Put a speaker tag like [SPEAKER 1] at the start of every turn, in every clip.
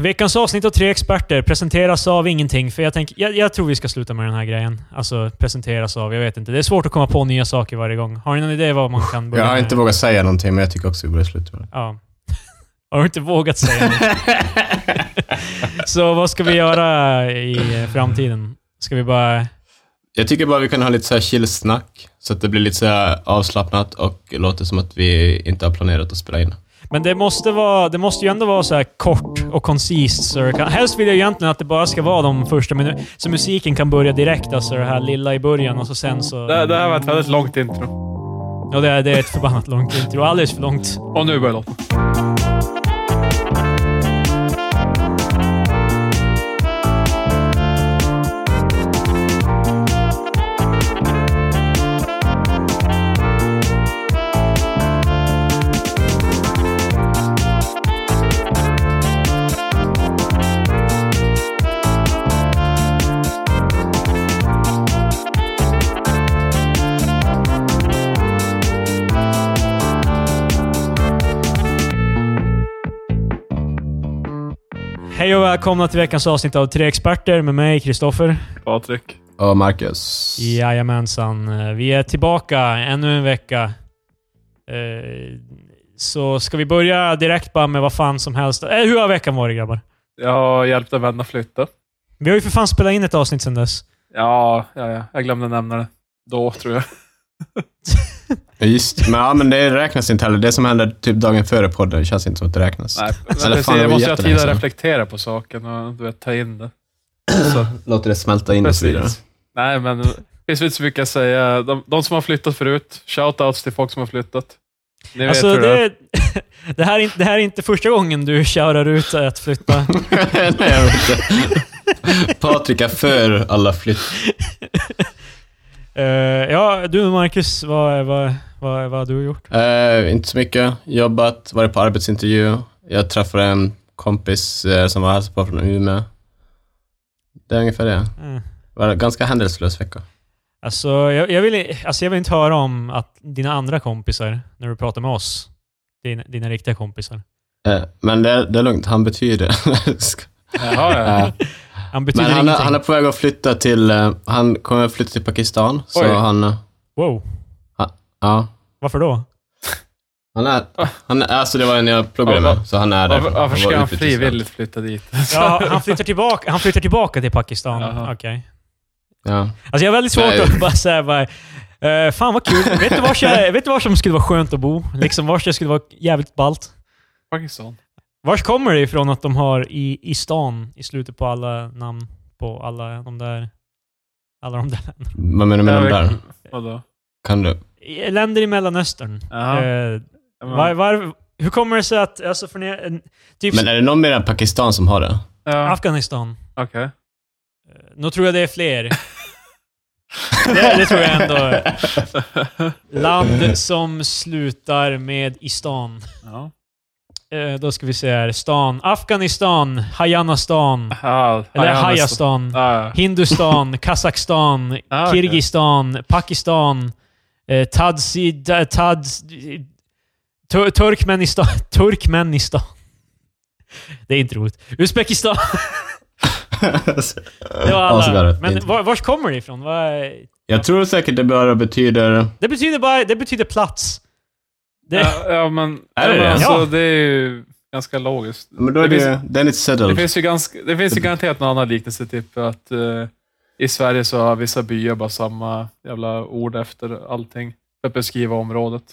[SPEAKER 1] Veckans avsnitt av Tre Experter presenteras av ingenting. För jag, tänker, jag, jag tror vi ska sluta med den här grejen. Alltså presenteras av, jag vet inte. Det är svårt att komma på nya saker varje gång. Har ni någon idé vad man kan börja
[SPEAKER 2] Jag har
[SPEAKER 1] med?
[SPEAKER 2] inte vågat säga någonting, men jag tycker också vi borde sluta med det.
[SPEAKER 1] Ja. Har du inte vågat säga något? Så vad ska vi göra i framtiden? Ska vi bara...
[SPEAKER 2] Jag tycker bara vi kan ha lite så här chill-snack, så att det blir lite så här avslappnat och låter som att vi inte har planerat att spela in.
[SPEAKER 1] Men det måste, vara, det måste ju ändå vara så här kort och koncist. Så det kan, helst vill jag ju egentligen att det bara ska vara de första minuterna. Så musiken kan börja direkt. Alltså det här lilla i början och så sen så...
[SPEAKER 3] Det, det här var ett väldigt långt intro.
[SPEAKER 1] Ja, det, är- det är ett förbannat långt intro. Alldeles för långt.
[SPEAKER 3] Och nu börjar låten.
[SPEAKER 1] Hej och välkomna till veckans avsnitt av Tre Experter med mig, Kristoffer.
[SPEAKER 3] Patrik.
[SPEAKER 2] Och Marcus.
[SPEAKER 1] Jajamensan. Eh, Vi är tillbaka ännu en vecka. Eh, Så ska vi börja direkt bara med vad fan som helst. Eh, Hur har veckan varit grabbar?
[SPEAKER 3] Jag har hjälpt en vän att flytta.
[SPEAKER 1] Vi har ju för fan spelat in ett avsnitt sedan dess.
[SPEAKER 3] Ja, ja, ja. Jag glömde nämna det. Då, tror jag.
[SPEAKER 2] Ja, Just, men, ja, men det räknas inte heller. Det som händer typ dagen före podden det känns inte som att det räknas.
[SPEAKER 3] Nej, men
[SPEAKER 2] fan,
[SPEAKER 3] precis,
[SPEAKER 2] det var
[SPEAKER 3] jag måste ju ha tid att
[SPEAKER 2] jättelänge sedan.
[SPEAKER 3] reflektera på saken och du vet, ta in det.
[SPEAKER 2] Låter det smälta in och så vidare.
[SPEAKER 3] Precis. Nej, men det finns inte så mycket att säga. De, de som har flyttat förut, shoutouts till folk som har flyttat. Ni
[SPEAKER 1] Alltså,
[SPEAKER 3] vet hur det är.
[SPEAKER 1] det, det, här är, inte- det här är inte första gången du körar ut att flytta.
[SPEAKER 2] Nej, jag vet inte. Patrik är för alla flytt.
[SPEAKER 1] Eh, ja, du Marcus, vad, vad, vad, vad har du gjort?
[SPEAKER 2] Eh, inte så mycket. Jobbat, varit på arbetsintervju. Jag träffade en kompis eh, som var hälsade på från Umeå. Det är ungefär det.
[SPEAKER 1] Eh.
[SPEAKER 2] Var en ganska händelselös vecka.
[SPEAKER 1] Alltså, jag, jag, vill, alltså, jag vill inte höra om att dina andra kompisar, när du pratar med oss, dina, dina riktiga kompisar.
[SPEAKER 2] Eh, men det, det är lugnt, han betyder... Ska-
[SPEAKER 3] Jaha, ja.
[SPEAKER 2] Eh,
[SPEAKER 1] Han betyder
[SPEAKER 2] men han, är-
[SPEAKER 1] ingenting.
[SPEAKER 2] han är på väg att flytta till... eh, han kommer att flytta till Pakistan. Så
[SPEAKER 3] Oj.
[SPEAKER 2] han... eh,
[SPEAKER 1] Wow,
[SPEAKER 2] Ja.
[SPEAKER 1] varför då?
[SPEAKER 2] Han är... Han är alltså det var en jag pluggade
[SPEAKER 3] Ja, va-
[SPEAKER 2] med, så han är där.
[SPEAKER 3] Varför, varför
[SPEAKER 2] var
[SPEAKER 3] ska han
[SPEAKER 2] utbytesstudent.
[SPEAKER 3] frivilligt flytta dit?
[SPEAKER 1] Ja, han, flyttar tillbaka, han flyttar tillbaka till Pakistan.
[SPEAKER 3] Jaha.
[SPEAKER 1] Okej.
[SPEAKER 2] Ja.
[SPEAKER 1] Alltså jag har väldigt svårt
[SPEAKER 2] Nej.
[SPEAKER 1] att bara säga bara, eh, Fan vad kul. vet, du var jag, vet du var som skulle vara skönt att bo? Liksom var det skulle vara jävligt ballt?
[SPEAKER 3] Pakistan.
[SPEAKER 1] Vars kommer det ifrån att de har i, i stan i slutet på alla namn på alla de där... Alla de där länderna?
[SPEAKER 2] Vad menar du med
[SPEAKER 3] Jag
[SPEAKER 2] de
[SPEAKER 3] vet-
[SPEAKER 2] där?
[SPEAKER 3] Vadå?
[SPEAKER 2] Kan du?
[SPEAKER 1] I- Länder i Mellanöstern.
[SPEAKER 3] Jaha.
[SPEAKER 1] Eh,
[SPEAKER 3] Ja, men-
[SPEAKER 1] var, var, hur kommer det sig att... Alltså för ni, en- typ
[SPEAKER 2] Men är det någon mer än Pakistan som har det?
[SPEAKER 3] Ja,
[SPEAKER 1] Afghanistan.
[SPEAKER 3] okej.
[SPEAKER 1] Eh, Nu tror jag det är fler. det, det tror jag ändå. Land som slutar med Istan.
[SPEAKER 3] Ja.
[SPEAKER 1] Eh, då ska vi se här. Stan. Afghanistan. Hayanastan.
[SPEAKER 3] Ja,
[SPEAKER 1] Eller
[SPEAKER 3] Hayanistan.
[SPEAKER 1] Hayastan.
[SPEAKER 3] Ja,
[SPEAKER 1] Hindustan. Kazakstan.
[SPEAKER 3] Ah, okej.
[SPEAKER 1] Kirgistan. Pakistan. Eh, Tadsi... Ta- Tads... Tur- Turkmenistan. Turkmenistan. Det är inte roligt. Uzbekistan. Det var
[SPEAKER 2] Ja, så
[SPEAKER 1] alla.
[SPEAKER 2] där. Det är
[SPEAKER 1] Men
[SPEAKER 2] inte-
[SPEAKER 1] var, vars kommer det ifrån? Vad är-
[SPEAKER 2] Jag tror säkert det bara betyder...
[SPEAKER 1] Det betyder bara... Det betyder plats. Det,
[SPEAKER 3] ja, ja, men,
[SPEAKER 2] Är det
[SPEAKER 3] ja, men
[SPEAKER 2] det?
[SPEAKER 3] alltså,
[SPEAKER 1] Ja.
[SPEAKER 3] det är ju ganska logiskt.
[SPEAKER 2] Men då är det,
[SPEAKER 3] det,
[SPEAKER 2] ju...
[SPEAKER 3] finns,
[SPEAKER 2] Then it's
[SPEAKER 3] det,
[SPEAKER 2] settled.
[SPEAKER 3] finns ju ganska, det finns ju garanterat någon annan liknelse, typ att eh, i Sverige så har vissa byar bara samma jävla ord efter allting för att beskriva området.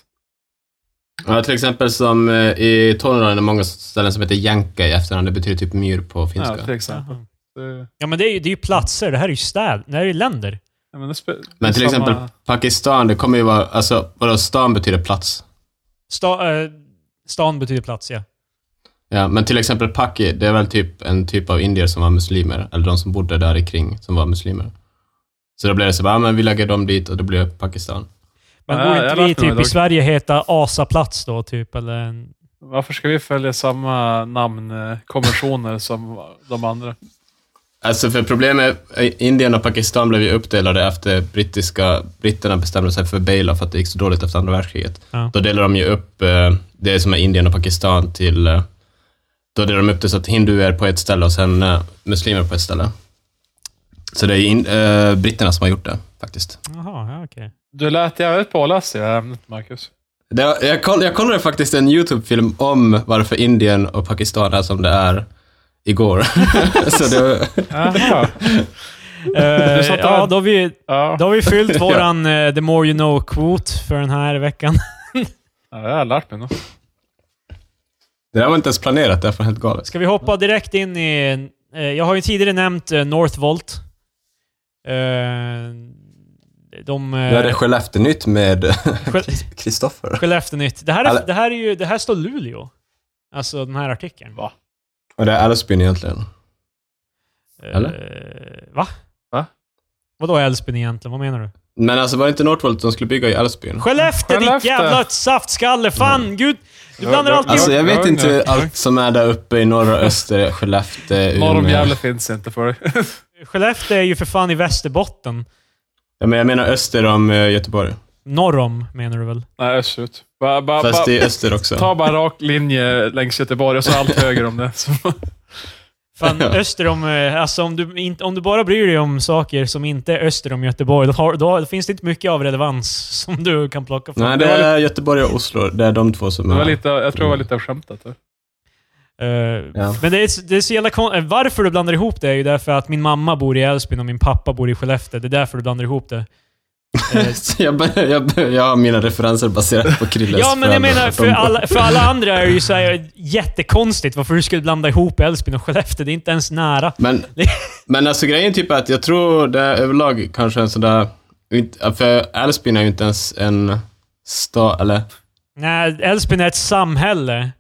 [SPEAKER 2] Ja, till exempel som eh, i Tornedalen är det många ställen som heter jänka i efternamn. Det betyder typ myr på
[SPEAKER 3] Ja,
[SPEAKER 2] finska.
[SPEAKER 3] till exempel.
[SPEAKER 1] Jaha.
[SPEAKER 3] Det,
[SPEAKER 1] Ja, men det är ju, det är ju platser. Det här är ju städer. Det här är ju länder.
[SPEAKER 3] ja, men, det spe,
[SPEAKER 2] Men till
[SPEAKER 3] det är samma-
[SPEAKER 2] exempel Pakistan, det kommer ju vara... Alltså, vadå, stan betyder plats.
[SPEAKER 1] Sta, eh, stan betyder plats, ja.
[SPEAKER 2] Ja, men till exempel Paki, det är väl typ en typ av indier som var muslimer, eller de som bodde där i kring som var muslimer. Så då blev det så bara, ja, men vi lägger dem dit och det blev Pakistan.
[SPEAKER 1] Men
[SPEAKER 3] Ja,
[SPEAKER 1] borde
[SPEAKER 3] jag
[SPEAKER 1] inte vi
[SPEAKER 3] lärde mig
[SPEAKER 1] typ i
[SPEAKER 3] idag.
[SPEAKER 1] Sverige heta Asaplats då, typ? Eller en,
[SPEAKER 3] Varför ska vi följa samma namnkonventioner som de andra?
[SPEAKER 2] Alltså för problemet, eh, Indien och Pakistan blev ju uppdelade efter brittiska, britterna bestämde sig för Bela för att det gick så dåligt efter andra världskriget.
[SPEAKER 1] Ja.
[SPEAKER 2] Då delade de ju upp eh, det som är Indien och Pakistan till eh, Då delar de upp det så att hinduer på ett ställe och sen eh, muslimer på ett ställe. Så det är in, eh, britterna som har gjort det, faktiskt.
[SPEAKER 1] Jaha, ja, okej.
[SPEAKER 3] Du lät jävligt påläst i det här ämnet, Marcus.
[SPEAKER 2] Det, jag, koll, jag kollade faktiskt en YouTube-film om varför Indien och Pakistan är som det är igår. så det,
[SPEAKER 3] Jaha.
[SPEAKER 1] Eh,
[SPEAKER 3] satt
[SPEAKER 1] ja,
[SPEAKER 3] där.
[SPEAKER 1] då har vi,
[SPEAKER 3] Ja,
[SPEAKER 1] då har vi fyllt våran eh, the more you know-kvot för den här veckan.
[SPEAKER 3] ja, jag har lärt mig något.
[SPEAKER 2] det där var inte ens planerat, det är fan helt galet.
[SPEAKER 1] Ska vi hoppa direkt in i... eh, Jag har ju tidigare nämnt eh, Northvolt. Eh, De... eh,
[SPEAKER 2] Nu är det Skellefteå-nytt med
[SPEAKER 1] Skell-
[SPEAKER 2] Kristoffer.
[SPEAKER 1] Skellefteå-nytt. Det, här
[SPEAKER 2] Alla-
[SPEAKER 1] är- det här är ju... Det här står Luleå. Alltså den här artikeln.
[SPEAKER 3] Va?
[SPEAKER 2] Och det är Älvsbyn egentligen.
[SPEAKER 1] Eh, Va?
[SPEAKER 3] Va? Mm.
[SPEAKER 1] Vadå Älvsbyn egentligen? Vad menar du?
[SPEAKER 2] Men alltså var det inte Northvolt som skulle bygga i Älvsbyn?
[SPEAKER 1] Skellefteå, ditt
[SPEAKER 3] Skellefteå. Mm.
[SPEAKER 1] jävla saftskalle! Fan, gud! Du blandar
[SPEAKER 3] Ja,
[SPEAKER 1] alltid
[SPEAKER 2] Alltså
[SPEAKER 1] ihop-
[SPEAKER 2] jag vet
[SPEAKER 3] Ja,
[SPEAKER 2] inte
[SPEAKER 3] nej.
[SPEAKER 2] allt som är där uppe i norra och öster, Skellefteå,
[SPEAKER 3] Norr om
[SPEAKER 2] Umeå.
[SPEAKER 3] Gävle finns inte för dig. alltså-
[SPEAKER 1] Skellefteå är ju för fan i Västerbotten.
[SPEAKER 2] Ja, men jag menar öster om eh, Göteborg.
[SPEAKER 1] Norr om, menar du väl?
[SPEAKER 3] Nej, österut. Bara, bara,
[SPEAKER 2] Fast
[SPEAKER 3] bara,
[SPEAKER 2] det är öster också.
[SPEAKER 3] ta bara en rak linje längs Göteborg och så allt höger om det. Så,
[SPEAKER 1] Fan,
[SPEAKER 2] Ja.
[SPEAKER 1] öster om... eh, Alltså om du, inte, om du bara bryr dig om saker som inte är öster om Göteborg, då, har, då finns det inte mycket av relevans som du kan plocka från.
[SPEAKER 2] Nej,
[SPEAKER 3] Det
[SPEAKER 2] det
[SPEAKER 3] var
[SPEAKER 2] är Göteborg och Oslo. Det är de två som
[SPEAKER 3] det var
[SPEAKER 2] är...
[SPEAKER 3] lite, jag tror det var lite skämtat. där.
[SPEAKER 1] Eh,
[SPEAKER 2] Ja.
[SPEAKER 1] Men det är, så- det är så jävla kon- eh, Varför du blandar ihop det är ju därför att min mamma bor i Älvsbyn och min pappa bor i Skellefteå. Det är därför du blandar ihop det. Eh,
[SPEAKER 2] Så jag, bör- jag, bör- jag har mina referenser baserat på Krilles
[SPEAKER 1] Ja, men jag
[SPEAKER 2] föräldrar.
[SPEAKER 1] menar, för
[SPEAKER 2] De-
[SPEAKER 1] alla, för alla andra är det ju så här jättekonstigt varför du skulle blanda ihop Älvsbyn och Skellefteå. Det är inte ens nära.
[SPEAKER 2] Men, men alltså grejen typ är att jag tror det är överlag kanske en sån där... inte- För Älvsbyn är ju inte ens en stad, eller?
[SPEAKER 1] Nej, Älvsbyn är ett samhälle.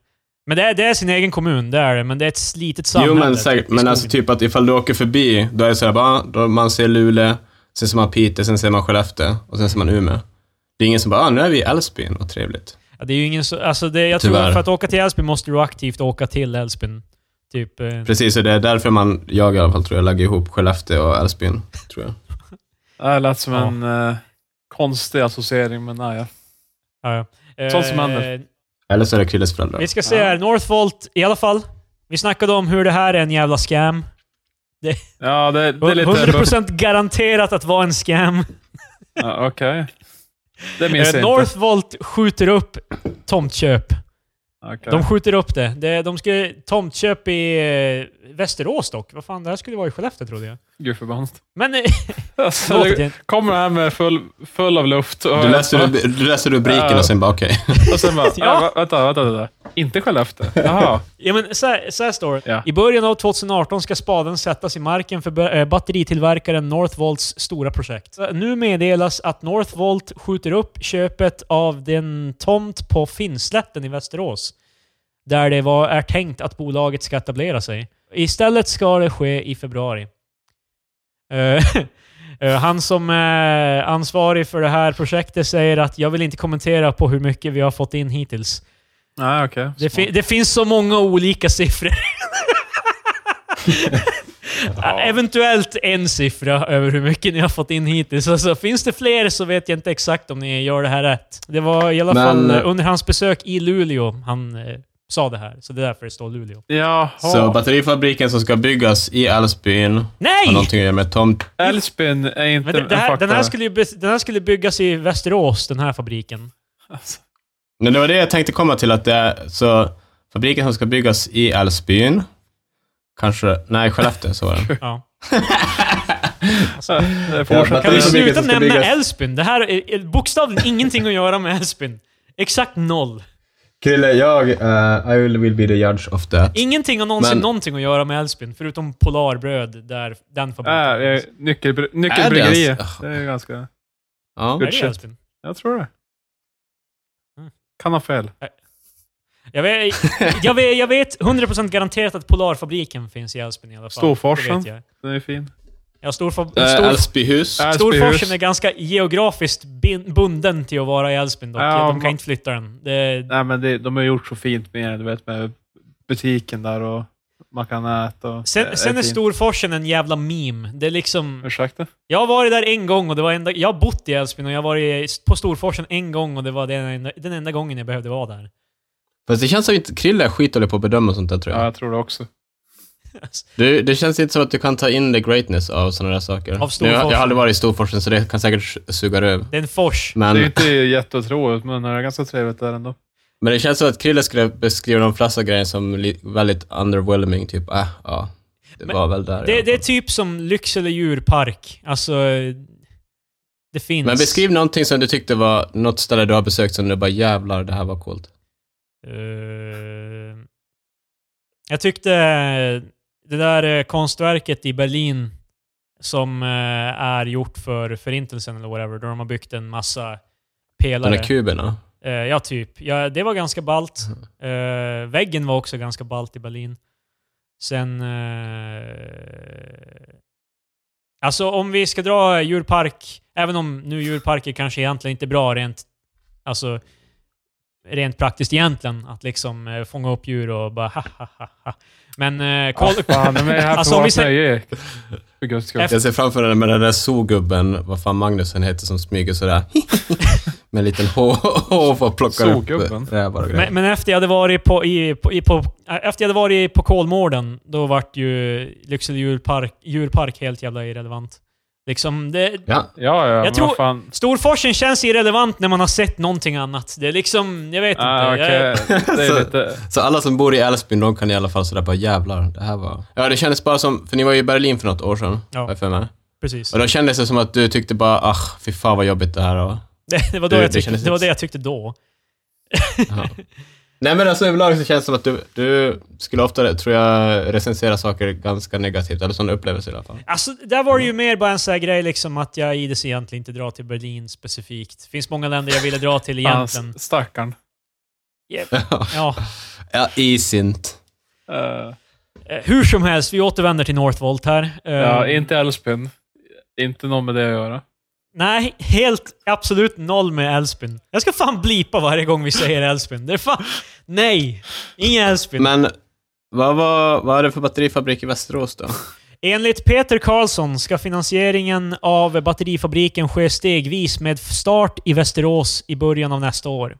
[SPEAKER 1] Men det är, det är sin egen kommun, det är det. Men det är ett litet samhälle.
[SPEAKER 2] Jo, men säkert.
[SPEAKER 1] typ, i
[SPEAKER 2] Men
[SPEAKER 1] skogen.
[SPEAKER 2] alltså typ att ifall du åker förbi, då är det sådär bara, ah, då man ser Luleå, sen ser man Piteå, sen ser man Skellefteå och sen ser man Umeå. Det är ingen som bara, ah, nu är vi i Älvsbyn, vad trevligt.
[SPEAKER 1] Ja, det är ju ingen så, alltså det, jag tror
[SPEAKER 2] Tyvärr.
[SPEAKER 1] att för att åka till Älvsbyn måste du aktivt åka till Älvsbyn. Typ, eh,
[SPEAKER 2] Precis, och det är därför man, jag i alla fall tror jag, lägger ihop Skellefteå och Älvsbyn, tror jag.
[SPEAKER 3] Det lät som
[SPEAKER 1] Ja.
[SPEAKER 3] en eh, konstig associering, men nej. ja.
[SPEAKER 1] ja, ja.
[SPEAKER 3] Sånt som
[SPEAKER 1] Eh,
[SPEAKER 3] händer.
[SPEAKER 2] Eller så är det Krilles föräldrar.
[SPEAKER 1] Vi ska se här. Northvolt, i alla fall. Vi snackade om hur det här är en jävla scam.
[SPEAKER 3] Ja, det, det är lite...
[SPEAKER 1] 100% garanterat att vara en scam.
[SPEAKER 3] Ja, Okej. Det
[SPEAKER 1] Eh,
[SPEAKER 3] minns jag inte.
[SPEAKER 1] Northvolt skjuter upp tomtköp.
[SPEAKER 3] Okej.
[SPEAKER 1] De skjuter upp det. det de skulle tomtköp i eh, Västerås dock. Vad fan, det här skulle vara i Skellefteå trodde jag.
[SPEAKER 3] Gud förbannat.
[SPEAKER 1] Men... eh,
[SPEAKER 3] Alltså,
[SPEAKER 1] förlåt,
[SPEAKER 3] det
[SPEAKER 1] Ken.
[SPEAKER 3] kommer här med full, full av luft. Och,
[SPEAKER 2] Du läser, rub- du läser rubriken och sen bara, okej.
[SPEAKER 3] och sen bara,
[SPEAKER 1] Ja.
[SPEAKER 3] ja. vänta, vänta, vänta, vänta. Inte Skellefteå? Jaha.
[SPEAKER 1] Ja, men så, här, så här står det.
[SPEAKER 3] Ja.
[SPEAKER 1] I början av 2018 ska spaden sättas i marken för ba- eh, batteritillverkaren Northvolts stora projekt. Så Nu meddelas att Northvolt skjuter upp köpet av den tomt på Finnslätten i Västerås. Där det var, är tänkt att bolaget ska etablera sig. Istället ska det ske i februari. Eh, eh, Han som är ansvarig för det här projektet säger att jag vill inte kommentera på hur mycket vi har fått in hittills.
[SPEAKER 3] Nej, okej.
[SPEAKER 1] Det, fi- det finns så många olika siffror. Ja, Eventuellt en siffra över hur mycket ni har fått in hittills. Alltså, finns det fler så vet jag inte exakt om ni gör det här rätt. Det var i alla
[SPEAKER 2] Men-
[SPEAKER 1] fall eh, under hans besök i Luleå han eh, sa det här. Så det är därför det står Luleå.
[SPEAKER 3] Jaha.
[SPEAKER 2] Så batterifabriken som ska byggas i Älvsbyn har
[SPEAKER 1] Nej!
[SPEAKER 2] någonting att göra med tomt.
[SPEAKER 3] Älvsbyn är inte
[SPEAKER 1] Men det, det här,
[SPEAKER 3] en
[SPEAKER 1] den, här
[SPEAKER 3] faktor.
[SPEAKER 1] skulle ju, bes- den här skulle byggas i Västerås, den här fabriken.
[SPEAKER 3] Alltså,
[SPEAKER 2] Men det var det jag tänkte komma till, att det är, så fabriken som ska byggas i Älvsbyn, kanske, nej Skellefteå, så var det.
[SPEAKER 1] Ja.
[SPEAKER 3] det
[SPEAKER 2] Ja,
[SPEAKER 3] fortsätter.
[SPEAKER 1] Kan vi
[SPEAKER 2] Batterifabriken
[SPEAKER 1] sluta
[SPEAKER 2] som ska
[SPEAKER 1] nämna
[SPEAKER 2] byggas-
[SPEAKER 1] Älvsbyn? Det här är är bokstavligen ingenting att göra med Älvsbyn. Exakt noll.
[SPEAKER 2] Krille, jag, eh, I will, will be the judge of that.
[SPEAKER 1] Ingenting har någonsin
[SPEAKER 2] Men-
[SPEAKER 1] någonting att göra med Älvsbyn, förutom Polarbröd, där den fabriken
[SPEAKER 3] Äh,
[SPEAKER 1] finns.
[SPEAKER 3] eh, nyckelbry- Nyckelbryggeriet.
[SPEAKER 2] ens-
[SPEAKER 3] Det är ju ganska...
[SPEAKER 2] Ja.
[SPEAKER 1] Är det
[SPEAKER 3] shit.
[SPEAKER 1] Älvsbyn?
[SPEAKER 3] Jag tror det.
[SPEAKER 1] Mm.
[SPEAKER 3] Kan ha fel.
[SPEAKER 1] Jag vet, jag vet, jag vet 100% garanterat att Polarfabriken finns i Älvsbyn i alla fall.
[SPEAKER 3] Storforsen.
[SPEAKER 1] Det vet jag.
[SPEAKER 3] Den är fin.
[SPEAKER 1] Ja, Storfor-
[SPEAKER 2] Eh,
[SPEAKER 1] Stor,
[SPEAKER 2] Älvsbyhus.
[SPEAKER 3] Äh,
[SPEAKER 1] Storforsen
[SPEAKER 3] Älvsbyhus.
[SPEAKER 1] är ganska geografiskt bin, bunden till att vara i Älvsbyn dock.
[SPEAKER 3] Ja,
[SPEAKER 1] de kan
[SPEAKER 3] ma-
[SPEAKER 1] inte flytta den. Det,
[SPEAKER 3] Nej, men det, de har gjort så fint med, du vet, med butiken där och man kan äta. Och, det
[SPEAKER 1] sen, sen är
[SPEAKER 3] fint.
[SPEAKER 1] Storforsen en jävla meme. Det är liksom...
[SPEAKER 3] Ursäkta?
[SPEAKER 1] Jag har varit där en gång och det var enda... Jag har bott i Älvsbyn och jag har varit på Storforsen en gång och det var den enda, den enda gången jag behövde vara där.
[SPEAKER 2] Fast det känns som att Krille är skitdålig på att bedöma sånt där tror
[SPEAKER 3] Ja,
[SPEAKER 2] jag.
[SPEAKER 3] jag tror det också.
[SPEAKER 2] Du, det känns inte som att du kan ta in the greatness av sådana där saker.
[SPEAKER 1] Av
[SPEAKER 2] nu, jag
[SPEAKER 1] Storforsen.
[SPEAKER 2] har aldrig varit i Storforsen, så det kan säkert s- suga röv.
[SPEAKER 1] Det är en fors.
[SPEAKER 2] Men,
[SPEAKER 3] Det är ju inte jätteotroligt, men det är ganska trevligt där ändå.
[SPEAKER 2] men det känns som att Krille skulle beskriva de flesta grejerna som li- väldigt underwhelming, typ äh, ja. Det
[SPEAKER 1] Men
[SPEAKER 2] var väl där. i
[SPEAKER 1] Det,
[SPEAKER 2] alla
[SPEAKER 1] det är
[SPEAKER 2] fall.
[SPEAKER 1] typ som Lycksele djurpark. Alltså, eh, det finns.
[SPEAKER 2] Men beskriv någonting som du tyckte var något ställe du har besökt som du bara jävlar, det här var coolt.
[SPEAKER 1] Eh, jag tyckte det där eh, konstverket i Berlin som eh, är gjort för Förintelsen eller whatever, där de har byggt en massa
[SPEAKER 2] De
[SPEAKER 1] pelare.
[SPEAKER 2] där kuberna.
[SPEAKER 1] Eh, ja, typ. Ja, det var ganska ballt.
[SPEAKER 3] Mm.
[SPEAKER 1] Eh, väggen var också ganska ballt i Berlin. Sen... Eh, alltså om vi ska dra djurpark, även om nu djurparker kanske egentligen inte är bra rent... Alltså rent praktiskt egentligen, att liksom eh, fånga upp djur och bara ha ha ha ha. Men eh, koll...
[SPEAKER 3] Ah, fan, de är här
[SPEAKER 1] Alltså,
[SPEAKER 3] för
[SPEAKER 1] om vi
[SPEAKER 3] vårt
[SPEAKER 1] säger-
[SPEAKER 3] nöje. För guds skull.
[SPEAKER 1] Efter-
[SPEAKER 2] Jag ser framför mig med den där sogubben, vad fan Magnusen heter, som smyger sådär. med en liten håv och plockar
[SPEAKER 3] Sogubben?
[SPEAKER 2] upp rävar och grejer.
[SPEAKER 1] Men, men efter jag hade varit på, i, på, i, på, äh, efter jag hade varit på Kolmården, då vart ju Lycksele djurpark, djurpark helt jävla irrelevant. Liksom, det,
[SPEAKER 2] Ja,
[SPEAKER 3] Ja, ja, men
[SPEAKER 1] tror-
[SPEAKER 3] vad fan.
[SPEAKER 1] Storforsen känns irrelevant när man har sett någonting annat. Det är liksom, jag vet
[SPEAKER 3] Ah,
[SPEAKER 1] inte.
[SPEAKER 3] okej.
[SPEAKER 1] Jag,
[SPEAKER 3] Det
[SPEAKER 2] Så-
[SPEAKER 3] är lite...
[SPEAKER 2] Så alla som bor i Älvsbyn, de kan i alla fall sådär bara jävlar, det här var... Ja, det kändes bara som, för ni var ju i Berlin för något år sedan,
[SPEAKER 1] Ja.
[SPEAKER 2] har jag för mig.
[SPEAKER 1] precis.
[SPEAKER 2] Och då kändes det som att du tyckte bara, ach, fy fan vad jobbigt det här var.
[SPEAKER 1] Det, det, var då
[SPEAKER 2] Det-
[SPEAKER 1] jag
[SPEAKER 2] det
[SPEAKER 1] tyckte,
[SPEAKER 2] kändes
[SPEAKER 1] det var
[SPEAKER 2] inte-
[SPEAKER 1] det jag tyckte då.
[SPEAKER 2] Ja. Nej men alltså överlag så känns det som att du, du skulle ofta, tror jag, recensera saker ganska negativt, eller sån upplevelse i alla fall.
[SPEAKER 1] Alltså, där var det
[SPEAKER 2] Mm.
[SPEAKER 1] ju mer bara en sån här grej liksom att jag i det egentligen inte drar till Berlin specifikt. Det finns många länder jag ville dra till
[SPEAKER 3] Fan,
[SPEAKER 1] egentligen.
[SPEAKER 3] stackarn.
[SPEAKER 1] Ja.
[SPEAKER 2] ja, isint.
[SPEAKER 3] Eh,
[SPEAKER 1] Eh, Hur som helst, vi återvänder till Northvolt här. Eh,
[SPEAKER 3] ja, inte Älvsbyn. Inte något med det att göra.
[SPEAKER 1] Nej, helt absolut noll med Älvsbyn. Jag ska fan blipa varje gång vi säger Älvsbyn. Det är fan... Nej! Ingen Älvsbyn.
[SPEAKER 2] Men vad var vad är det för batterifabrik i Västerås då?
[SPEAKER 1] Enligt Peter Karlsson ska finansieringen av batterifabriken ske stegvis med start i Västerås i början av nästa år.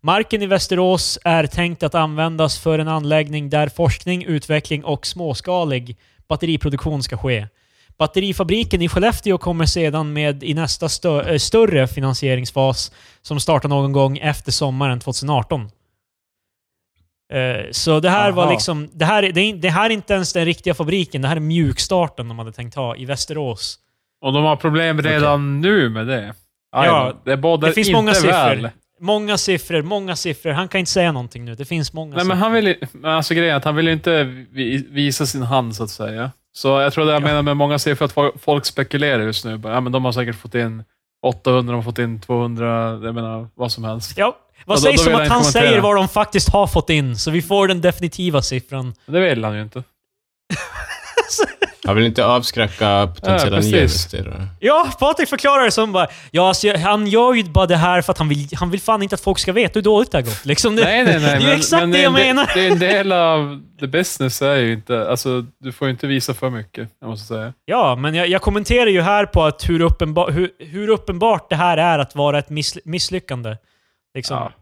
[SPEAKER 1] Marken i Västerås är tänkt att användas för en anläggning där forskning, utveckling och småskalig batteriproduktion ska ske. Batterifabriken i Skellefteå kommer sedan med i nästa stö- eh, större finansieringsfas som startar någon gång efter sommaren 2018. Eh, Så det här var
[SPEAKER 3] Aha.
[SPEAKER 1] liksom... Det här, är- det, är, in- det här är inte ens den riktiga fabriken. Det här är mjukstarten de hade tänkt ha i Västerås.
[SPEAKER 3] Och de har problem redan nu med det. Aj,
[SPEAKER 1] Ja,
[SPEAKER 3] det, bådar
[SPEAKER 1] det finns
[SPEAKER 3] inte
[SPEAKER 1] många siffror.
[SPEAKER 3] Väl.
[SPEAKER 1] Många siffror, många siffror. Han kan inte säga någonting nu. Det finns många
[SPEAKER 3] Nej, men
[SPEAKER 1] siffror.
[SPEAKER 3] han vill, ju- men alltså grejen är att han vill ju inte vi- visa sin hand, så att säga. Så jag tror det jag
[SPEAKER 1] Ja.
[SPEAKER 3] menar med många siffror, att fo- folk spekulerar just nu. Bara, Ja, men de har säkert fått in 800, de har fått in 200, jag menar vad som helst.
[SPEAKER 1] Ja, vad
[SPEAKER 3] Ja, då-
[SPEAKER 1] sägs
[SPEAKER 3] då vill
[SPEAKER 1] om
[SPEAKER 3] jag
[SPEAKER 1] att
[SPEAKER 3] inte
[SPEAKER 1] han
[SPEAKER 3] kommentera.
[SPEAKER 1] säger vad de faktiskt har fått in, så vi får den definitiva siffran.
[SPEAKER 3] Men det vill han ju inte.
[SPEAKER 2] Jag vill inte avskräcka potentiella
[SPEAKER 3] Ja,
[SPEAKER 2] nya
[SPEAKER 3] precis.
[SPEAKER 2] investerare.
[SPEAKER 1] Ja, Patrik förklarar det som bara... Ja, alltså, jag- han gör ju bara det här för att han vill, han vill fan inte att folk ska veta hur dåligt det har gått. Liksom, det,
[SPEAKER 3] Nej, nej, nej.
[SPEAKER 1] det är ju exakt det
[SPEAKER 3] är
[SPEAKER 1] jag
[SPEAKER 3] en de-
[SPEAKER 1] menar.
[SPEAKER 3] Det är en del av the business, är ju inte... Alltså, du får ju inte visa för mycket, jag måste säga.
[SPEAKER 1] Ja, men jag, jag kommenterar ju här på att hur, uppenba, hur, hur uppenbart det här är att vara ett miss, misslyckande. Liksom.
[SPEAKER 3] Ja.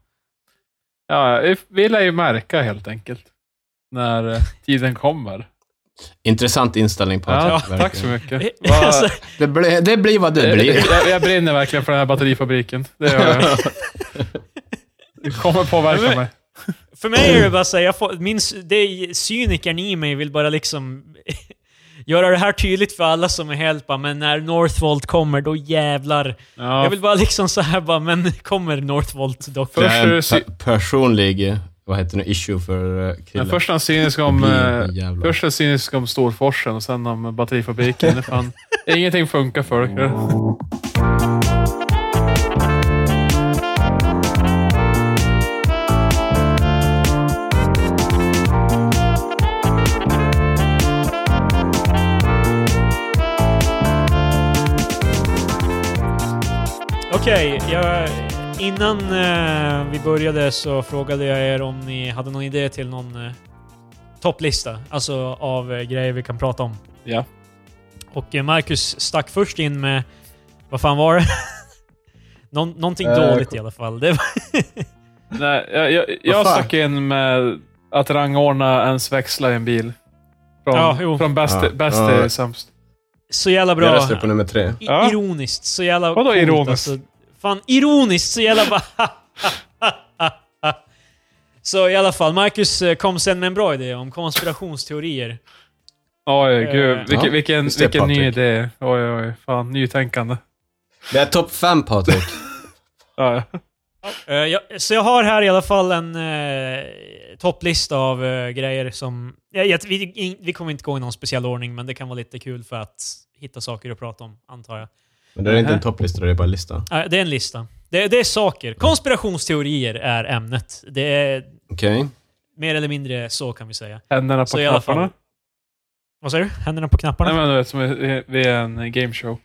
[SPEAKER 3] Ja, vi- vi lär ju märka helt enkelt. När eh, tiden kommer.
[SPEAKER 2] Intressant inställning på
[SPEAKER 3] Ja, tack så mycket. Vad-
[SPEAKER 1] Alltså,
[SPEAKER 2] Det, blir- det blir vad det blir.
[SPEAKER 3] Jag, jag brinner verkligen för den här batterifabriken. Det gör jag. Det kommer påverka mig.
[SPEAKER 1] för mig är det bara så här, jag får, min, s- det är, cynikern i mig vill bara liksom göra det här tydligt för alla som är helt bara, men när Northvolt kommer, då jävlar. Jag
[SPEAKER 3] Ja,
[SPEAKER 1] vill bara liksom så här bara, men kommer Northvolt dock?
[SPEAKER 2] Det
[SPEAKER 3] Först
[SPEAKER 2] är
[SPEAKER 3] är det
[SPEAKER 2] en
[SPEAKER 3] sy-
[SPEAKER 2] pe- personlig, eh, vad heter det, issue för eh,
[SPEAKER 3] men
[SPEAKER 2] killen.
[SPEAKER 3] först är han cynisk
[SPEAKER 2] Det
[SPEAKER 3] om,
[SPEAKER 2] blir
[SPEAKER 3] eh,
[SPEAKER 2] en jävla-
[SPEAKER 3] först är han cynisk om Storforsen och sen om batterifabriken. Det är Fan, ingenting funkar för er.
[SPEAKER 1] Okej, jag, innan eh, vi började så frågade jag er om ni hade någon idé till någon eh, topplista, alltså av eh, grejer vi kan prata om.
[SPEAKER 3] Ja.
[SPEAKER 1] Och eh, Marcus stack först in med, vad fan var det? Någon, någonting
[SPEAKER 2] Eh,
[SPEAKER 1] dåligt
[SPEAKER 2] kom-
[SPEAKER 1] i alla fall. Det var
[SPEAKER 3] Nej, jag, jag, jag
[SPEAKER 2] fan?
[SPEAKER 3] stack in med att rangordna ens växlar i en bil. Från,
[SPEAKER 1] Ja, jo.
[SPEAKER 3] från bäst
[SPEAKER 2] Ja.
[SPEAKER 3] till- bäst
[SPEAKER 2] Ja.
[SPEAKER 3] till sämst.
[SPEAKER 1] Så jävla
[SPEAKER 2] Jag
[SPEAKER 1] bra.
[SPEAKER 2] röstar på nummer tre.
[SPEAKER 1] I-
[SPEAKER 3] Ja.
[SPEAKER 1] Ironiskt. Så jävla alltså.
[SPEAKER 3] Vadå ironiskt?
[SPEAKER 1] Fan, ironiskt så jävla bara... så i alla fall, Marcus eh, kom sen med en bra idé om konspirationsteorier.
[SPEAKER 3] Oj,
[SPEAKER 1] Eh,
[SPEAKER 3] gud. Vilken,
[SPEAKER 2] ja.
[SPEAKER 3] vilken,
[SPEAKER 2] Just det,
[SPEAKER 3] vilken ny
[SPEAKER 2] Patrik.
[SPEAKER 3] idé. Oj, oj, fan. Nytänkande.
[SPEAKER 2] Det är topp fem, Patrik.
[SPEAKER 3] Ja.
[SPEAKER 1] Eh, jag, så jag har här i alla fall en eh, topplista av eh, grejer som... Jag, jag, vi, in, vi kommer inte gå i någon speciell ordning, men det kan vara lite kul för att hitta saker att prata om, antar jag.
[SPEAKER 2] Men det är inte
[SPEAKER 3] Mhm.
[SPEAKER 2] en topplista, det är bara en lista.
[SPEAKER 1] Eh, det är en lista. Det, det är saker. Konspirationsteorier är ämnet. Det är
[SPEAKER 2] Okej.
[SPEAKER 1] mer eller mindre så kan vi säga.
[SPEAKER 3] Händerna på
[SPEAKER 1] Så i alla fall-
[SPEAKER 3] knapparna.
[SPEAKER 1] Vad säger du? Händerna på knapparna?
[SPEAKER 3] Nej, men du vet, som i- vid en gameshow.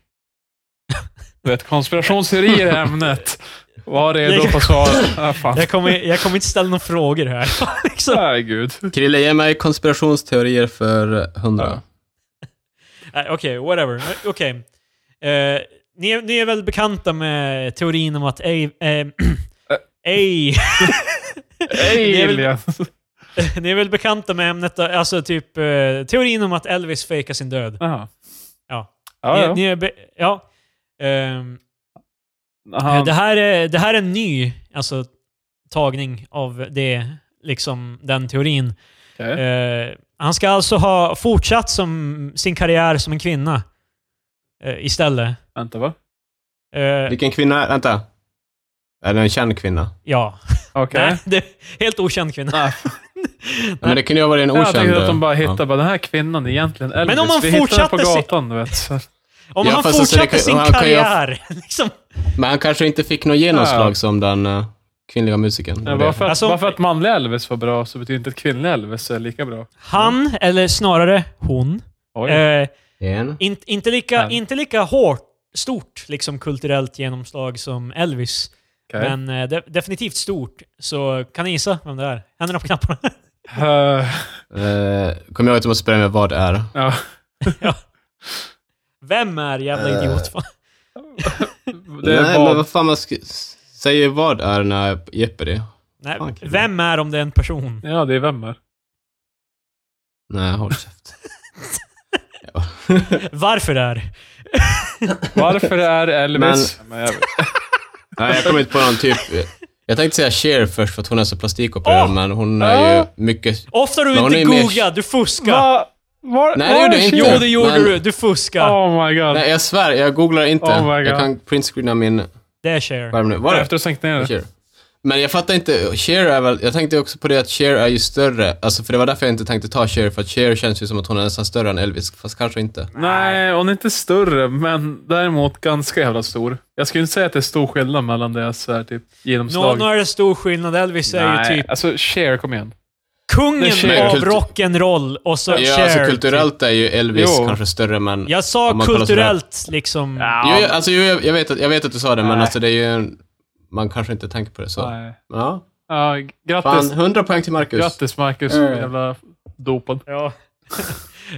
[SPEAKER 3] Du vet, konspirationsteorier är ämnet. Var redo på svar. Ah, fan.
[SPEAKER 1] Jag kommer, jag kommer inte ställa några frågor här. liksom.
[SPEAKER 3] Nej, gud.
[SPEAKER 2] Krille, ge mig konspirationsteorier för 100.
[SPEAKER 1] Nej, Okej, whatever. Eh, Okej. Eh, ni, är, ni är väl bekanta med teorin om att ej... Eh,
[SPEAKER 3] Eh.
[SPEAKER 1] ej Det är väl-
[SPEAKER 3] Alien.
[SPEAKER 1] ni är väl bekanta med ämnet, alltså typ eh, teorin om att Elvis fejkar sin död.
[SPEAKER 3] Jaha.
[SPEAKER 1] Ja.
[SPEAKER 3] Ja, ja.
[SPEAKER 1] Ni, ni är be, ja. Ehm, eh,
[SPEAKER 3] Han-
[SPEAKER 1] Det, här är, det här är en ny alltså, tagning av det, liksom, den teorin.
[SPEAKER 3] Okej.
[SPEAKER 1] Eh, han ska alltså ha fortsatt som, sin karriär som en kvinna eh, istället.
[SPEAKER 3] Vänta, va?
[SPEAKER 1] Eh,
[SPEAKER 2] Vilken kvinna är Vänta. Är det en känd kvinna?
[SPEAKER 1] ja.
[SPEAKER 3] Okej.
[SPEAKER 1] Nej, det är helt okänd kvinna.
[SPEAKER 3] Nej.
[SPEAKER 2] Ja, men det kunde ju ha varit en
[SPEAKER 3] Ja, Jag
[SPEAKER 2] okänd. eh,
[SPEAKER 3] tänkte att de bara
[SPEAKER 2] ja.
[SPEAKER 3] hittar bara den här kvinnan är egentligen Elvis.
[SPEAKER 1] Men om man
[SPEAKER 3] Vi hittade henne på
[SPEAKER 1] fortsatte se-
[SPEAKER 3] gatan, du vet. Så-
[SPEAKER 1] Om
[SPEAKER 2] Ja,
[SPEAKER 1] han
[SPEAKER 2] fast alltså, det
[SPEAKER 1] fortsatte
[SPEAKER 2] kan-
[SPEAKER 1] sin
[SPEAKER 2] han kan ju ha-
[SPEAKER 1] karriär. Liksom.
[SPEAKER 2] Men han kanske inte fick något genomslag som den eh, kvinnliga musikern.
[SPEAKER 3] Ja, bara, för att,
[SPEAKER 1] Alltså-
[SPEAKER 3] bara för att manliga Elvis var bra så betyder inte att kvinnliga Elvis är lika bra.
[SPEAKER 1] Han, eller snarare hon,
[SPEAKER 3] Oj.
[SPEAKER 1] eh,
[SPEAKER 2] En.
[SPEAKER 1] in, inte, lika,
[SPEAKER 3] Han.
[SPEAKER 1] inte lika hårt, stort liksom, kulturellt genomslag som Elvis.
[SPEAKER 3] okej.
[SPEAKER 1] Men eh, de definitivt stort. Så kan ni gissa vem det är? Händerna på knapparna.
[SPEAKER 3] Eh,
[SPEAKER 2] Eh, Kommer jag ihåg att jag måste börja med vad det är.
[SPEAKER 3] ja.
[SPEAKER 1] Vem är jävla
[SPEAKER 2] Eh.
[SPEAKER 1] idiot? fan?
[SPEAKER 3] Det är
[SPEAKER 2] Nej,
[SPEAKER 3] vad-
[SPEAKER 2] men vad fan man ska... s- Säger vad det är när Jeppe det.
[SPEAKER 1] Nej,
[SPEAKER 2] Fan, kul.
[SPEAKER 1] vem är om det är en person?
[SPEAKER 3] Ja, det är vem här?
[SPEAKER 2] Nej, håll käft.
[SPEAKER 1] Varför är?
[SPEAKER 3] Varför är Elvis... Men, jag,
[SPEAKER 2] Nej, jag kom inte på någon typ... Jag tänkte säga Cher först för att hon är så plastikopererad,
[SPEAKER 1] Åh!
[SPEAKER 2] men hon är ju
[SPEAKER 3] Ja.
[SPEAKER 2] mycket...
[SPEAKER 1] Ofta du
[SPEAKER 2] Men hon
[SPEAKER 1] inte
[SPEAKER 2] är mer-
[SPEAKER 1] googlar, du fuskar.
[SPEAKER 3] va, var,
[SPEAKER 2] Nej, det
[SPEAKER 3] var
[SPEAKER 2] gjorde
[SPEAKER 3] är
[SPEAKER 2] jag inte.
[SPEAKER 1] Jo,
[SPEAKER 3] Cher?
[SPEAKER 1] det gjorde
[SPEAKER 2] Men-
[SPEAKER 1] du. Du fuskar.
[SPEAKER 3] Oh my god.
[SPEAKER 2] Nej, jag svär, jag googlar inte.
[SPEAKER 3] Oh my God.
[SPEAKER 2] jag kan printscreena min
[SPEAKER 1] Det är Cher.
[SPEAKER 2] skärm nu. Var det?
[SPEAKER 3] Efter att ha sänkt ner det.
[SPEAKER 2] Cher. Men jag fattar inte, Cher är väl, jag tänkte också på det att Cher är ju större, alltså för det var därför jag inte tänkte ta Cher, för att Cher känns ju som att hon är nästan större än Elvis, fast kanske inte.
[SPEAKER 3] Nej, hon är inte större, men däremot ganska jävla stor. Jag skulle inte säga att det är stor skillnad mellan deras så här, typ,
[SPEAKER 1] Nå,
[SPEAKER 3] genomslag.
[SPEAKER 1] nu är det stor skillnad. Elvis är ju
[SPEAKER 3] Nej,
[SPEAKER 1] typ
[SPEAKER 3] alltså Cher, kom igen. Det är
[SPEAKER 1] kungen
[SPEAKER 3] Cher.
[SPEAKER 1] av
[SPEAKER 2] Kultu-
[SPEAKER 1] rock'n'roll och så
[SPEAKER 2] Ja,
[SPEAKER 1] Cher. typ.
[SPEAKER 2] alltså kulturellt är ju Elvis
[SPEAKER 3] Jo.
[SPEAKER 2] kanske större, men...
[SPEAKER 1] Jag
[SPEAKER 2] Om
[SPEAKER 1] sa
[SPEAKER 2] man kollar
[SPEAKER 1] kulturellt liksom.
[SPEAKER 2] Jo, jag, alltså, jo, jag, jag, vet att, jag vet att du sa det, men
[SPEAKER 3] Nej.
[SPEAKER 2] alltså det är ju en, Man kanske inte tänker på det så.
[SPEAKER 3] Nej.
[SPEAKER 2] Ja.
[SPEAKER 3] Ja,
[SPEAKER 2] Fan,
[SPEAKER 3] grattis.
[SPEAKER 2] 100 poäng till Marcus.
[SPEAKER 3] Grattis Marcus,
[SPEAKER 2] Mm.
[SPEAKER 3] jävla dopad.
[SPEAKER 1] Ja.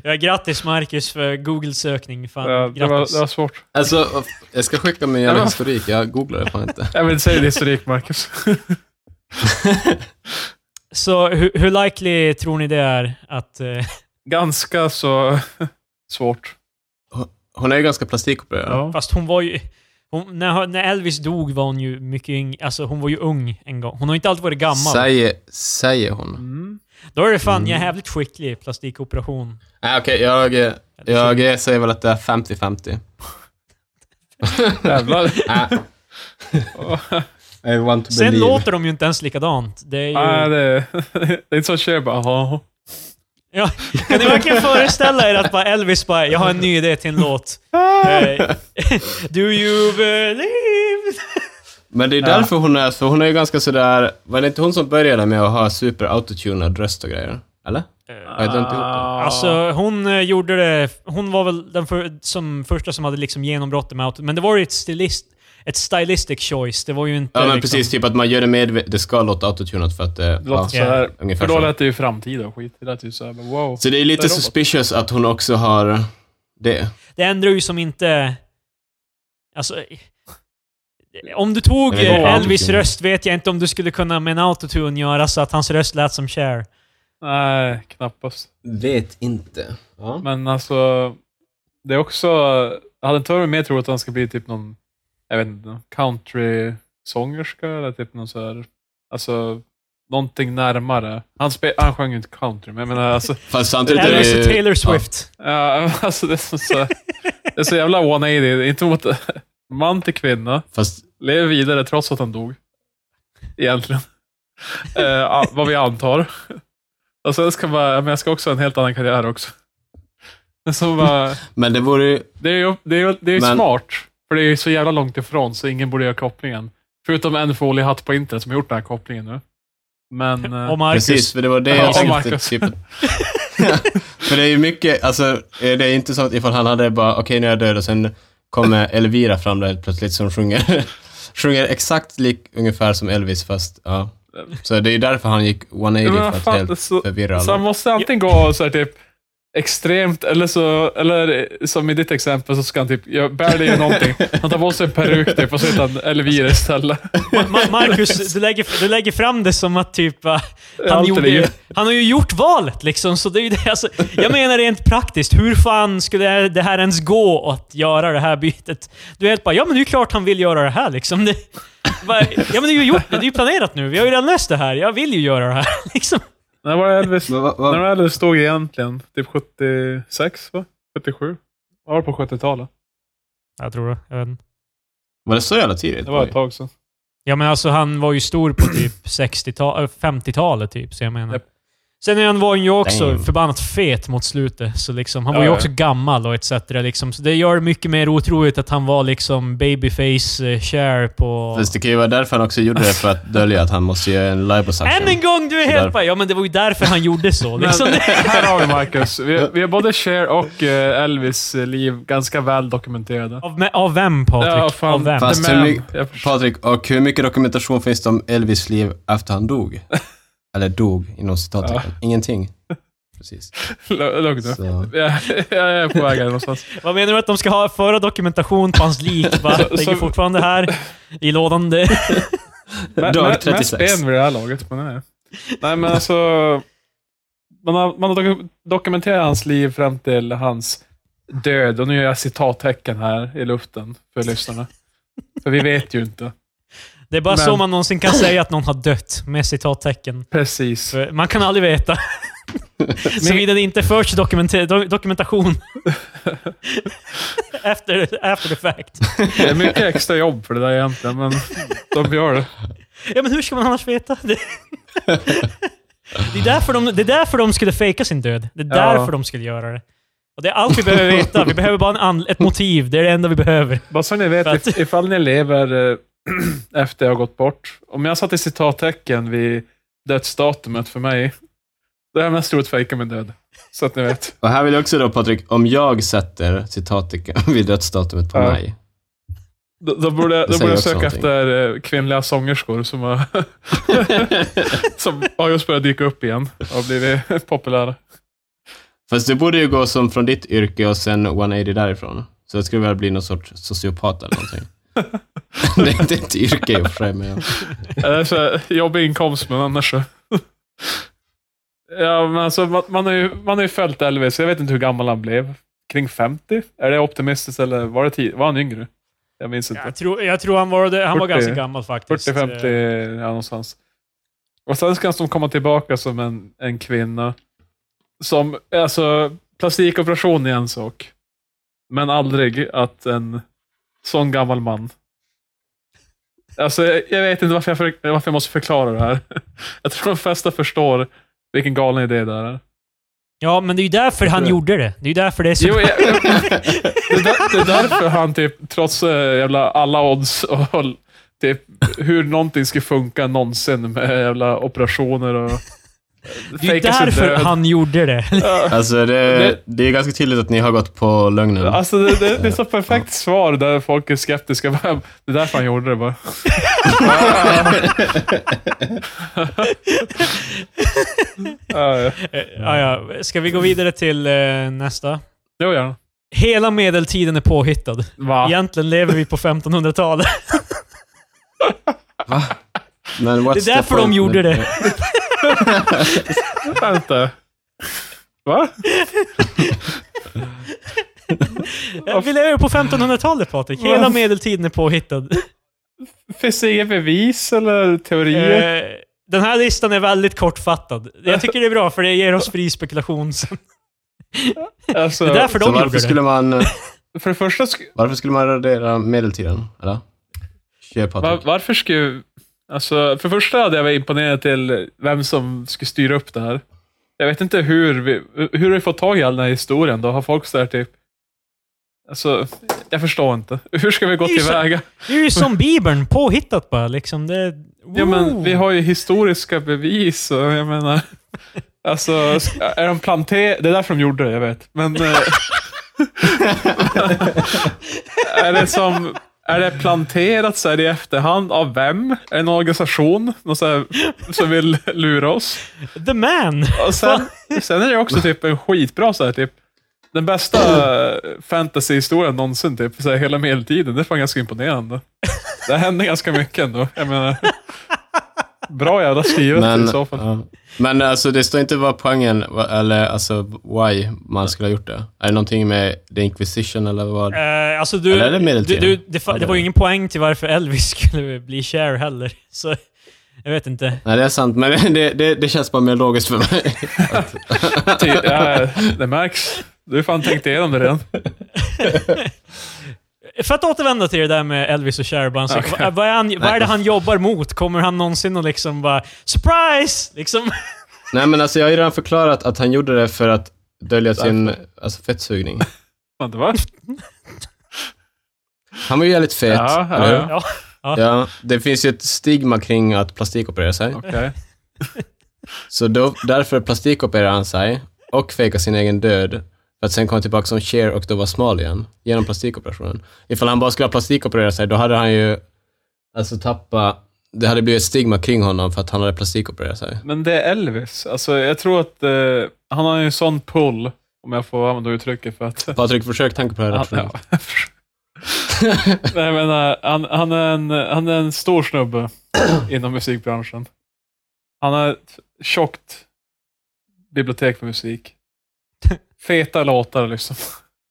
[SPEAKER 1] ja, grattis Marcus för Google-sökning. Fan,
[SPEAKER 3] Ja, Eh, det, var,
[SPEAKER 1] grattis.
[SPEAKER 3] det var svårt.
[SPEAKER 2] Alltså, jag ska skicka min
[SPEAKER 3] Ja,
[SPEAKER 2] jävla
[SPEAKER 3] men-
[SPEAKER 2] historik, jag googlar det fan inte.
[SPEAKER 3] Jag vill säga din historik Marcus.
[SPEAKER 1] Så hur, hur likely tror ni det är att... eh,
[SPEAKER 3] Ganska så svårt.
[SPEAKER 2] Hon är ju ganska plastikopererad.
[SPEAKER 3] Ja.
[SPEAKER 1] Fast hon var ju... Hon, när, när Elvis dog var hon ju mycket yng, Alltså hon var ju ung en gång. Hon har inte alltid varit gammal.
[SPEAKER 2] Säger, säger hon.
[SPEAKER 3] Mm.
[SPEAKER 1] Då är det fan
[SPEAKER 2] Mm.
[SPEAKER 1] jag är jävligt skicklig i plastikoperation.
[SPEAKER 2] Nej, okej, jag, eh, jag eh, säger väl att det är 50-50.
[SPEAKER 3] Jävlar.
[SPEAKER 2] Nej. I want to
[SPEAKER 1] Sen låter de ju inte ens likadant. Det är ju...
[SPEAKER 3] Nej, Ah, det, är- det är inte så Cher bara "Jaha."
[SPEAKER 1] Ja, kan ni verkligen föreställa er att bara Elvis bara, jag har en ny idé till en låt.
[SPEAKER 3] Ah.
[SPEAKER 1] Eh, Do you believe?
[SPEAKER 2] Men det är
[SPEAKER 3] Ja.
[SPEAKER 2] därför hon är så, hon är ju ganska sådär, var det inte hon som började med att ha super autotunad röst och grejer? Eller?
[SPEAKER 1] Eh,
[SPEAKER 2] Har jag dömt ihop det?
[SPEAKER 3] Ah.
[SPEAKER 1] Alltså hon eh, gjorde det, hon var väl den för, som första som hade liksom genombrottet med auto, men det var ju ett stilist, ett stylistic choice. Det var ju inte...
[SPEAKER 2] Ja men
[SPEAKER 1] liksom,
[SPEAKER 2] precis, typ att man gör det medvetet, det ska låta autotunat för att det...
[SPEAKER 3] Det låter
[SPEAKER 2] ja,
[SPEAKER 3] så här.
[SPEAKER 2] ungefär
[SPEAKER 3] För då
[SPEAKER 2] så.
[SPEAKER 3] lät det ju framtida och skit. Det lät ju så här, bara, wow.
[SPEAKER 2] Så det är lite
[SPEAKER 3] Det är robot.
[SPEAKER 2] suspicious att hon också har det.
[SPEAKER 1] Det ändrar ju som inte... Alltså... Om du tog
[SPEAKER 2] Jag vet inte
[SPEAKER 1] eh,
[SPEAKER 2] vad
[SPEAKER 1] Elvis
[SPEAKER 2] autotune är.
[SPEAKER 1] röst vet jag inte om du skulle kunna med en autotune göra så att hans röst lät som Cher.
[SPEAKER 3] Nej, knappast.
[SPEAKER 2] Vet inte. Ja.
[SPEAKER 3] Men alltså, det är också... Jag hade inte varit mer troligt att han ska bli typ någon, jag vet inte, någon country-sångerska eller typ någon så här, alltså någonting närmare. Han, spe, han sjöng ju inte country, men jag menar alltså,
[SPEAKER 2] Fast samtidigt är
[SPEAKER 1] Elvis
[SPEAKER 2] det
[SPEAKER 1] och
[SPEAKER 2] ju...
[SPEAKER 1] Taylor Swift.
[SPEAKER 3] ja, alltså det är så, så, det är så jävla 180, inte mot man till kvinna,
[SPEAKER 2] Fast
[SPEAKER 3] lever vidare trots att han dog. Egentligen. Eh, ja, vad vi antar. Och sen ska man, ja, men jag ska också ha en helt annan karriär också. Men Så bara,
[SPEAKER 2] Men det vore ju...
[SPEAKER 3] Det är ju, det är ju, det är ju
[SPEAKER 2] Men-
[SPEAKER 3] smart, för det är ju så jävla långt ifrån så ingen borde göra kopplingen. Förutom en foliehatt på internet som har gjort den här kopplingen nu. Men... eh,
[SPEAKER 1] Och Marcus.
[SPEAKER 2] Precis, för det var det
[SPEAKER 3] Ja,
[SPEAKER 2] jag tänkte.
[SPEAKER 3] Marcus.
[SPEAKER 2] Typ, för det är ju mycket, alltså eh, det är inte som att ifall han hade bara, okej nu är jag död och sen kommer Elvira fram där helt plötsligt som sjunger, sjunger exakt lik ungefär som Elvis fast, ja. Så det är ju därför han gick 180 för
[SPEAKER 3] men vad
[SPEAKER 2] att
[SPEAKER 3] fan,
[SPEAKER 2] helt
[SPEAKER 3] så,
[SPEAKER 2] förvirra
[SPEAKER 3] så han
[SPEAKER 2] alla.
[SPEAKER 3] måste antingen gå så här typ extremt, eller så, eller som i ditt exempel så ska han typ, jag bär dig i någonting. Han tar på sig en peruk typ och så heter han Elvira istället.
[SPEAKER 1] Ma- Ma- Marcus, du lägger, du lägger fram det som att typ... eh, Han,
[SPEAKER 3] Allt är
[SPEAKER 1] gjorde,
[SPEAKER 3] det ju.
[SPEAKER 1] ju- han har ju gjort valet liksom, så det är ju det. Alltså, jag menar rent praktiskt, hur fan skulle det här ens gå att göra det här bytet? Du är helt bara, ja men det är ju klart han vill göra det här liksom. Det, bara, ja men det är ju gjort, det är ju planerat nu. Vi har ju redan löst det här. Jag vill ju göra det här liksom.
[SPEAKER 3] När var det Elvis,
[SPEAKER 2] Men vad- vad-
[SPEAKER 3] när var Elvis stod egentligen? Typ 76, va? 77? Var det på 70-talet?
[SPEAKER 1] Jag tror det. Jag vet inte.
[SPEAKER 2] Var det så jävla tidigt?
[SPEAKER 3] Det var ett tag sedan.
[SPEAKER 1] Ja men alltså han var ju stor på typ 60-tal, äh, 50-talet typ, så jag menar.
[SPEAKER 3] Japp.
[SPEAKER 1] Sen är han var han ju också
[SPEAKER 2] Damn.
[SPEAKER 1] förbannat fet mot slutet, så liksom, han
[SPEAKER 3] Ja,
[SPEAKER 1] var ju
[SPEAKER 3] ja.
[SPEAKER 1] också gammal och etc. Liksom, så det gör det mycket mer otroligt att han var liksom babyface share på...
[SPEAKER 2] Fast det kan ju vara därför han också gjorde det, för att dölja att han måste göra en
[SPEAKER 1] Än en
[SPEAKER 2] liposuction.
[SPEAKER 1] gång, du är
[SPEAKER 2] Sådär.
[SPEAKER 1] helt bara, Ja men det var ju därför han gjorde så.
[SPEAKER 3] Men,
[SPEAKER 1] Liksom.
[SPEAKER 3] här har vi Marcus. Vi, vi har både Cher och eh, Elvis eh, liv ganska väl dokumenterade.
[SPEAKER 1] av, med, av vem Patrik?
[SPEAKER 3] Ja, fan.
[SPEAKER 1] av vem?
[SPEAKER 2] Fast
[SPEAKER 3] The
[SPEAKER 2] hur
[SPEAKER 3] Man.
[SPEAKER 2] mycket,
[SPEAKER 3] Jag förstår.
[SPEAKER 2] Patrik, och hur mycket dokumentation finns det om Elvis liv efter han dog? Eller dog, inom citattecken. Ingenting. Precis.
[SPEAKER 3] L- Lugn nu.
[SPEAKER 2] Så.
[SPEAKER 3] Jag, jag är på väg här någonstans.
[SPEAKER 1] Vad menar du att de ska ha föra dokumentation på hans lik? Bara,
[SPEAKER 3] Så-
[SPEAKER 1] ligger
[SPEAKER 3] så-
[SPEAKER 1] fortfarande här i lådan. Det.
[SPEAKER 3] Men-
[SPEAKER 2] Dag
[SPEAKER 3] men-
[SPEAKER 2] 36.
[SPEAKER 3] Mest ben vid det här laget, men nej. Nej, men alltså. Man har, man har doku- dokumenterat hans liv fram till hans död. Och nu gör jag citattecken här i luften för lyssnarna. För vi vet ju inte.
[SPEAKER 1] det är bara
[SPEAKER 3] Men-
[SPEAKER 1] så man någonsin kan säga att någon har dött, med citattecken.
[SPEAKER 3] Precis.
[SPEAKER 1] För Man kan aldrig veta. Såvida det inte förs dokumenter- do- dokumentation. efter, efter the fact.
[SPEAKER 3] Det är mycket extra jobb för det där egentligen, men de gör det.
[SPEAKER 1] Ja, men hur ska man annars veta? Det, det, är, därför de, det är därför de skulle fejka sin död. Det är
[SPEAKER 3] Ja.
[SPEAKER 1] därför de skulle göra det. Och det är allt vi behöver veta. Vi behöver bara en an- ett motiv. Det är det enda vi behöver.
[SPEAKER 3] Bara så ni vet,
[SPEAKER 1] För att-
[SPEAKER 3] if- ifall ni lever eh, efter jag har gått bort. Om jag satte citattecken vid dödsdatumet för mig, då är jag mest troligt fejka min död. Så att ni vet.
[SPEAKER 2] Och här vill jag också då Patrik, om jag sätter citattecken vid dödsdatumet på
[SPEAKER 3] Ja.
[SPEAKER 2] mig.
[SPEAKER 3] Då, då borde jag,
[SPEAKER 2] Det
[SPEAKER 3] då
[SPEAKER 2] säger
[SPEAKER 3] borde jag
[SPEAKER 2] också
[SPEAKER 3] söka
[SPEAKER 2] någonting.
[SPEAKER 3] efter eh, kvinnliga sångerskor som har, som har just börjat dyka upp igen och blivit populära.
[SPEAKER 2] Fast det borde ju gå som från ditt yrke och sen 180 därifrån. Så det skulle väl bli någon sorts sociopat eller någonting. det är inte ett yrke i och för sig, men ja.
[SPEAKER 3] Eller Eh, så här, jobbig inkomst, men annars så. Ja, men alltså, man, man, har ju, man har ju följt Elvis. Jag vet inte hur gammal han blev. Kring 50? Är det optimistiskt eller var, det ti- var han yngre? Jag minns inte.
[SPEAKER 1] Jag tror, jag tror han, var, han var
[SPEAKER 3] 40.
[SPEAKER 1] ganska gammal faktiskt.
[SPEAKER 3] 40-50
[SPEAKER 1] Eh,
[SPEAKER 3] ja, någonstans. Och sen ska han komma tillbaka som en, en kvinna. Som, alltså, plastikoperation är en sak. Men aldrig att en sån gammal man. Alltså, jag, jag vet inte varför jag, för, varför jag måste förklara det här. Jag tror de flesta förstår vilken galen idé det är.
[SPEAKER 1] Ja, men det är ju därför han
[SPEAKER 3] tror-
[SPEAKER 1] gjorde det. Det är ju därför det är så...
[SPEAKER 3] Jo, jag, jag, det, är där, det är därför han typ, trots eh, jävla alla odds och och typ, hur någonting ska funka någonsin med jävla operationer och eh,
[SPEAKER 1] det är ju
[SPEAKER 3] fejka sin
[SPEAKER 1] därför
[SPEAKER 3] död.
[SPEAKER 1] han gjorde det.
[SPEAKER 3] Ja,
[SPEAKER 2] Alltså det,
[SPEAKER 3] Det-
[SPEAKER 2] det är ganska tydligt att ni har gått på lögnen.
[SPEAKER 3] Alltså det, det, det är så perfekt svar där folk är skeptiska. Bara, Det är därför han gjorde det bara. Ja, ja.
[SPEAKER 1] Eh, Ja, ja. Ska vi gå vidare till eh, nästa?
[SPEAKER 3] Jo, gärna.
[SPEAKER 1] Hela medeltiden är påhittad.
[SPEAKER 3] Va?
[SPEAKER 1] Egentligen lever vi på 1500-talet.
[SPEAKER 2] Va? Men what's
[SPEAKER 1] Det är
[SPEAKER 2] the
[SPEAKER 1] därför de
[SPEAKER 2] point?
[SPEAKER 1] gjorde det.
[SPEAKER 3] Vänta. Va?
[SPEAKER 1] Ja, Vi lever på 1500-talet Patrik. Hela medeltiden är påhittad.
[SPEAKER 3] Finns det inga bevis eller
[SPEAKER 1] Eh,
[SPEAKER 3] teorier?
[SPEAKER 1] Den här listan är väldigt kortfattad. Jag tycker det är bra för det ger oss fri spekulation. sen.
[SPEAKER 3] alltså,
[SPEAKER 1] Eh, Det är därför
[SPEAKER 2] Så
[SPEAKER 1] de gjorde
[SPEAKER 2] varför skulle,
[SPEAKER 1] det.
[SPEAKER 2] man,
[SPEAKER 3] För det första, sk-
[SPEAKER 2] varför skulle man radera medeltiden? Eller? Kör
[SPEAKER 3] va-
[SPEAKER 2] Patrik.
[SPEAKER 3] varför skulle... Alltså, för det första hade jag varit imponerad till vem som skulle styra upp det här. Jag vet inte hur vi, hur vi fått tag i all den här historien då. Har folk så här typ... Alltså, jag förstår inte. Hur ska vi gå
[SPEAKER 1] Det är ju så-
[SPEAKER 3] tillväga?
[SPEAKER 1] Det är ju som Bibeln, påhittat bara. Liksom. Det, är-
[SPEAKER 3] Ja,
[SPEAKER 1] Ooh.
[SPEAKER 3] men vi har ju historiska bevis. Och jag menar, alltså, är de planter... Det är därför de gjorde det, jag vet. Men... eh, är det som... Är det planterat så här i efterhand? Av vem? Är det en organisation någon så här, som vill lura oss?
[SPEAKER 1] The man!
[SPEAKER 3] Och sen, sen är det också typ en skitbra så här, typ den bästa eh, fantasyhistorien någonsin, typ. Så här, hela medeltiden. Det är fan ganska imponerande. Det hände ganska mycket ändå. Jag menar, bra jävla skrivet i
[SPEAKER 2] Men,
[SPEAKER 3] så fall.
[SPEAKER 2] ja. men alltså, det står inte vad poängen, va- eller alltså why man skulle ha gjort det. Är det någonting med the inquisition eller vad?
[SPEAKER 1] Eh, alltså du,
[SPEAKER 2] Eller är det
[SPEAKER 1] du,
[SPEAKER 2] medeltiden?
[SPEAKER 1] du, det, fa-
[SPEAKER 2] Ja,
[SPEAKER 1] det
[SPEAKER 2] det
[SPEAKER 1] var ju
[SPEAKER 2] är.
[SPEAKER 1] ingen poäng till varför Elvis skulle bli Cher heller. Så jag vet inte.
[SPEAKER 2] Nej, det är sant, men det, det, det känns bara mer logiskt för mig.
[SPEAKER 3] Ty- ja, det märks. Du har fan tänkt igenom det redan.
[SPEAKER 1] För att återvända till det där med Elvis och Cher, bara, så,
[SPEAKER 3] Okej.
[SPEAKER 1] vad, vad, är han, vad är det han jobbar mot? Kommer han någonsin att liksom bara “surprise”? Liksom.
[SPEAKER 2] Nej, men alltså jag har ju redan förklarat att han gjorde det för att dölja sin alltså, fettsugning.
[SPEAKER 3] Fan, det var...
[SPEAKER 2] Han var ju jävligt fet,
[SPEAKER 3] Ja, ja,
[SPEAKER 2] eller hur?
[SPEAKER 3] ja.
[SPEAKER 1] Ja.
[SPEAKER 2] Ja, det finns ju ett stigma kring att plastikoperera sig.
[SPEAKER 3] Okej.
[SPEAKER 2] Så då, därför plastikopererade han sig och fejkade sin egen död för att sen komma tillbaka som Cher och då vara smal igen genom plastikoperationen. Ifall han bara skulle ha plastikopererat sig, då hade han ju alltså tappa det hade blivit ett stigma kring honom för att han hade plastikopererat sig.
[SPEAKER 3] Men det är Elvis. Alltså, jag tror att eh, han har ju en sån pull, om jag får använda uttrycket, för att
[SPEAKER 2] Patrik, försök tanka på det här
[SPEAKER 3] Han,
[SPEAKER 2] rationellt.
[SPEAKER 3] Nej, men, eh, han, han, är en, han är en stor snubbe inom musikbranschen. Han har ett tjockt bibliotek för musik. Feta låtar liksom.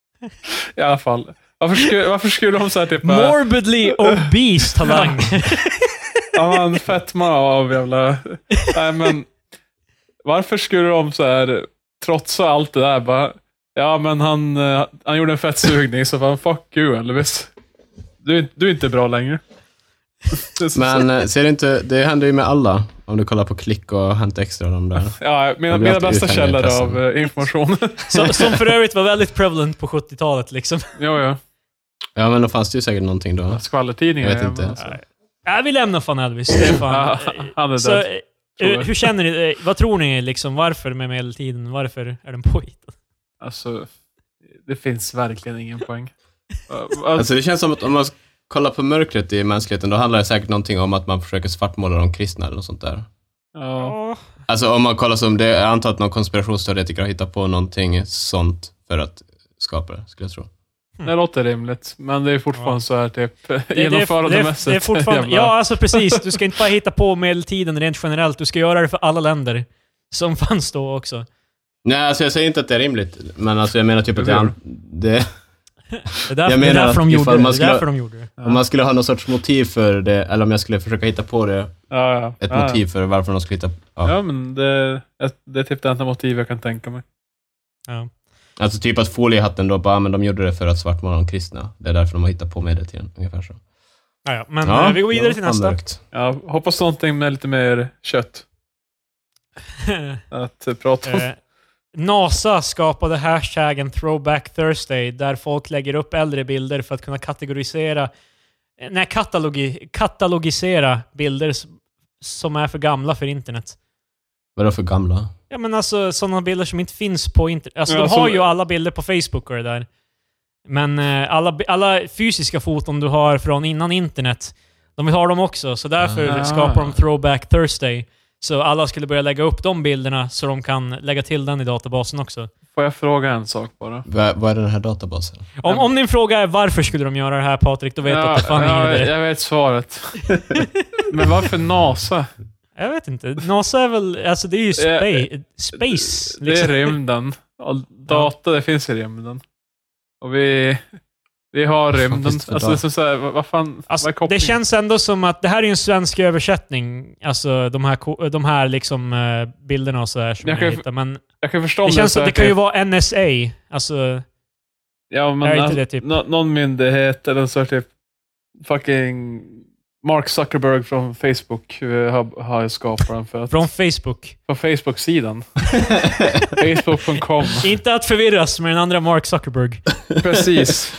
[SPEAKER 3] I alla fall. Varför skulle, varför skulle de säga typ... eh,
[SPEAKER 1] Morbidly obese talang.
[SPEAKER 3] Ja, men fetma av jävla... Nej, men varför skulle de så här trotsa allt det där? Bara, ja, men han, eh, han gjorde en fettsugning, så fan fuck you Elvis. Du, är- du är inte bra längre.
[SPEAKER 2] Men eh, ser du inte, det händer ju med alla. Om du kollar på Klick och Hänt Extra och de där.
[SPEAKER 3] ja, mina
[SPEAKER 2] Jag blir
[SPEAKER 3] mina
[SPEAKER 2] alltid
[SPEAKER 3] bästa
[SPEAKER 2] uthängd i
[SPEAKER 3] källor
[SPEAKER 2] pressen.
[SPEAKER 3] av eh, information.
[SPEAKER 1] som, som för övrigt var väldigt prevalent på 70-talet. Liksom.
[SPEAKER 3] jo, ja.
[SPEAKER 2] Ja, men då fanns det ju säkert någonting då.
[SPEAKER 3] Skvallertidningar.
[SPEAKER 2] Jag vet
[SPEAKER 3] ja,
[SPEAKER 2] inte.
[SPEAKER 3] men-
[SPEAKER 2] Alltså.
[SPEAKER 1] Nej, vi lämnar fan Elvis. Det är fan.
[SPEAKER 3] Ja, han är
[SPEAKER 1] Så,
[SPEAKER 3] död.
[SPEAKER 1] eh,
[SPEAKER 3] tror jag.
[SPEAKER 1] hur känner ni? eh, Vad tror ni? Liksom, varför med medeltiden? Varför är den påhittad?
[SPEAKER 3] Alltså, det finns verkligen ingen poäng.
[SPEAKER 2] Alltså det känns som att om man kollar på mörkret i mänskligheten, då handlar det säkert någonting om att man försöker svartmåla de kristna eller något sånt där.
[SPEAKER 3] ja,
[SPEAKER 2] Alltså om man kollar som det, jag antar att någon konspirationsteoretiker har hittat på någonting sånt för att skapa det, skulle jag tro.
[SPEAKER 3] Mm. det låter rimligt, men det är fortfarande så här typ
[SPEAKER 1] Det- det är-
[SPEAKER 3] genomförandemässigt.
[SPEAKER 1] det är- det är fortfarande-
[SPEAKER 3] jävla-
[SPEAKER 1] Ja, alltså precis. Du ska inte bara hitta på medeltiden rent generellt. Du ska göra det för alla länder som fanns då också.
[SPEAKER 2] Nej, alltså jag säger inte att det är rimligt, men alltså jag menar typ att det, är an- det,
[SPEAKER 1] Det är därför,
[SPEAKER 2] Jag menar
[SPEAKER 1] det är därför, de,
[SPEAKER 2] att
[SPEAKER 1] gjorde
[SPEAKER 2] ifall
[SPEAKER 1] det. det
[SPEAKER 2] man
[SPEAKER 1] är
[SPEAKER 2] skulle-
[SPEAKER 1] därför de gjorde det.
[SPEAKER 2] om man skulle ha någon sorts motiv för det, eller om jag skulle försöka hitta på det,
[SPEAKER 3] Ja, ja.
[SPEAKER 2] ett
[SPEAKER 3] ja.
[SPEAKER 2] motiv för varför de skulle hitta ja.
[SPEAKER 3] Ja, men det, ett- det är typ det enda motiv jag kan tänka mig.
[SPEAKER 1] Ja.
[SPEAKER 2] Alltså typ att foliehatten då, bara, men de gjorde det för att svartmåla de kristna. Det är därför de har hittat på medeltiden, ungefär så.
[SPEAKER 1] Ja, ja. Men
[SPEAKER 2] Ja,
[SPEAKER 1] eh, vi går
[SPEAKER 2] det
[SPEAKER 1] vidare
[SPEAKER 2] var
[SPEAKER 1] till
[SPEAKER 2] fan
[SPEAKER 1] nästa.
[SPEAKER 2] mörkt.
[SPEAKER 3] Ja, hoppas någonting med lite mer kött att eh, prata om.
[SPEAKER 1] Eh, NASA skapade hashtaggen Throwback Thursday där folk lägger upp äldre bilder för att kunna kategorisera, eh, nej katalogi, katalogisera bilder s- som är för gamla för internet.
[SPEAKER 2] Vadå för gamla?
[SPEAKER 1] Ja men alltså sådana bilder som inte finns på internet. Alltså
[SPEAKER 3] Ja,
[SPEAKER 1] de har
[SPEAKER 3] som-
[SPEAKER 1] ju alla bilder på Facebook och det där. Men eh, alla, bi- alla fysiska foton du har från innan internet, de vill ha dem också. Så därför
[SPEAKER 3] Ah.
[SPEAKER 1] skapar de Throwback Thursday. Så alla skulle börja lägga upp de bilderna så de kan lägga till den i databasen också.
[SPEAKER 3] Får jag fråga en sak bara?
[SPEAKER 2] Va- Vad är den här databasen?
[SPEAKER 1] Om, om din fråga är varför skulle de göra det här Patrik, då vet du att det fan ingen
[SPEAKER 3] jag,
[SPEAKER 1] idé.
[SPEAKER 3] jag vet svaret. Men varför NASA?
[SPEAKER 1] Jag vet inte. NASA är väl... Alltså det är ju spa
[SPEAKER 3] Eh,
[SPEAKER 1] space.
[SPEAKER 3] Det är
[SPEAKER 1] Liksom.
[SPEAKER 3] rymden. Och data, det finns i rymden. Och vi, vi har
[SPEAKER 2] Fan,
[SPEAKER 3] rymden.
[SPEAKER 2] visst, för
[SPEAKER 3] Alltså, det, är som så här, vad, vad fan,
[SPEAKER 1] Alltså,
[SPEAKER 3] vad är kopplingen?
[SPEAKER 1] det känns ändå som att det här är ju en svensk översättning. Alltså de här, ko- de här liksom, eh, bilderna och sådär som
[SPEAKER 3] Jag
[SPEAKER 1] jag
[SPEAKER 3] kan ju-
[SPEAKER 1] hittar. Men
[SPEAKER 3] jag kan förstå
[SPEAKER 1] det
[SPEAKER 3] om är
[SPEAKER 1] känns
[SPEAKER 3] så
[SPEAKER 1] att
[SPEAKER 3] här
[SPEAKER 1] det kan ju
[SPEAKER 3] typ-
[SPEAKER 1] vara NSA. Alltså,
[SPEAKER 3] Ja, men
[SPEAKER 1] Är inte
[SPEAKER 3] alltså,
[SPEAKER 1] det typ-
[SPEAKER 3] nå- någon myndighet eller så här typ fucking Mark Zuckerberg från Facebook eh, har, har ju skapat den för att,
[SPEAKER 1] från Facebook.
[SPEAKER 3] på Facebook-sidan. Facebook.com.
[SPEAKER 1] Inte att förvirras med den andra Mark Zuckerberg.
[SPEAKER 3] Precis.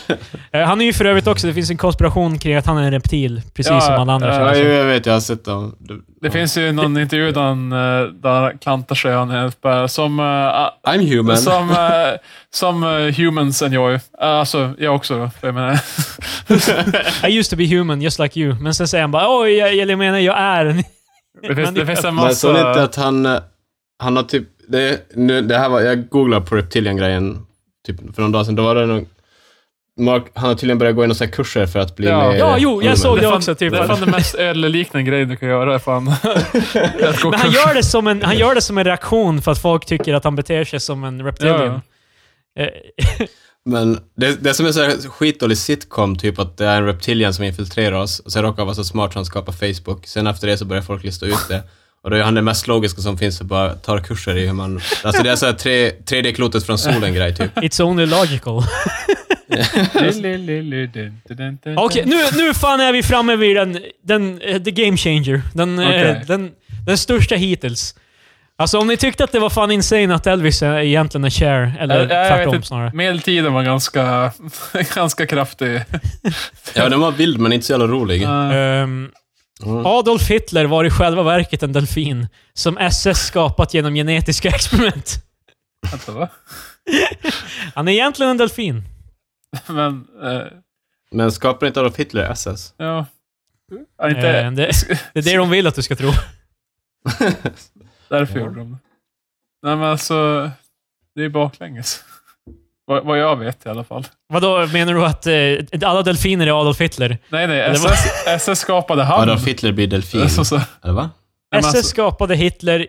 [SPEAKER 1] Eh, Han är ju för övrigt också, det finns en konspiration kring att han är en reptil. Precis
[SPEAKER 3] Ja,
[SPEAKER 1] som alla andra.
[SPEAKER 3] ja,
[SPEAKER 1] känns
[SPEAKER 2] Ja,
[SPEAKER 1] det
[SPEAKER 2] jo,
[SPEAKER 1] som.
[SPEAKER 2] jag vet. Jag har sett dem. Du-
[SPEAKER 3] Det
[SPEAKER 2] ja.
[SPEAKER 3] finns ju någon intervju där han, eh, där han klantar sig. Han är helt bara, som, eh,
[SPEAKER 2] I'm human.
[SPEAKER 3] Som, eh, som eh, humans enjoy. Uh, alltså, jag också då. för Jag menar.
[SPEAKER 1] I used to be human, just like you. Men sen säger han bara oj, jag, jag menar jag är en...
[SPEAKER 3] Det finns, det finns en
[SPEAKER 2] Men såg ni inte
[SPEAKER 3] massa...
[SPEAKER 2] att han, eh, han har typ, det, nu, det här var, jag googlade på Reptilian-grejen typ för någon dag sedan. Då var det någon, Mark, han har tydligen börjat gå i några så här kurser för att bli
[SPEAKER 3] Ja.
[SPEAKER 2] med i
[SPEAKER 1] Ja, jo, jag
[SPEAKER 2] ormen.
[SPEAKER 1] såg
[SPEAKER 3] Det är, fan,
[SPEAKER 1] också, typ.
[SPEAKER 3] det är fan det mest ödleliknande grejen du kan göra. är Fan. Att gå
[SPEAKER 1] Men han
[SPEAKER 3] kurs.
[SPEAKER 1] gör, det som en, han gör det som en reaktion för att folk tycker att han beter sig som en reptilian. Eh,
[SPEAKER 2] Men det, det som är så här skitdålig sitcom, typ att det är en reptilian som infiltrerar oss och sen råkar han vara så smart så han skapar Facebook. Sen efter det så börjar folk lista ut det. Och då är han den mest logiska som finns och bara tar kurser i hur man... Alltså det är så här tre- 3D-klotet från solen-grej, typ.
[SPEAKER 1] It's only logical.
[SPEAKER 3] Okej,
[SPEAKER 1] Okej, nu, nu fan är vi framme vid den, den eh, the game changer. Den, eh,
[SPEAKER 3] Okej.
[SPEAKER 1] den, den största hittills. Alltså om ni tyckte att det var fan insane att Elvis är- egentligen är Cher, eller
[SPEAKER 3] Jag- jag vet
[SPEAKER 1] tvärtom
[SPEAKER 3] inte.
[SPEAKER 1] snarare.
[SPEAKER 3] Medeltiden var ganska, ganska kraftig.
[SPEAKER 2] Ja, den var vild men inte så jävla rolig.
[SPEAKER 3] Eh,
[SPEAKER 1] Ehm,
[SPEAKER 2] Mm.
[SPEAKER 1] Adolf Hitler var i själva verket en delfin, som SS skapat genom genetiska experiment.
[SPEAKER 3] vänta, va?
[SPEAKER 1] Han är egentligen en delfin.
[SPEAKER 3] Men, eh,
[SPEAKER 2] Men skapar inte Adolf Hitler SS?
[SPEAKER 3] ja. ja. Inte
[SPEAKER 1] Eh, det, det är det de vill att du ska tro.
[SPEAKER 3] Därför
[SPEAKER 2] Ja.
[SPEAKER 3] gjorde de det. Nej men alltså, det är baklänges. Vad, vad jag vet i alla fall.
[SPEAKER 1] Vadå, menar du att eh, alla delfiner är Adolf Hitler?
[SPEAKER 3] Nej, nej.
[SPEAKER 1] Eller
[SPEAKER 3] SS,
[SPEAKER 1] vad-
[SPEAKER 3] SS skapade han. Alltså,
[SPEAKER 2] Adolf Hitler blir delfin.
[SPEAKER 3] Så, så. Nej,
[SPEAKER 2] Eller va?
[SPEAKER 3] men
[SPEAKER 1] SS
[SPEAKER 3] alltså,
[SPEAKER 1] skapade Hitler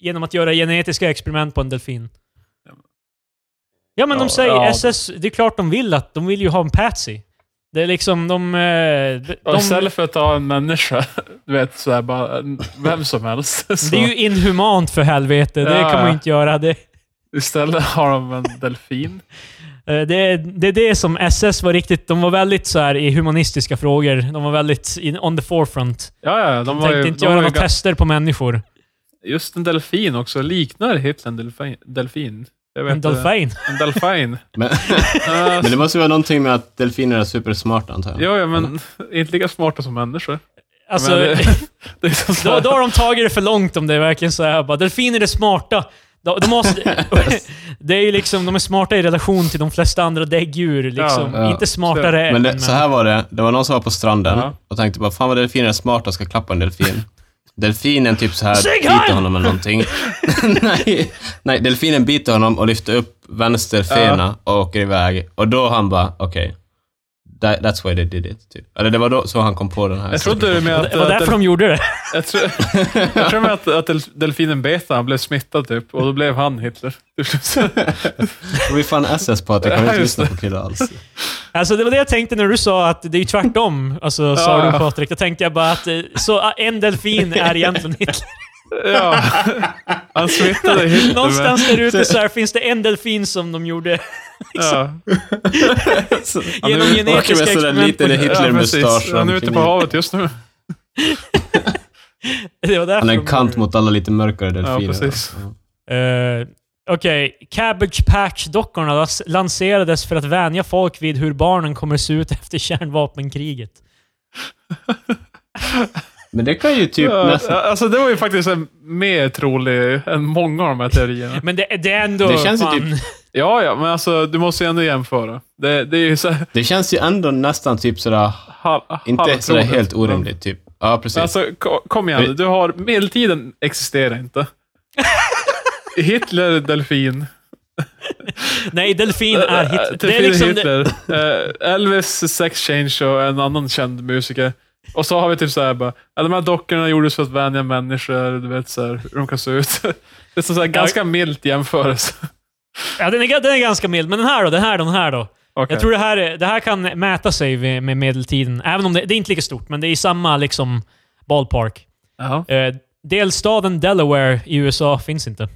[SPEAKER 1] genom att göra genetiska experiment på en delfin. Ja, men
[SPEAKER 3] Ja,
[SPEAKER 1] de säger
[SPEAKER 3] ja.
[SPEAKER 1] SS, det är klart de vill att, de vill ju ha en patsy. Det är liksom de... eh, de,
[SPEAKER 3] och
[SPEAKER 1] de
[SPEAKER 3] Istället för att ta en människa, du vet, så här, bara, vem som helst. Så
[SPEAKER 1] det är ju inhumant för helvete, det
[SPEAKER 3] Ja,
[SPEAKER 1] kan man
[SPEAKER 3] ja.
[SPEAKER 1] ju inte göra. Det,
[SPEAKER 3] Istället har de en delfin.
[SPEAKER 1] eh, det, är- det är det som SS var riktigt, de var väldigt så här i humanistiska frågor. De var väldigt in, on the forefront.
[SPEAKER 3] Ja, ja. De
[SPEAKER 1] De
[SPEAKER 3] var ju,
[SPEAKER 1] tänkte inte
[SPEAKER 3] de
[SPEAKER 1] göra
[SPEAKER 3] var ju
[SPEAKER 1] några
[SPEAKER 3] ga-
[SPEAKER 1] tester på människor.
[SPEAKER 3] just en delfin också. Liknar Hitler en delfin? delfin. Jag vet
[SPEAKER 1] En
[SPEAKER 3] inte.
[SPEAKER 1] delfin.
[SPEAKER 3] En delfin.
[SPEAKER 2] Men,
[SPEAKER 3] Eh,
[SPEAKER 2] men det måste ju vara någonting med att delfiner är supersmarta, antar jag.
[SPEAKER 3] Ja, ja, men inte lika smarta som människor.
[SPEAKER 1] Alltså,
[SPEAKER 3] men det, det är så så
[SPEAKER 1] Då,
[SPEAKER 3] här-
[SPEAKER 1] då har de tagit det för långt om det är verkligen så här bara, delfiner är smarta. De, de, måste, det är ju liksom, de är smarta i relation till de flesta andra däggdjur. Liksom.
[SPEAKER 2] Ja.
[SPEAKER 1] Inte smartare
[SPEAKER 2] Men det,
[SPEAKER 1] än
[SPEAKER 2] så här var det, det var någon som var på stranden
[SPEAKER 3] Ja.
[SPEAKER 2] och tänkte bara fan vad delfiner är smarta, ska klappa en delfin. Delfinen typ så här
[SPEAKER 1] Sig
[SPEAKER 2] biter
[SPEAKER 1] heil!
[SPEAKER 2] honom eller någonting. nej, nej, delfinen biter honom och lyfter upp vänster fena och åker iväg. Och då han bara, okej. that, that's why they did it. Typ. Eller det var då så han kom på den här.
[SPEAKER 3] jag trodde det med att...
[SPEAKER 1] Det var
[SPEAKER 3] att-
[SPEAKER 1] därför de gjorde det.
[SPEAKER 3] Jag tror, jag tror med att, att del- delfinen bet han blev smittad typ, och då blev han Hitler.
[SPEAKER 2] Och vi fan SS på att jag kan
[SPEAKER 3] Ja,
[SPEAKER 2] inte
[SPEAKER 3] just
[SPEAKER 2] lyssna på killar alls.
[SPEAKER 1] Alltså, det var det jag tänkte när du sa att det är ju tvärtom, alltså, sa
[SPEAKER 3] Ja,
[SPEAKER 1] du
[SPEAKER 3] ja.
[SPEAKER 1] Patrik. Då tänkte jag bara att eh, så, ah, en delfin är egentligen Hitler.
[SPEAKER 3] ja. Han smittade Hitler. men-
[SPEAKER 1] Någonstans där ute så här, finns det en delfin som de gjorde
[SPEAKER 3] Ja.
[SPEAKER 1] liksom.
[SPEAKER 3] Han
[SPEAKER 1] genom
[SPEAKER 3] är,
[SPEAKER 2] Åker
[SPEAKER 1] genetiska
[SPEAKER 2] med sådär
[SPEAKER 1] experiment.
[SPEAKER 2] liten
[SPEAKER 1] På,
[SPEAKER 3] ja,
[SPEAKER 2] Hitler-mustasch.
[SPEAKER 3] precis. han är ute på havet just nu.
[SPEAKER 1] det var därför
[SPEAKER 2] Han är
[SPEAKER 1] de
[SPEAKER 2] en
[SPEAKER 1] gjorde
[SPEAKER 2] kant
[SPEAKER 1] det.
[SPEAKER 2] mot alla lite mörkare delfiner.
[SPEAKER 3] Alltså, precis.
[SPEAKER 1] Eh, Okej, Cabbage Patch-dockorna las- lanserades för att vänja folk vid hur barnen kommer se ut efter kärnvapenkriget.
[SPEAKER 2] Men det kan ju typ
[SPEAKER 3] Ja,
[SPEAKER 2] nästan...
[SPEAKER 3] alltså, det var ju faktiskt en mer trolig än många av de här teorierna.
[SPEAKER 1] Men det, det är ändå...
[SPEAKER 2] Det känns ju typ-
[SPEAKER 1] fan,
[SPEAKER 3] Ja, ja, men alltså, du måste ju ändå jämföra. Det, det är ju så här,
[SPEAKER 2] Det känns ju ändå nästan typ sådär
[SPEAKER 3] halv,
[SPEAKER 2] Inte
[SPEAKER 3] halvtroligt.
[SPEAKER 2] sådär helt orimligt, typ. Ja, precis.
[SPEAKER 3] Men Alltså, ko- kom igen. Du har, medeltiden existerar inte. Hitler, delfin.
[SPEAKER 2] typ-
[SPEAKER 1] Nej, delfin är Ah, Hitler. Det är
[SPEAKER 3] Delfin
[SPEAKER 1] liksom det,
[SPEAKER 3] Hitler. Eh, Elvis, Sex Change och en annan känd musiker. Och så har vi typ såhär bara, ja, de här dockorna gjordes för att vänja människor, du vet såhär, hur de kan se ut. Det är så här, ganska milt jämförelse.
[SPEAKER 1] ja, den, är, den är ganska mild. Men den här då? Den här, den här då?
[SPEAKER 3] Okej.
[SPEAKER 1] Jag tror det här, är- det här kan mäta sig med med medeltiden. Även om det, det är inte lika stort, men det är i samma liksom ballpark.
[SPEAKER 3] Ja.
[SPEAKER 1] Eh, delstaten Delaware i USA finns inte.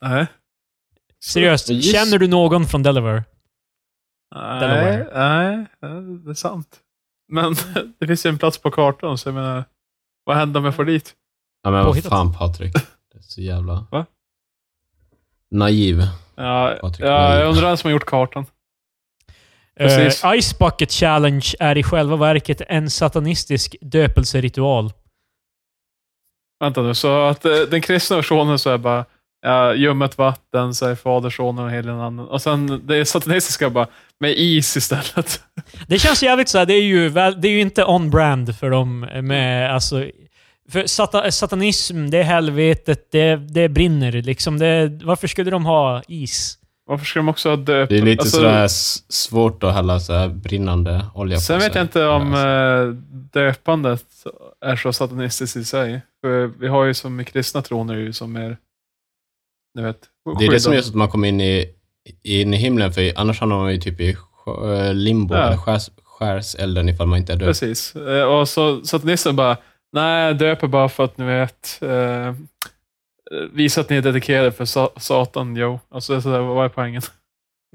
[SPEAKER 3] Nej.
[SPEAKER 1] Seriöst,
[SPEAKER 2] Men just-
[SPEAKER 1] känner du någon från Delaware?
[SPEAKER 3] Nej,
[SPEAKER 1] Delaware.
[SPEAKER 3] nej, nej, det är sant. Men det finns ju en plats på kartan, så jag menar, vad händer om jag får dit?
[SPEAKER 2] Ja, men vad
[SPEAKER 1] Påhittat.
[SPEAKER 2] fan Patrik. Det är så jävla...
[SPEAKER 3] Va?
[SPEAKER 2] Naiv.
[SPEAKER 3] Ja,
[SPEAKER 2] Patrik
[SPEAKER 3] ja,
[SPEAKER 2] Lundin.
[SPEAKER 3] jag undrar vem som har gjort kartan. Precis.
[SPEAKER 1] Uh, Ice Bucket Challenge är i själva verket en satanistisk döpelseritual.
[SPEAKER 3] Vänta nu, så att eh, den kristna versionen så är bara ja, ljummet vatten, så är fader, sonen och heligen anden. Och sen det satanistiska bara med is istället.
[SPEAKER 1] Det känns jävligt såhär, det är ju, väl, det är ju inte on-brand för dem med, alltså... För sata, satanism, det är helvetet, det, det brinner liksom. Det, varför skulle de ha is?
[SPEAKER 3] Varför ska de också ha döpt?
[SPEAKER 2] Det är lite
[SPEAKER 3] alltså,
[SPEAKER 2] sådär s- svårt att hälla så här brinnande olja på
[SPEAKER 3] Sen
[SPEAKER 2] sig.
[SPEAKER 3] vet jag inte om
[SPEAKER 2] Ja,
[SPEAKER 3] eh, döpandet är så satanistiskt i sig. För vi har ju som i kristna tron är det ju som mer, ni vet,
[SPEAKER 2] Det är det som
[SPEAKER 3] skyddat.
[SPEAKER 2] gör så att man kommer in i, in i himlen, för annars hamnar man ju typ i sjö- limbo,
[SPEAKER 3] Ja.
[SPEAKER 2] eller skärs, skärselden ifall man inte är död.
[SPEAKER 3] Precis. Eh, Och så satanisten bara, nej, döper bara för att ni vet, eh, visa att ni är dedikerade för sa- Satan, jo. Alltså, det är sådär, vad är poängen?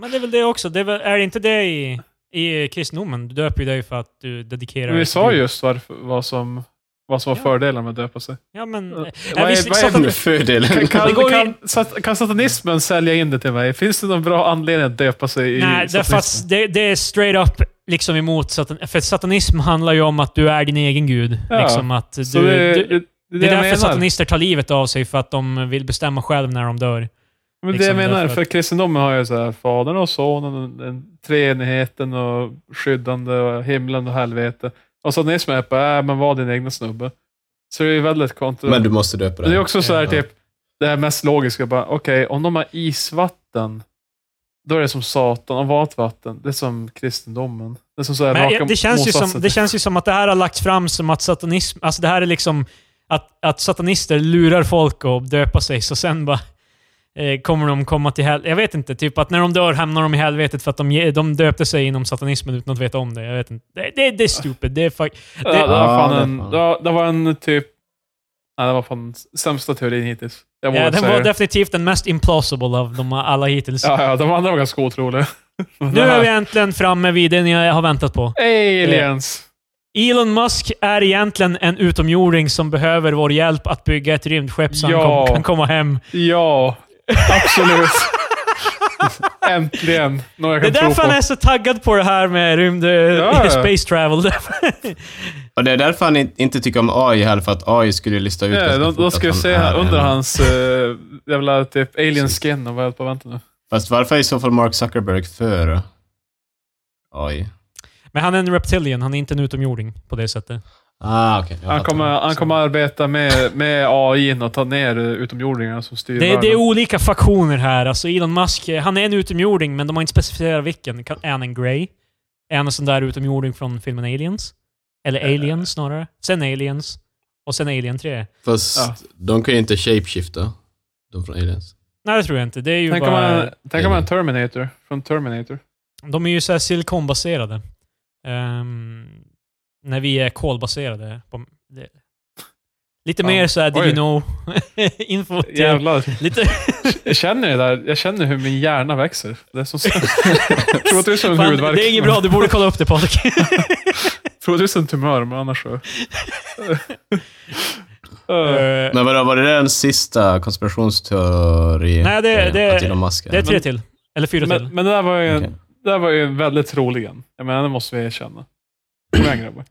[SPEAKER 1] Men det är väl det också. Det är, väl, är det inte det i, i kristendomen? Du döper ju dig för att du dedikerar
[SPEAKER 3] Men vi
[SPEAKER 1] dig
[SPEAKER 3] sa
[SPEAKER 1] till Gud.
[SPEAKER 3] just varför, vad som vad som var
[SPEAKER 1] Ja.
[SPEAKER 3] fördelar med att döpa sig.
[SPEAKER 1] Ja, men...
[SPEAKER 3] Vad
[SPEAKER 1] Äh,
[SPEAKER 3] är-
[SPEAKER 1] visst,
[SPEAKER 3] vad är
[SPEAKER 1] satan-
[SPEAKER 2] Med fördelen.
[SPEAKER 1] Det
[SPEAKER 3] Kan,
[SPEAKER 1] går ju
[SPEAKER 3] kan,
[SPEAKER 1] in-
[SPEAKER 3] sat- kan satanismen sälja in det till mig? Finns det någon bra anledning att döpa sig i
[SPEAKER 1] Nej, därför att
[SPEAKER 3] satanismen?
[SPEAKER 1] det, det är straight up liksom emot satan, För satanism handlar ju om att du är din egen gud.
[SPEAKER 3] Ja,
[SPEAKER 1] liksom att du,
[SPEAKER 3] Så det,
[SPEAKER 1] du,
[SPEAKER 3] det, det,
[SPEAKER 1] det är
[SPEAKER 3] jag
[SPEAKER 1] därför
[SPEAKER 3] menar.
[SPEAKER 1] satanister tar livet av sig, för att de vill bestämma själv när de dör.
[SPEAKER 3] Men
[SPEAKER 1] liksom,
[SPEAKER 3] det jag menar,
[SPEAKER 1] därför
[SPEAKER 3] för kristendomen har ju så här, Fadern och Sonen, den treenigheten och skyddande och himlen och helvete. Och satanismen är på, äh, men var din egna snubbe. Så det är ju väldigt kontra.
[SPEAKER 2] Men du måste döpa
[SPEAKER 3] Men det är
[SPEAKER 2] dig.
[SPEAKER 3] också så här,
[SPEAKER 1] Ja.
[SPEAKER 3] typ, det här mest logiska, bara, okej, om de har isvatten, då är det som Satan. Om vanligt vatten, det är som kristendomen. Det är som så här,
[SPEAKER 1] Men
[SPEAKER 3] raka
[SPEAKER 1] jag- det, känns ju som,
[SPEAKER 3] motsatsen.
[SPEAKER 1] det känns ju som att det här har lagts fram som att satanism... Alltså det här är liksom att, att satanister lurar folk att döpa sig, så sen bara... Eh, kommer de komma till helvetet? Jag vet inte. Typ att när de dör hamnar de i helvetet för att de, ge- de döpte sig inom satanismen utan att veta om det. Jag vet inte. Det, det, det är stupid. Det är fuck,
[SPEAKER 3] Ja, det, var
[SPEAKER 2] Ja,
[SPEAKER 3] fan
[SPEAKER 2] det är
[SPEAKER 3] en,
[SPEAKER 2] fan.
[SPEAKER 3] ja, det var en typ... Ja, det var fan den sämsta teorin hittills. Jag
[SPEAKER 1] ja,
[SPEAKER 3] vågar
[SPEAKER 1] Eh, den
[SPEAKER 3] säga
[SPEAKER 1] var
[SPEAKER 3] det.
[SPEAKER 1] definitivt den mest implausible av de alla hittills.
[SPEAKER 3] Ja, ja, de andra var ganska otroliga.
[SPEAKER 1] Nu är vi äntligen framme vid den jag har väntat på.
[SPEAKER 3] Aliens!
[SPEAKER 1] Elon Musk är egentligen en utomjording som behöver vår hjälp att bygga ett rymdskepp så han
[SPEAKER 3] Ja.
[SPEAKER 1] kom, kan komma hem.
[SPEAKER 3] Eh. Ja, absolut. Äntligen. Någon jag
[SPEAKER 1] Det är
[SPEAKER 3] kan tro
[SPEAKER 1] därför han
[SPEAKER 3] på.
[SPEAKER 1] är så taggad på det här med rymd...
[SPEAKER 3] ja.
[SPEAKER 1] Space travel.
[SPEAKER 2] Och det är därför han in- inte tycker om AI heller, för att AI skulle lista ut
[SPEAKER 3] Ja,
[SPEAKER 2] ganska
[SPEAKER 3] de,
[SPEAKER 2] fort
[SPEAKER 3] de Eh, ska
[SPEAKER 2] att han
[SPEAKER 3] ju se
[SPEAKER 2] är
[SPEAKER 3] här under
[SPEAKER 2] en-
[SPEAKER 3] hans eh, jävla typ alien skin och vad jag på vänta nu.
[SPEAKER 2] Fast varför är i så fall Mark Zuckerberg för AI?
[SPEAKER 1] Men han är en reptilian, han är inte en utomjording på det sättet.
[SPEAKER 2] Ah, okej. Jag
[SPEAKER 3] Han
[SPEAKER 2] fattar.
[SPEAKER 3] kommer, han kommer arbeta med, med AI n och ta ner eh, utomjordingarna som styr
[SPEAKER 1] Det,
[SPEAKER 3] världen.
[SPEAKER 1] det är olika faktioner här. Alltså Elon Musk, eh, han är en utomjording, men de har inte specificerat vilken. Kan- Är han en grey? Är han en sån där utomjording från filmen Aliens?
[SPEAKER 3] Eh,
[SPEAKER 1] Eller Aliens snarare. Sen Aliens. Och sen Alien 3.
[SPEAKER 2] Fast
[SPEAKER 3] Ja.
[SPEAKER 2] de kan ju inte shapeshifta, de från Aliens.
[SPEAKER 1] Nej, det tror jag inte. Det är ju
[SPEAKER 3] Tänk om
[SPEAKER 1] bara...
[SPEAKER 3] man, tänk om man är Terminator från Terminator.
[SPEAKER 1] De är ju så här silikonbaserade. Ehm, när vi är kolbaserade. På, det, lite
[SPEAKER 3] Ja.
[SPEAKER 1] mer så här, did
[SPEAKER 3] Oj.
[SPEAKER 1] you know? Info till,
[SPEAKER 3] Jävlar.
[SPEAKER 1] lite,
[SPEAKER 3] Jag känner det där. Jag känner hur min hjärna växer. Det är som så... Troligtvis en
[SPEAKER 1] fan,
[SPEAKER 3] huvudvärk.
[SPEAKER 1] det är inget bra, du borde kolla upp det Patrik.
[SPEAKER 3] Troligtvis en tumör, men annars så... Eh,
[SPEAKER 1] Eh,
[SPEAKER 2] Men vadå, var det den sista konspirationsteorin?
[SPEAKER 1] Nej, det-
[SPEAKER 2] grejen?
[SPEAKER 1] det-
[SPEAKER 2] Att Elon Musk
[SPEAKER 1] det är tre till. Eller fyra
[SPEAKER 3] men,
[SPEAKER 1] till.
[SPEAKER 3] men det där var ju en,
[SPEAKER 2] Okej.
[SPEAKER 3] det där var ju en väldigt rolig en. Jag menar, det måste vi erkänna. Kom igen grabbar.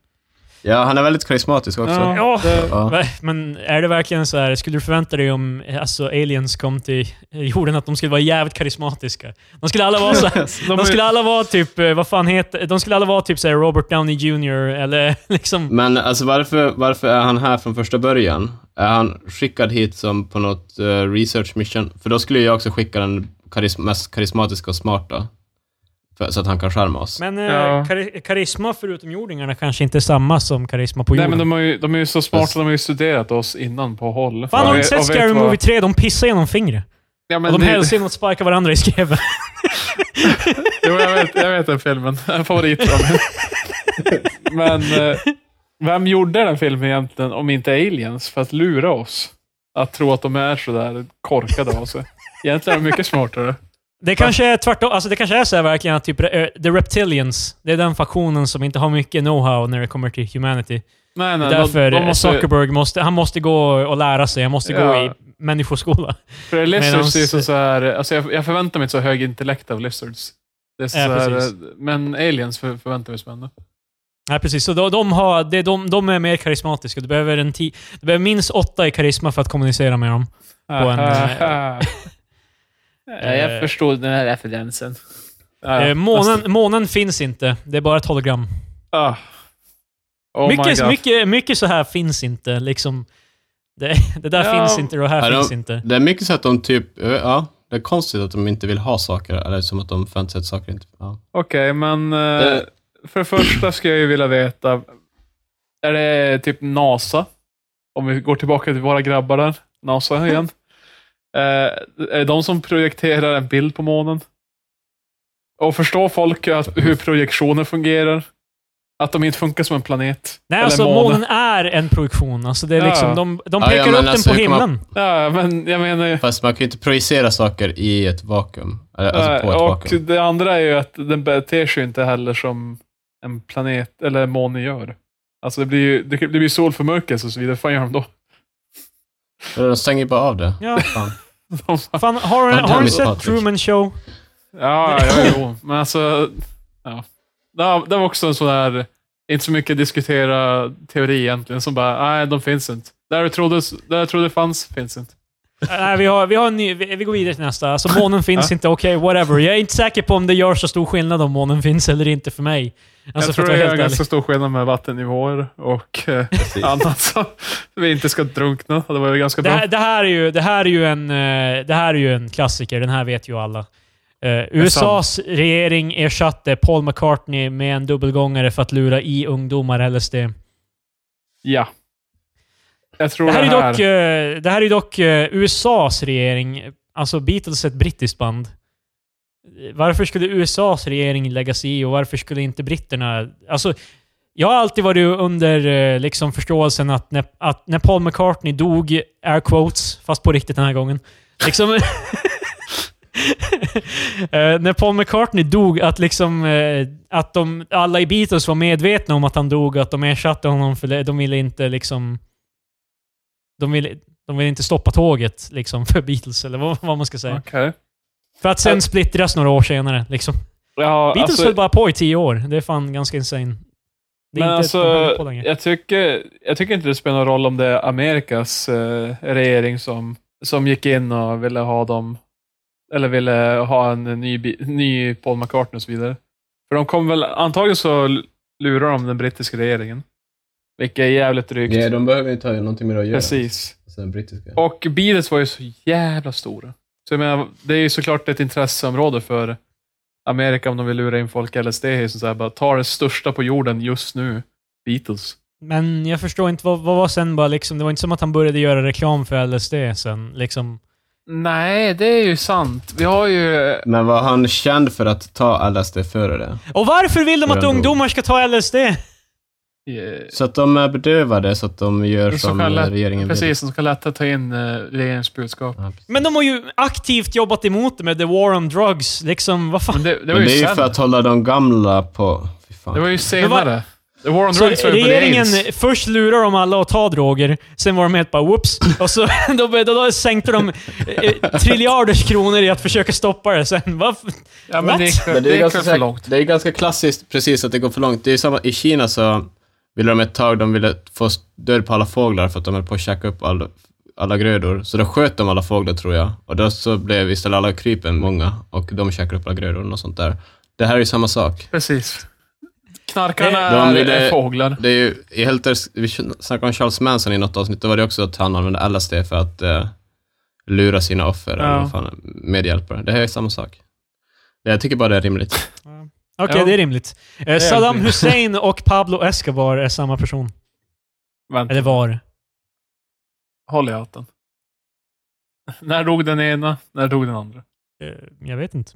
[SPEAKER 2] Ja, han är väldigt karismatisk också. Ja.
[SPEAKER 1] Ja.
[SPEAKER 3] det-
[SPEAKER 1] Va- Men är det verkligen så här, skulle du förvänta dig om eh, alltså, aliens kom till eh, jorden att de skulle vara jävligt karismatiska? De skulle alla vara så här,
[SPEAKER 3] Alltså, de
[SPEAKER 1] De
[SPEAKER 3] är-
[SPEAKER 1] skulle alla vara typ, eh, vad fan heter, de skulle alla vara typ såhär Robert Downey Jr. eller liksom...
[SPEAKER 2] Men alltså varför, varför är han här från första början? Är han skickad hit som på något eh, research mission? För då skulle jag också skicka den karism- mest karismatiska och smarta. För, så att han kan charma oss.
[SPEAKER 1] Men eh,
[SPEAKER 3] Ja.
[SPEAKER 1] kari- karisma för utomjordingarna kanske inte är samma som karisma på
[SPEAKER 3] Nej,
[SPEAKER 1] jorden.
[SPEAKER 3] men de är, ju, de är ju så smarta.
[SPEAKER 2] Fast-
[SPEAKER 3] De har ju studerat oss innan på håll.
[SPEAKER 1] Fan, har
[SPEAKER 3] Och
[SPEAKER 1] du
[SPEAKER 3] vet-
[SPEAKER 1] inte sett
[SPEAKER 3] och vet
[SPEAKER 1] Scary
[SPEAKER 3] vad-
[SPEAKER 1] Movie 3? De pissar genom fingret.
[SPEAKER 3] Ja, men
[SPEAKER 1] Och de
[SPEAKER 3] det-
[SPEAKER 1] hälsar genom att sparka varandra i skreven.
[SPEAKER 3] Jo, jag vet, jag vet den filmen. En favorit av mig. Men eh, vem gjorde den filmen egentligen om inte aliens för att lura oss? Att tro att de är sådär korkade av sig. Egentligen är de mycket smartare.
[SPEAKER 1] Det kanske är tvärtom. Alltså det kanske är så här verkligen att typ eh, The Reptilians, det är den faktionen som inte har mycket know-how när det kommer till humanity.
[SPEAKER 3] Nej, nej,
[SPEAKER 1] Därför
[SPEAKER 3] de, de
[SPEAKER 1] måste...
[SPEAKER 3] måste,
[SPEAKER 1] Zuckerberg måste, han måste gå och lära sig. Han måste gå
[SPEAKER 3] Ja.
[SPEAKER 1] i människoskola.
[SPEAKER 3] för
[SPEAKER 1] medans-
[SPEAKER 3] lizards är så så här, alltså jag, jag förväntar mig inte så hög intellekt av lizards. Det är så
[SPEAKER 1] Ja,
[SPEAKER 3] här,
[SPEAKER 1] precis.
[SPEAKER 3] eh, men aliens för, förväntar vi oss med.
[SPEAKER 1] Nej, precis. Så de, de, har, de, de, de är mer karismatiska. Du behöver, en ti- du behöver minst åtta i karisma för att kommunicera med dem. På en,
[SPEAKER 3] Ah,
[SPEAKER 1] eh,
[SPEAKER 3] ja, jag förstod den här referensen. Ah, Ja,
[SPEAKER 1] Eh, månen, månen finns inte. Det är bara ett hologram.
[SPEAKER 3] Ah. Oh my
[SPEAKER 1] mycket,
[SPEAKER 3] God.
[SPEAKER 1] mycket, mycket så här finns inte. Liksom, det, det där
[SPEAKER 3] Ja.
[SPEAKER 1] finns inte och det här
[SPEAKER 2] Ja, de-
[SPEAKER 1] finns inte.
[SPEAKER 2] Det är mycket så att de typ, ja, det är konstigt att de inte vill ha saker, eller som att de förväntar sig att saker inte, ja.
[SPEAKER 3] Okej, men eh,
[SPEAKER 2] Eh.
[SPEAKER 3] för det första skulle jag ju vilja veta, är det typ NASA? Om vi går tillbaka till våra grabbar där, NASA igen. eh, är det de som projekterar en bild på månen? Och förstår folk att, hur projektioner fungerar? Att de inte funkar som en planet?
[SPEAKER 1] Nej,
[SPEAKER 3] Eller
[SPEAKER 1] alltså
[SPEAKER 3] måne.
[SPEAKER 1] månen är en projektion. Alltså, det är
[SPEAKER 3] Ja.
[SPEAKER 1] liksom, de, de
[SPEAKER 2] Ja,
[SPEAKER 1] pekar
[SPEAKER 2] ja, men
[SPEAKER 1] upp den
[SPEAKER 2] alltså,
[SPEAKER 1] på
[SPEAKER 2] jag kommer-
[SPEAKER 1] himlen.
[SPEAKER 3] Ja, men jag menar ju...
[SPEAKER 2] Fast man kan ju inte projicera saker i ett vakuum. Eller,
[SPEAKER 3] Eh,
[SPEAKER 2] alltså på ett
[SPEAKER 3] och
[SPEAKER 2] vakuum.
[SPEAKER 3] det andra är ju att den beter sig ju inte heller som en planet eller en måne gör. Alltså det blir ju det, det blir solförmörkelse och så vidare. Vad fan gör de då?
[SPEAKER 2] Eller de stänger ju bara av det.
[SPEAKER 1] Ja.
[SPEAKER 2] Fan.
[SPEAKER 3] De bara,
[SPEAKER 1] Fan, har,
[SPEAKER 2] Fan, liksom.
[SPEAKER 1] har du
[SPEAKER 2] Tommy
[SPEAKER 1] sett
[SPEAKER 2] Patrick.
[SPEAKER 1] Truman Show?
[SPEAKER 3] ja, ja, jo. Men alltså, ja. Det var- Det var också en sån där, inte så mycket diskutera teori egentligen, som bara, nej, de finns inte. Där du trodde, där jag trodde fanns, finns inte.
[SPEAKER 1] Äh, Nej, vi, har, vi, har en ny, vi, vi går vidare till nästa. Alltså, månen finns
[SPEAKER 3] Ja.
[SPEAKER 1] inte, okej, whatever. Jag är inte säker på om det gör så stor skillnad om månen finns eller inte för mig. Alltså,
[SPEAKER 3] jag
[SPEAKER 1] för
[SPEAKER 3] tror
[SPEAKER 1] att
[SPEAKER 3] det
[SPEAKER 1] vara
[SPEAKER 3] är
[SPEAKER 1] helt ärlig.
[SPEAKER 3] ganska stor skillnad med vattennivåer och eh, annat som vi inte ska drunkna. Det var ju ganska
[SPEAKER 1] Det
[SPEAKER 3] bra.
[SPEAKER 1] här, det, här är ju, det, här är ju en, eh, det här är ju en klassiker, den här vet ju alla. Eh, USAs regering ersatte Paul McCartney med en dubbelgångare för att lura i ungdomar LSD.
[SPEAKER 3] Ja. Jag tror
[SPEAKER 1] Det
[SPEAKER 3] det
[SPEAKER 1] här är
[SPEAKER 3] här,
[SPEAKER 1] ju dock, eh, det här är ju dock eh, USAs regering. Alltså Beatles är ett brittiskt band. Eh, Varför skulle USAs regering lägga sig i och varför skulle inte britterna... Alltså, jag har alltid varit under eh, liksom, förståelsen att när, att när Paul McCartney dog, air quotes, fast på riktigt den här gången. Liksom, Eh, när Paul McCartney dog, att, liksom, eh, att de, alla i Beatles var medvetna om att han dog, att de ersatte honom för det- de ville inte liksom... De ville, de ville inte stoppa tåget liksom, för Beatles, eller vad, vad man ska säga.
[SPEAKER 3] Okej.
[SPEAKER 1] För att sen splittras några år senare. Liksom.
[SPEAKER 3] Alltså- Ja,
[SPEAKER 1] Beatles
[SPEAKER 3] alltså,
[SPEAKER 1] höll bara på i tio år. Det är fan ganska insane. Det är
[SPEAKER 3] men
[SPEAKER 1] inte
[SPEAKER 3] alltså,
[SPEAKER 1] de höll på länge.
[SPEAKER 3] jag, tycker, jag tycker inte det spelar någon roll om det är Amerikas eh, regering som, som gick in och ville ha dem, eller ville ha en ny, bi- ny Paul McCartney och så vidare. För de kom väl, antagligen så l- lurar de den brittiska regeringen. Vilket är jävligt drygt.
[SPEAKER 2] Nej, de behöver inte ha någonting med det att göra.
[SPEAKER 3] Precis.
[SPEAKER 2] Alltså, den brittiska.
[SPEAKER 3] Och Beatles var ju så jävla stora. Så jag menar, det är ju såklart ett intresseområde för Amerika om de vill lura in folk i LSD. är ju Så här, bara, ta det största på jorden just nu, Beatles.
[SPEAKER 1] Men jag förstår inte, vad, vad var sen bara liksom... Det var inte som att han började göra reklam för LSD sen. Liksom.
[SPEAKER 3] Nej, det är ju sant. Vi har ju...
[SPEAKER 2] Men var han känd för att ta LSD före det?
[SPEAKER 1] Och varför vill de att
[SPEAKER 2] För en
[SPEAKER 1] ungdomar ska ta LSD?
[SPEAKER 2] Så att de är bedövade, så att de gör
[SPEAKER 3] Som
[SPEAKER 2] som
[SPEAKER 3] kan lätt,
[SPEAKER 2] regeringen vill.
[SPEAKER 3] precis, som ska lätta ta in eh, regeringens budskap.
[SPEAKER 2] Ja, precis.
[SPEAKER 1] Men de har ju aktivt jobbat emot det med the war on drugs. Liksom, vad fan?
[SPEAKER 3] Men det, det
[SPEAKER 2] Men
[SPEAKER 3] var ju
[SPEAKER 2] det är ju
[SPEAKER 3] senare.
[SPEAKER 2] för att hålla de gamla på... Fy fan.
[SPEAKER 3] Det var ju senare. The War on
[SPEAKER 1] Så
[SPEAKER 3] Drugs var ju på
[SPEAKER 1] regeringen,
[SPEAKER 3] AIDS.
[SPEAKER 1] först lurar de alla att ta droger, sen var de helt bara whoops. Och så då, då, då sänkte de eh, triljarders kronor i att försöka stoppa det sen. Varför?
[SPEAKER 3] Ja,
[SPEAKER 1] What?
[SPEAKER 3] men det gick,
[SPEAKER 2] Men det är,
[SPEAKER 3] gick
[SPEAKER 2] ganska,
[SPEAKER 3] väl för långt.
[SPEAKER 2] det är ganska klassiskt precis att det går för långt. Det är samma i Kina så ville de ett tag, de ville få död på alla fåglar för att de höll på att käka upp all, alla grödor. Så då sköt de alla fåglar tror jag. Och då så blev istället alla krypen många och de käkade upp alla grödor och sånt där. Det här är ju samma sak.
[SPEAKER 3] Precis. Knarkarna
[SPEAKER 1] Eh,
[SPEAKER 2] de
[SPEAKER 3] är,
[SPEAKER 2] ville-
[SPEAKER 3] är fåglar.
[SPEAKER 2] Det är ju, i helt, vi snackade om Charles Manson i något avsnitt, då var det också att han använde LSD för att eh, lura sina offer
[SPEAKER 1] Ja.
[SPEAKER 2] eller vad fan, medhjälpare. Det här är samma sak. Jag tycker bara det är rimligt.
[SPEAKER 1] Okej,
[SPEAKER 3] Ja.
[SPEAKER 1] det är rimligt. Eh,
[SPEAKER 3] är
[SPEAKER 1] Saddam
[SPEAKER 3] rimligt.
[SPEAKER 1] Hussein och Pablo Escobar är samma person.
[SPEAKER 3] Vänta,
[SPEAKER 1] Eller var. Eh,
[SPEAKER 3] håll i hatten. När dog den ena? När dog den andra?
[SPEAKER 1] Eh, jag vet inte.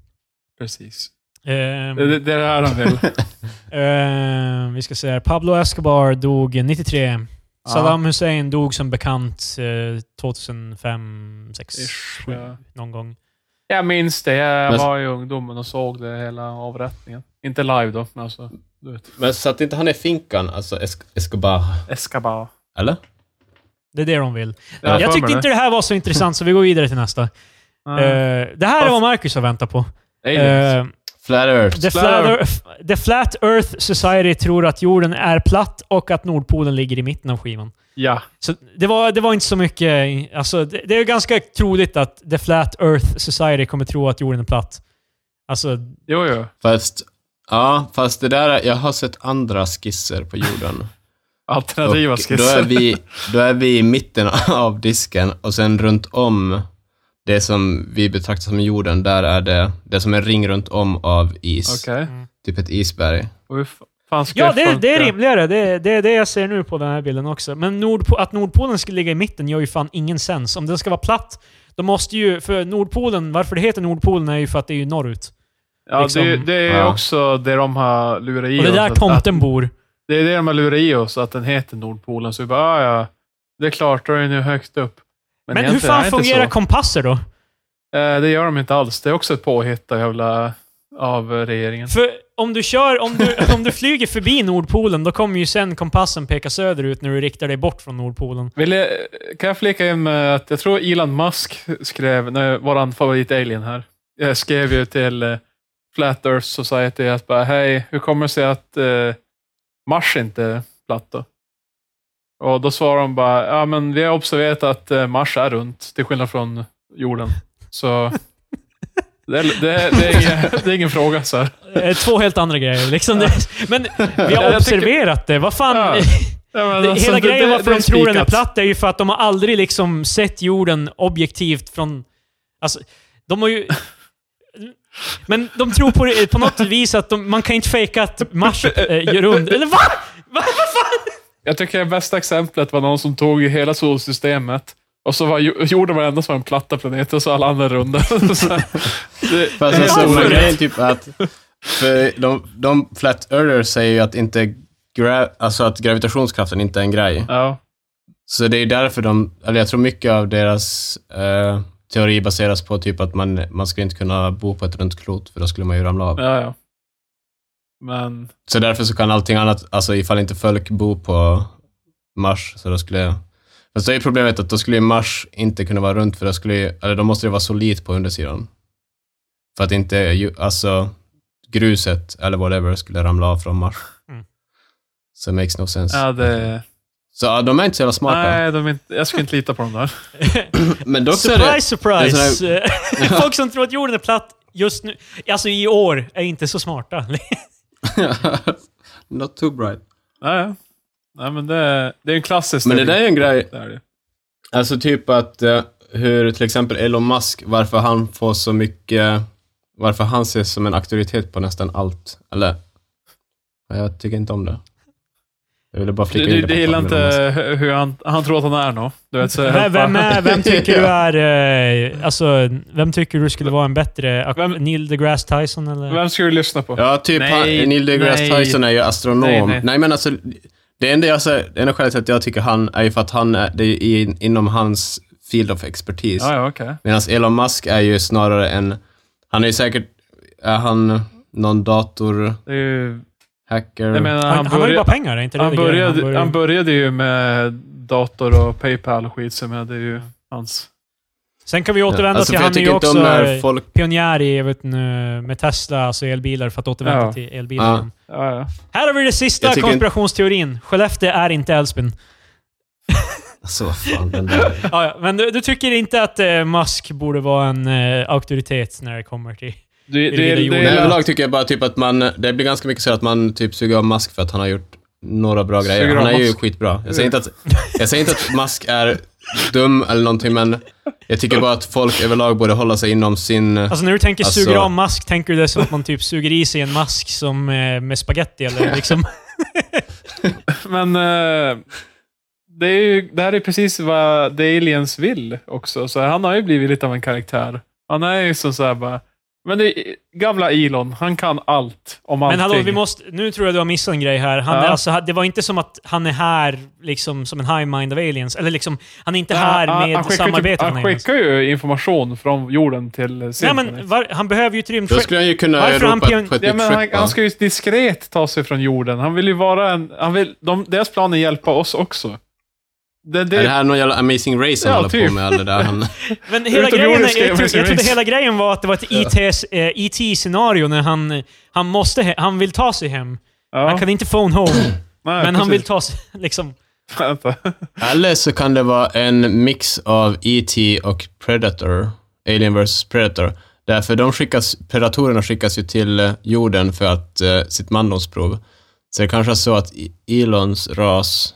[SPEAKER 3] Precis.
[SPEAKER 1] Ehm,
[SPEAKER 3] Det, det, det är det här han vill.
[SPEAKER 1] eh, vi ska se här. Pablo Escobar dog 93. Saddam Hussein dog som bekant eh, 2005, 6,
[SPEAKER 3] Ish,
[SPEAKER 1] 7,
[SPEAKER 3] ja.
[SPEAKER 1] någon gång.
[SPEAKER 3] Jag minns det. Jag
[SPEAKER 2] Men-
[SPEAKER 3] var i ungdomen och såg det hela avrättningen. Inte live då, men alltså. Du vet.
[SPEAKER 2] Men satt inte han i finkan, alltså Esc- Escobar?
[SPEAKER 3] Escobar.
[SPEAKER 2] Eller?
[SPEAKER 1] Det är det de vill.
[SPEAKER 3] Jag
[SPEAKER 1] jag
[SPEAKER 3] har för mig
[SPEAKER 1] tyckte inte det här var så intressant, så vi går vidare till nästa.
[SPEAKER 3] Nej.
[SPEAKER 1] Eh, det här är vad Marcus har väntat på.
[SPEAKER 3] Aliens.
[SPEAKER 1] Eh,
[SPEAKER 2] Flat Earth.
[SPEAKER 1] the,
[SPEAKER 3] Flat
[SPEAKER 1] flat Earth, the Flat Earth Society tror att jorden är platt och att Nordpolen ligger i mitten av skivan.
[SPEAKER 3] Ja.
[SPEAKER 1] Så det var, det var inte så mycket... Alltså, det, det är ju ganska troligt att The Flat Earth Society kommer tro att jorden är platt. Alltså,
[SPEAKER 3] Jo, jo.
[SPEAKER 2] Fast, ja, fast det där, jag har sett andra skisser på jorden.
[SPEAKER 3] Alternativa
[SPEAKER 2] Och Då är,
[SPEAKER 3] skisser.
[SPEAKER 2] vi, då är vi i mitten av disken och sen runt om det som vi betraktar som jorden, där är det, det är som en ring runt om av is.
[SPEAKER 3] Okej.
[SPEAKER 2] Typ ett isberg.
[SPEAKER 3] Och hur fa- fan ska
[SPEAKER 1] ja, det,
[SPEAKER 3] funka?
[SPEAKER 1] det är rimligare. Det, det är det jag ser nu på den här bilden också. Men Nordpo- att Nordpolen skulle ligga i mitten gör ju fan ingen sens. Om den ska vara platt, då måste ju... För Nordpolen, varför det heter Nordpolen är ju för att det är ju norrut.
[SPEAKER 3] Ja,
[SPEAKER 1] liksom.
[SPEAKER 3] det, det är
[SPEAKER 2] Ja.
[SPEAKER 3] också det de har lurat i
[SPEAKER 1] Och det är
[SPEAKER 3] oss.
[SPEAKER 1] där
[SPEAKER 3] att- att-
[SPEAKER 1] tomten bor.
[SPEAKER 3] Det är det de har lurat i oss, att den heter Nordpolen. Så vi bara, "Ah, ja, det är klart, då är den ju högt upp.
[SPEAKER 1] Men, hur
[SPEAKER 3] egentligen är
[SPEAKER 1] fan
[SPEAKER 3] det inte
[SPEAKER 1] fungerar
[SPEAKER 3] så.
[SPEAKER 1] kompasser då?
[SPEAKER 3] Eh, Det gör de inte alls. Det är också ett påhitt av jävla, av eh, regeringen.
[SPEAKER 1] För om du, kör, om, du, om du flyger förbi Nordpolen, då kommer ju sen kompassen peka söderut när du riktar dig bort från Nordpolen.
[SPEAKER 3] Vill jag, kan jag flika in med att jag tror Elon Musk skrev, nu, våran favorit-alien här, eh, skrev ju till eh, Flat Earth Society att bara, hej, hur kommer det sig att eh, Mars inte är platt då? Och då svarar de bara, ja men vi har observerat att eh, Mars är runt, till skillnad från jorden. Så det, är- det, är- det, är, ingen, det är ingen fråga så här.
[SPEAKER 1] Eh, Två helt andra grejer. Liksom det, men vi har
[SPEAKER 3] jag
[SPEAKER 1] observerat det. Vad fan...
[SPEAKER 3] Ja, Ja, men
[SPEAKER 1] Det,
[SPEAKER 3] alltså,
[SPEAKER 1] hela
[SPEAKER 3] det-
[SPEAKER 1] grejen
[SPEAKER 3] det-
[SPEAKER 1] varför
[SPEAKER 3] det är
[SPEAKER 1] de tror den är
[SPEAKER 3] spikat.
[SPEAKER 1] platt är ju för att de har aldrig liksom sett jorden objektivt från... Alltså, de har ju... Men de tror på, det- på något vis att de, man kan inte fejka att Mars eh, gör rund... Eller va? va?
[SPEAKER 3] Jag tycker det bästa exemplet var någon som tog hela solsystemet och så var ju- jorden var den enda som var en platta planet och så alla andra runda. så, det,
[SPEAKER 2] Fast den
[SPEAKER 1] Varför?
[SPEAKER 2] stora alltså, grejen är typ att, för de, de Flat Earthers säger ju att inte gra, alltså att gravitationskraften inte är en grej.
[SPEAKER 3] ja,
[SPEAKER 2] Så det är därför de, eller jag tror mycket av deras eh, teori baseras på typ att man, man skulle inte kunna bo på ett runt klot, för då skulle man ju ramla av.
[SPEAKER 3] ja, ja. Men
[SPEAKER 2] Så därför så kan allting annat, alltså ifall inte folk bor på Mars, så då skulle... Fast det är ju problemet att då skulle ju Mars inte kunna vara runt, för då skulle ju, eller då måste det vara solidt på undersidan. För att inte, ju- alltså gruset eller whatever skulle ramla av från Mars.
[SPEAKER 1] Mm.
[SPEAKER 2] Så it makes no sense.
[SPEAKER 3] ja, det,
[SPEAKER 2] Så ja, de är inte så jävla smarta.
[SPEAKER 3] nej, de är inte, jag skulle inte lita på dem där.
[SPEAKER 2] Men dock så är det,
[SPEAKER 1] Surprise, surprise! Folk som tror att jorden är platt just nu, alltså i år, är inte så smarta.
[SPEAKER 2] Not too bright.
[SPEAKER 3] Ja, ja. Nej, men det, det är en klassisk
[SPEAKER 2] Men det där är ju en grej,
[SPEAKER 3] Det är det.
[SPEAKER 2] Alltså typ att eh, hur till exempel Elon Musk, varför han får så mycket, varför han ses som en auktoritet på nästan allt. Eller, ja, jag tycker inte om det. Jag ville bara
[SPEAKER 3] Du,
[SPEAKER 2] flika in
[SPEAKER 3] du,
[SPEAKER 2] det.
[SPEAKER 3] du
[SPEAKER 2] på alltså.
[SPEAKER 3] gillar
[SPEAKER 2] tal om Elon
[SPEAKER 3] inte
[SPEAKER 2] Musk.
[SPEAKER 3] hur- hur han, han tror att han är nu. Du vet, så,
[SPEAKER 1] Vem, vem, är, vem tycker du är... Eh, alltså, vem tycker du skulle vara en bättre...
[SPEAKER 3] Vem-
[SPEAKER 1] Neil deGrasse Tyson eller?
[SPEAKER 3] vem ska du lyssna på?
[SPEAKER 2] Ja, typ
[SPEAKER 3] Nej,
[SPEAKER 2] han, Neil deGrasse
[SPEAKER 3] nej.
[SPEAKER 2] Tyson är ju astronom.
[SPEAKER 3] Nej,
[SPEAKER 2] Nej,
[SPEAKER 3] nej.
[SPEAKER 2] men alltså, det enda, jag, säger- det enda skälet till att jag tycker han är ju för att han är, det är ju in, inom hans field of expertise.
[SPEAKER 3] Ja, ja, okej.
[SPEAKER 2] Medan Elon Musk är ju snarare en, han är ju säkert, är han någon datorhacker?
[SPEAKER 3] Det är ju- Jag menar,
[SPEAKER 1] han, han, har ju
[SPEAKER 3] börjar-
[SPEAKER 1] bara pengar, är inte det
[SPEAKER 3] Han
[SPEAKER 1] det grejen?
[SPEAKER 3] började, han,
[SPEAKER 1] börjar
[SPEAKER 3] började.
[SPEAKER 1] ju-
[SPEAKER 3] ju med dator och Paypal och skit, så jag menar, det är ju hans...
[SPEAKER 1] Sen kan vi
[SPEAKER 2] Ja,
[SPEAKER 1] återvända
[SPEAKER 2] alltså,
[SPEAKER 1] till,
[SPEAKER 2] för
[SPEAKER 1] han är ju
[SPEAKER 2] inte
[SPEAKER 1] också
[SPEAKER 2] om när
[SPEAKER 1] eh,
[SPEAKER 2] folk...
[SPEAKER 1] pionjär i, jag vet inte, med Tesla, alltså elbilar, för att återvända
[SPEAKER 3] Ja.
[SPEAKER 1] till elbilar
[SPEAKER 2] Ja.
[SPEAKER 1] igen.
[SPEAKER 3] Ja, ja.
[SPEAKER 1] Här har vi den sista
[SPEAKER 2] Jag tycker inte-
[SPEAKER 1] konspirationsteorin. Skellefteå är inte Älvsbyn.
[SPEAKER 2] Alltså vad fan, den där...
[SPEAKER 1] Ja, ja, men du, du tycker inte att eh, Musk borde vara en eh, auktoritet när det kommer till...
[SPEAKER 3] Du,
[SPEAKER 1] det
[SPEAKER 3] du,
[SPEAKER 1] lilla
[SPEAKER 3] du,
[SPEAKER 1] jorden.
[SPEAKER 2] Men
[SPEAKER 3] du,
[SPEAKER 2] överlag tycker jag bara typ att man, det blir ganska mycket så att man typ suger av Musk för att han har gjort några bra
[SPEAKER 3] Suger
[SPEAKER 2] grejer.
[SPEAKER 3] av
[SPEAKER 2] Han är ju
[SPEAKER 3] Musk.
[SPEAKER 2] skitbra. Jag säger inte att, jag säger inte att Musk är dum eller någonting, men jag tycker bara att folk överlag borde hålla sig inom sin...
[SPEAKER 1] Alltså när du tänker
[SPEAKER 2] Alltså-
[SPEAKER 1] suger av mask, tänker du det som att man typ suger i sig en mask som eh, med spaghetti eller liksom...
[SPEAKER 3] Men eh, det, är ju, det här är precis vad The Aliens vill också. Så han har ju blivit lite av en karaktär. Han är ju som så här bara... Men det, gamla Elon, han kan allt om allting.
[SPEAKER 1] Men hallå, vi måste... Nu tror jag du har missat en grej här. Han är,
[SPEAKER 3] Ja.
[SPEAKER 1] alltså, det var inte som att han är här liksom som en high mind of aliens. Eller liksom, han är inte
[SPEAKER 3] Ja,
[SPEAKER 1] här
[SPEAKER 3] han-
[SPEAKER 1] med
[SPEAKER 3] han skickar ju
[SPEAKER 1] samarbete.
[SPEAKER 3] Typ, han
[SPEAKER 1] med aliens.
[SPEAKER 3] skickar ju information från jorden till
[SPEAKER 1] Nej,
[SPEAKER 3] Symphony.
[SPEAKER 1] men var, han behöver ju ett
[SPEAKER 2] Då
[SPEAKER 1] rymdskepp.
[SPEAKER 2] skulle han ju kunna
[SPEAKER 1] Varför han
[SPEAKER 2] ropa
[SPEAKER 1] pion-
[SPEAKER 2] på ett
[SPEAKER 3] Ja,
[SPEAKER 2] nytt
[SPEAKER 3] men han,
[SPEAKER 2] skepp. va?
[SPEAKER 3] han ska ju diskret ta sig från jorden. Han vill ju vara en... Han vill, de, deras plan är att hjälpa oss också. Det, det,
[SPEAKER 2] Är det här någon jävla amazing race han
[SPEAKER 3] Ja,
[SPEAKER 2] håller
[SPEAKER 3] typ.
[SPEAKER 2] på med? Eller där han...
[SPEAKER 1] Men hela
[SPEAKER 3] Utom
[SPEAKER 1] grejen, är-
[SPEAKER 3] jordiska
[SPEAKER 1] jag, tro, jag trodde
[SPEAKER 3] aliens.
[SPEAKER 1] hela grejen var att det var ett IT eh, IT-scenario när han, han måste... he- Han vill ta sig hem.
[SPEAKER 3] ja,
[SPEAKER 1] Han kan inte phone home,
[SPEAKER 3] nej,
[SPEAKER 1] men han vill
[SPEAKER 3] precis.
[SPEAKER 1] ta sig... Liksom,
[SPEAKER 3] Vänta.
[SPEAKER 2] Eller så kan det vara en mix av E.T. och Predator. Alien vs Predator. Därför de skickas, predatorerna skickas ju till eh, jorden för att eh, sitt mandomsprov. Så det kanske är så att I- Elons ras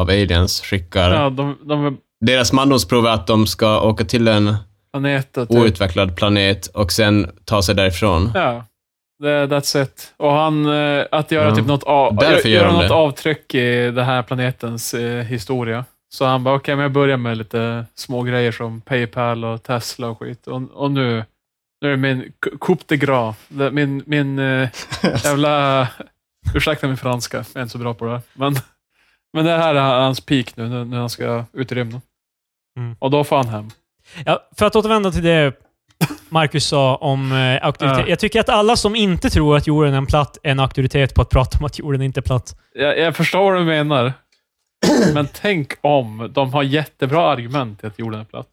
[SPEAKER 2] av aliens skickar...
[SPEAKER 3] Ja, de, de är
[SPEAKER 2] Deras mandomsprov är att de ska åka till en
[SPEAKER 3] planeter. Typ.
[SPEAKER 2] outvecklad planet och sen ta sig därifrån.
[SPEAKER 3] Ja, det, that's it. Och han, eh, att göra
[SPEAKER 2] Ja.
[SPEAKER 3] typ något, av,
[SPEAKER 2] Därför gör
[SPEAKER 3] göra
[SPEAKER 2] de
[SPEAKER 3] något
[SPEAKER 2] det.
[SPEAKER 3] avtryck i den här planetens eh, historia. Så han bara, okej, men jag börjar med lite små grejer som Paypal och Tesla och skit. Och, och nu, nu är det min coup- coup de gras. Det- Min, min eh, jävla... Ursäkta min franska, jag är inte så bra på det här. Men, men det här är hans peak nu, nu när han ska ut i rymden.
[SPEAKER 1] Mm.
[SPEAKER 3] Och då får han hem.
[SPEAKER 1] Ja, för att återvända till det Marcus sa om eh, auktoritet.
[SPEAKER 3] Ja.
[SPEAKER 1] Jag tycker att alla som inte tror att jorden är en platt är en auktoritet på att prata om att jorden inte är platt.
[SPEAKER 3] Jag, jag förstår vad du menar. Men tänk om de har jättebra argument till att jorden är platt.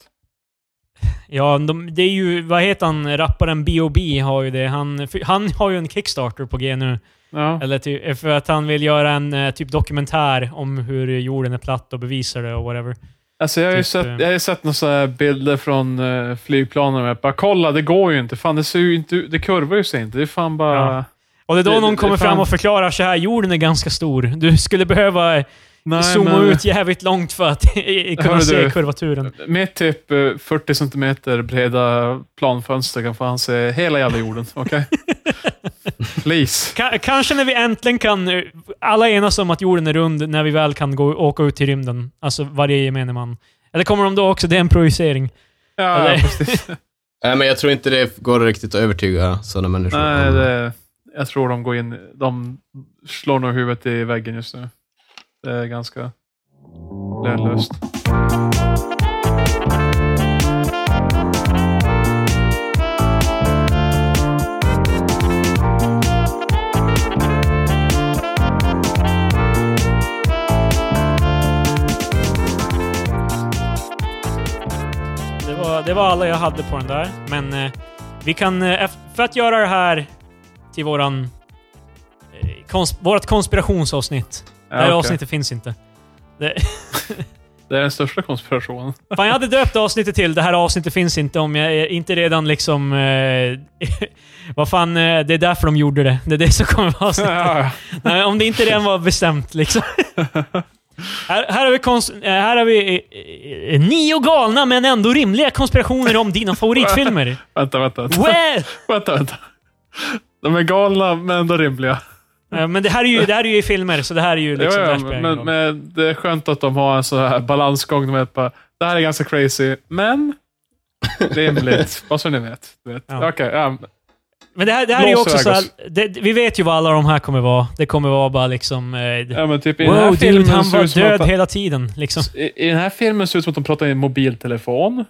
[SPEAKER 1] Ja, de, det är ju... Vad heter han? Rapparen B.O.B. har ju det. Han, för- han har ju en Kickstarter på G nu.
[SPEAKER 3] Ja.
[SPEAKER 1] Eller ty, för att han vill göra en eh, typ dokumentär om hur jorden är platt och bevisar det och whatever.
[SPEAKER 3] Alltså jag har ju
[SPEAKER 1] Typ,
[SPEAKER 3] sett,
[SPEAKER 1] eh,
[SPEAKER 3] jag har ju sett några så här bilder från eh, flygplanen. Och jag bara, kolla, det går ju inte. Fan, det, ser ju inte, ut- det kurvar ju sig inte. Det är fan bara...
[SPEAKER 1] Ja. Och det är då
[SPEAKER 3] Det-
[SPEAKER 1] någon
[SPEAKER 3] det-
[SPEAKER 1] kommer
[SPEAKER 3] det
[SPEAKER 1] fram
[SPEAKER 3] fan-
[SPEAKER 1] och förklarar så här. Jorden är ganska stor. Du skulle behöva eh,
[SPEAKER 3] Nej,
[SPEAKER 1] zooma
[SPEAKER 3] men-
[SPEAKER 1] ut jävligt långt för att kunna
[SPEAKER 3] Hörru
[SPEAKER 1] se
[SPEAKER 3] du.
[SPEAKER 1] kurvaturen.
[SPEAKER 3] Med typ eh, 40 centimeter breda planfönster kan fan se hela jävla jorden. Okej? Please.
[SPEAKER 1] Ka- kanske när vi äntligen kan... eh, Alla enas om att jorden är rund när vi väl kan gå, åka ut i rymden. Alltså varje gemene man. Eller kommer de då också... Det är en projicering.
[SPEAKER 3] Ja,
[SPEAKER 1] Eller-
[SPEAKER 3] precis.
[SPEAKER 2] Nej, Äh, men jag tror inte det går riktigt att övertyga sådana människor.
[SPEAKER 3] Nej, det, jag tror de går in. De slår nog huvudet i väggen just nu. Det är ganska lönlöst.
[SPEAKER 1] Det var, det var alla jag hade på den där. Men eh, vi kan... Eh, ef- för att göra det här till våran... Eh, kons, vårt konspirationsavsnitt.
[SPEAKER 3] Ja,
[SPEAKER 1] det här
[SPEAKER 3] okej.
[SPEAKER 1] avsnittet finns inte. Det,
[SPEAKER 3] Det är den största konspirationen.
[SPEAKER 1] fan, jag hade döpt avsnittet till Det här avsnittet finns inte om jag eh, inte redan liksom... Eh, vad fan, eh, det är därför de gjorde det. Det är det som kommer vara avsnittet.
[SPEAKER 3] Ja,
[SPEAKER 1] Nej, om det inte redan var bestämt liksom. här, här har vi, kons- eh, här har vi eh, eh, nio galna men ändå rimliga konspirationer om dina favoritfilmer.
[SPEAKER 3] vänta, vänta. Vänta,
[SPEAKER 1] Well!
[SPEAKER 3] vänta, vänta. De är galna, men ändå rimliga.
[SPEAKER 1] Eh, Men det här är ju, det här är ju filmer, så det här är ju liksom...
[SPEAKER 3] ja,
[SPEAKER 1] där
[SPEAKER 3] ja,
[SPEAKER 1] spelar ingen
[SPEAKER 3] men,
[SPEAKER 1] roll.
[SPEAKER 3] men det är skönt att de har en så här balansgång. De vet bara, det här är ganska crazy, men rimligt. Vad så ni vet. Du vet.
[SPEAKER 1] Ja.
[SPEAKER 3] Ja. ja.
[SPEAKER 1] Men det här, det här är ju
[SPEAKER 3] Blås
[SPEAKER 1] också
[SPEAKER 3] iväg
[SPEAKER 1] så här,
[SPEAKER 3] oss.
[SPEAKER 1] det, Vi vet ju vad alla de här kommer vara. Det kommer vara bara liksom... Eh,
[SPEAKER 3] ja, men typ i den här
[SPEAKER 1] wow,
[SPEAKER 3] filmen
[SPEAKER 1] dude, han
[SPEAKER 3] ser det ut
[SPEAKER 1] var
[SPEAKER 3] som att
[SPEAKER 1] död
[SPEAKER 3] han-
[SPEAKER 1] hela tiden. Liksom.
[SPEAKER 3] I, I den här filmen ser det ut som att de pratar i en mobiltelefon.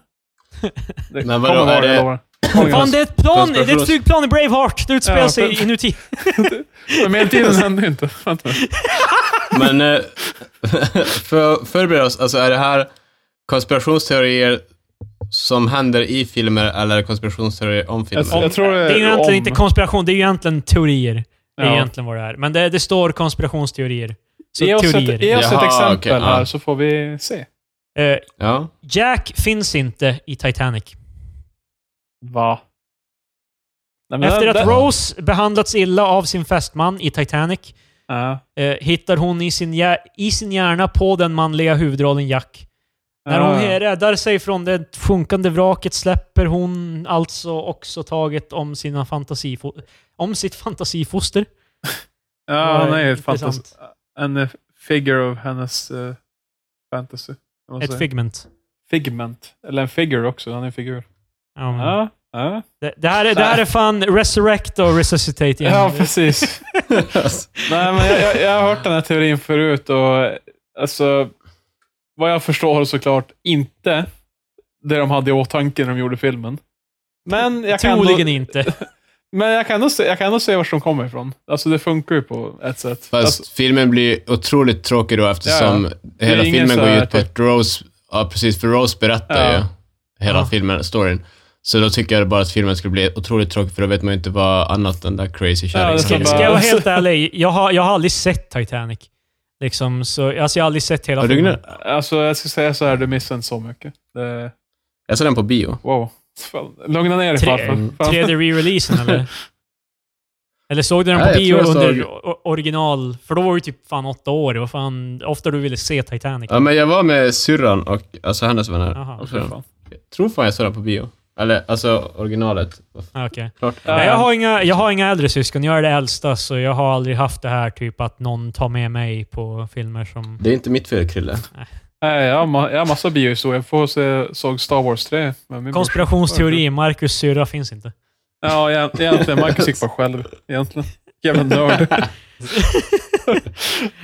[SPEAKER 3] Det
[SPEAKER 2] Men vadå,
[SPEAKER 3] kommer
[SPEAKER 2] är
[SPEAKER 3] vara
[SPEAKER 2] det-
[SPEAKER 3] jag lovar. Kommer vara.
[SPEAKER 1] Fan, det är ett plan! Det är ett
[SPEAKER 2] konspirations-
[SPEAKER 1] flygplan i Braveheart! Det utspelar
[SPEAKER 3] Ja,
[SPEAKER 1] sig
[SPEAKER 3] för-
[SPEAKER 1] inuti.
[SPEAKER 3] Men medeltiden händer ju inte. Vänta.
[SPEAKER 2] Men eh, för att förbereda oss, alltså är det här konspirationsteorier som händer i filmer eller konspirationsteorier om filmer?
[SPEAKER 3] Alltså, Jag- jag tror det
[SPEAKER 1] det
[SPEAKER 3] är
[SPEAKER 1] är ju egentligen
[SPEAKER 3] om-
[SPEAKER 1] inte konspiration, det är ju egentligen teorier. Det är
[SPEAKER 3] Ja.
[SPEAKER 1] egentligen vad det är. Men det, det står konspirationsteorier. Så
[SPEAKER 3] Ge oss
[SPEAKER 1] teorier.
[SPEAKER 3] ett, ge oss ett
[SPEAKER 2] Jaha,
[SPEAKER 3] exempel
[SPEAKER 2] okej, ja.
[SPEAKER 3] här så får vi se.
[SPEAKER 1] Eh,
[SPEAKER 2] Ja.
[SPEAKER 1] Jack finns inte i Titanic.
[SPEAKER 3] Va? Nej, men
[SPEAKER 1] Efter
[SPEAKER 3] den-
[SPEAKER 1] att
[SPEAKER 3] den-
[SPEAKER 1] Rose behandlats illa av sin fästman i Titanic
[SPEAKER 3] Ja.
[SPEAKER 1] eh, hittar hon i sin, hjär- i sin hjärna på den manliga huvudrollen Jack. När hon
[SPEAKER 3] Ja, ja.
[SPEAKER 1] räddar sig från det sjunkande vraket släpper hon alltså också taget om, sina fantasifo- om sitt fantasifoster.
[SPEAKER 3] Ja,
[SPEAKER 1] Vad
[SPEAKER 3] han är ju ett
[SPEAKER 1] intressant.
[SPEAKER 3] fantas- en eh, figure av hennes eh, fantasy. kan man
[SPEAKER 1] Ett
[SPEAKER 3] säga.
[SPEAKER 1] figment.
[SPEAKER 3] figment. Eller en figure också. Han är en figur.
[SPEAKER 1] Ja, men-
[SPEAKER 3] Ja, ja.
[SPEAKER 1] det, det, här är, det här är fan resurrect och resuscitate igen.
[SPEAKER 3] ja precis. Nej, men jag, jag, jag har hört den här teorin förut och eh, alltså, vad jag förstår såklart inte det de hade i åtanke när de gjorde filmen. Men jag kan
[SPEAKER 1] Troligen
[SPEAKER 3] nog,
[SPEAKER 1] inte.
[SPEAKER 3] men jag kan nog se, jag kan nog se vart de kommer ifrån. Alltså det funkar ju på ett sätt.
[SPEAKER 2] Fast
[SPEAKER 3] Alltså,
[SPEAKER 2] filmen blir otroligt tråkig då eftersom
[SPEAKER 3] är
[SPEAKER 2] hela
[SPEAKER 3] ingen
[SPEAKER 2] filmen
[SPEAKER 3] så
[SPEAKER 2] går
[SPEAKER 3] här typ-
[SPEAKER 2] ut på att Rose, ja precis, för Rose berättar
[SPEAKER 3] Ja.
[SPEAKER 2] ju hela
[SPEAKER 1] Ja.
[SPEAKER 2] filmen, storyn. Så då tycker jag bara att filmen skulle bli otroligt tråkig för då vet man ju inte vad annat den där crazy kärringen
[SPEAKER 3] det
[SPEAKER 2] ska
[SPEAKER 1] Ska,
[SPEAKER 3] bara-
[SPEAKER 1] ska jag vara helt ärlig, jag har, jag har aldrig sett Titanic. Liksom, så, alltså jag har aldrig sett hela
[SPEAKER 2] Har du
[SPEAKER 1] filmen.
[SPEAKER 2] gnällt?
[SPEAKER 3] alltså jag ska säga så här, du missar inte så mycket. Det,
[SPEAKER 2] Jag såg den på bio.
[SPEAKER 3] wow. Fan, Lugna ner dig
[SPEAKER 1] Tre-
[SPEAKER 3] farfar. Fan.
[SPEAKER 1] 3D re-releasen eller? Eller såg du den på
[SPEAKER 2] Nej, jag
[SPEAKER 1] bio
[SPEAKER 2] tror jag
[SPEAKER 1] under
[SPEAKER 2] såg-
[SPEAKER 1] o- original? För då var du typ fan åtta år. Det var fan ofta du ville se Titanic.
[SPEAKER 2] Ja, men jag var med syrran och alltså hennes vänner.
[SPEAKER 1] Jaha.
[SPEAKER 2] Och
[SPEAKER 3] Fy
[SPEAKER 2] så-
[SPEAKER 3] fan.
[SPEAKER 2] Jag tror fan jag såg den på bio. Eller alltså originalet.
[SPEAKER 1] Ah, okej.
[SPEAKER 2] Klart.
[SPEAKER 1] Nej, jag, har inga, jag har inga äldre syskon. Jag är det äldsta, så jag har aldrig haft det här typ att någon tar med mig på filmer som...
[SPEAKER 2] Det är inte mitt fel, Krille.
[SPEAKER 3] Nej, jag har, ma- jag har massa biohistorier. Jag får se, såg Star Wars 3 med min brorsa.
[SPEAKER 1] Konspirationsteori, Marcus syrra finns inte.
[SPEAKER 3] Ja, egent- egentligen. Marcus gick bara själv. Egentligen. Jävla nörd.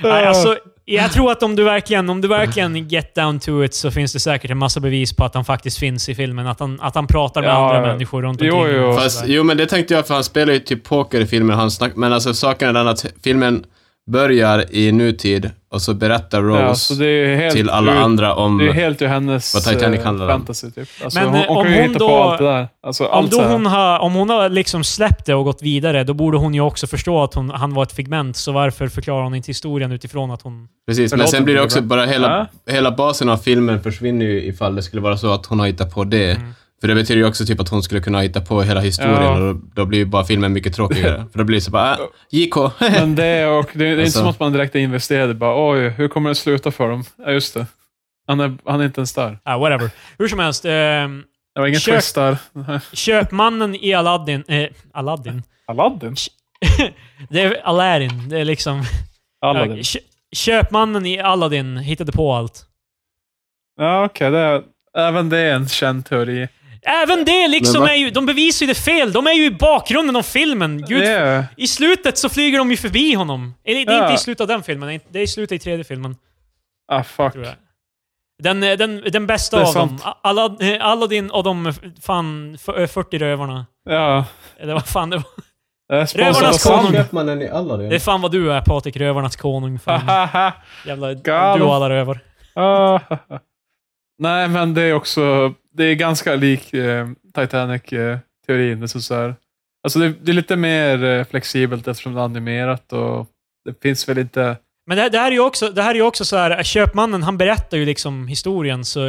[SPEAKER 1] Nej, alltså, jag tror att om du, verkligen, om du verkligen get down to it så finns det säkert en massa bevis på att han faktiskt finns i filmen. Att han, att han pratar med
[SPEAKER 3] Ja,
[SPEAKER 1] andra
[SPEAKER 3] ja.
[SPEAKER 1] människor runt
[SPEAKER 3] Jo,
[SPEAKER 1] omkring.
[SPEAKER 3] jo.
[SPEAKER 1] honom.
[SPEAKER 2] Fast, jo, men det tänkte jag, för han spelar ju typ poker i filmen. Han snack, men alltså saken är den att filmen börjar i nutid och så berättar Rose
[SPEAKER 3] ja, så det är ju helt
[SPEAKER 2] till alla
[SPEAKER 3] ur,
[SPEAKER 2] andra om...
[SPEAKER 3] Det är ju helt ur hennes
[SPEAKER 2] Vad Titanic
[SPEAKER 3] eh,
[SPEAKER 2] handlar om.
[SPEAKER 3] fantasy, typ. Alltså,
[SPEAKER 1] Men,
[SPEAKER 3] hon,
[SPEAKER 1] eh,
[SPEAKER 3] hon
[SPEAKER 1] om
[SPEAKER 3] kan ju
[SPEAKER 1] hon
[SPEAKER 3] hitta på
[SPEAKER 1] då-
[SPEAKER 3] allt det där. Alltså,
[SPEAKER 1] Om,
[SPEAKER 3] allt
[SPEAKER 1] då
[SPEAKER 3] så här.
[SPEAKER 1] hon har, om hon har liksom släppt det och gått vidare, då borde hon ju också förstå att hon, han var ett figment. Så varför förklarar hon inte historien utifrån att hon...
[SPEAKER 2] Precis, men
[SPEAKER 3] Förlåt,
[SPEAKER 2] sen blir det
[SPEAKER 3] det
[SPEAKER 2] också
[SPEAKER 3] bra.
[SPEAKER 2] bara hela, hela basen av filmen försvinner ju ifall det skulle vara så att hon har hittat på det. För det betyder ju också typ att hon skulle kunna hitta på hela historien
[SPEAKER 3] Mm. Ja.
[SPEAKER 2] och då, då blir ju bara filmen mycket tråkigare. för då blir det så bara, äh, JK.
[SPEAKER 3] Men det, och det, det är inte
[SPEAKER 2] Alltså.
[SPEAKER 3] som att man direkt är investerad. Bara, Oj, hur kommer det sluta för dem? Ja, just det. Han är, han är inte ens där.
[SPEAKER 1] Ah, whatever. Hur som helst. ehm,
[SPEAKER 3] Det var ingen
[SPEAKER 1] Kök.
[SPEAKER 3] twist där.
[SPEAKER 1] köpmannen i Aladdin... Eh, Aladdin?
[SPEAKER 3] Aladdin?
[SPEAKER 1] Det är Aladdin. Det är liksom...
[SPEAKER 3] Aladdin.
[SPEAKER 1] Kö, köpmannen i Aladdin hittade på allt.
[SPEAKER 3] Ja, okej. det är även det är en känd teori.
[SPEAKER 1] Även det liksom
[SPEAKER 2] Men va?
[SPEAKER 1] är ju... De bevisar ju det fel. De är ju i bakgrunden av filmen. Gud,
[SPEAKER 3] Det är,
[SPEAKER 1] I slutet så flyger de ju förbi honom. Eller, Det är inte
[SPEAKER 3] Ja.
[SPEAKER 1] i slutet av den filmen. Det är i slutet i tredje filmen.
[SPEAKER 3] ah, fuck.
[SPEAKER 1] tror jag. Den, eh, den, den bästa
[SPEAKER 3] Det är
[SPEAKER 1] av dem.
[SPEAKER 3] sant.
[SPEAKER 1] A- Alla, eh, Aladdin och de eh, fan f- eh, 40 rövarna.
[SPEAKER 3] Ja.
[SPEAKER 1] Eller vad fan det var.
[SPEAKER 3] Det är sponsrat av
[SPEAKER 1] Rövarnas konung.
[SPEAKER 3] Sandvik.
[SPEAKER 2] Köpmannen i Aladdin.
[SPEAKER 1] Det är fan vad du är Patrik, rövarnas konung. Fan.
[SPEAKER 3] Hahaha.
[SPEAKER 1] Jävla du
[SPEAKER 3] Galen.
[SPEAKER 1] och alla rövar.
[SPEAKER 3] Ah, Nej, men det är också det är ganska lik eh, Titanic-teorin. det är så så här. Alltså det, det är lite mer eh, flexibelt eftersom det är animerat och det finns väl inte...
[SPEAKER 1] Men det, det här är ju också, det här är ju också så här, eh, köpmannen han berättar ju liksom historien så...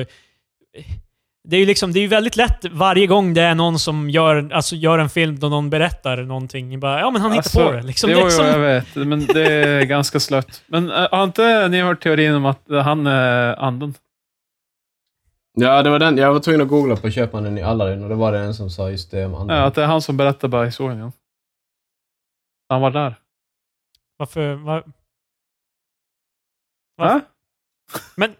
[SPEAKER 1] Det är ju liksom, det är ju väldigt lätt varje gång det är någon som gör, alltså gör en film då någon berättar någonting. Bara, ja men han hittar
[SPEAKER 3] alltså,
[SPEAKER 1] på det. Liksom,
[SPEAKER 3] jo,
[SPEAKER 1] det är
[SPEAKER 3] jo,
[SPEAKER 1] liksom,
[SPEAKER 3] jag vet. Men det är ganska slött. Men eh, har inte ni hört teorin om att han är anden?
[SPEAKER 2] Ja, det var den. Jag var tvungen att googla på köpmannen i Aladdin och då var det en som sa just det om andra.
[SPEAKER 3] Ja, Eh, att det är han som berättar bara historien. igen. Han var där.
[SPEAKER 1] varför, var, Va?
[SPEAKER 3] Va?
[SPEAKER 1] Men-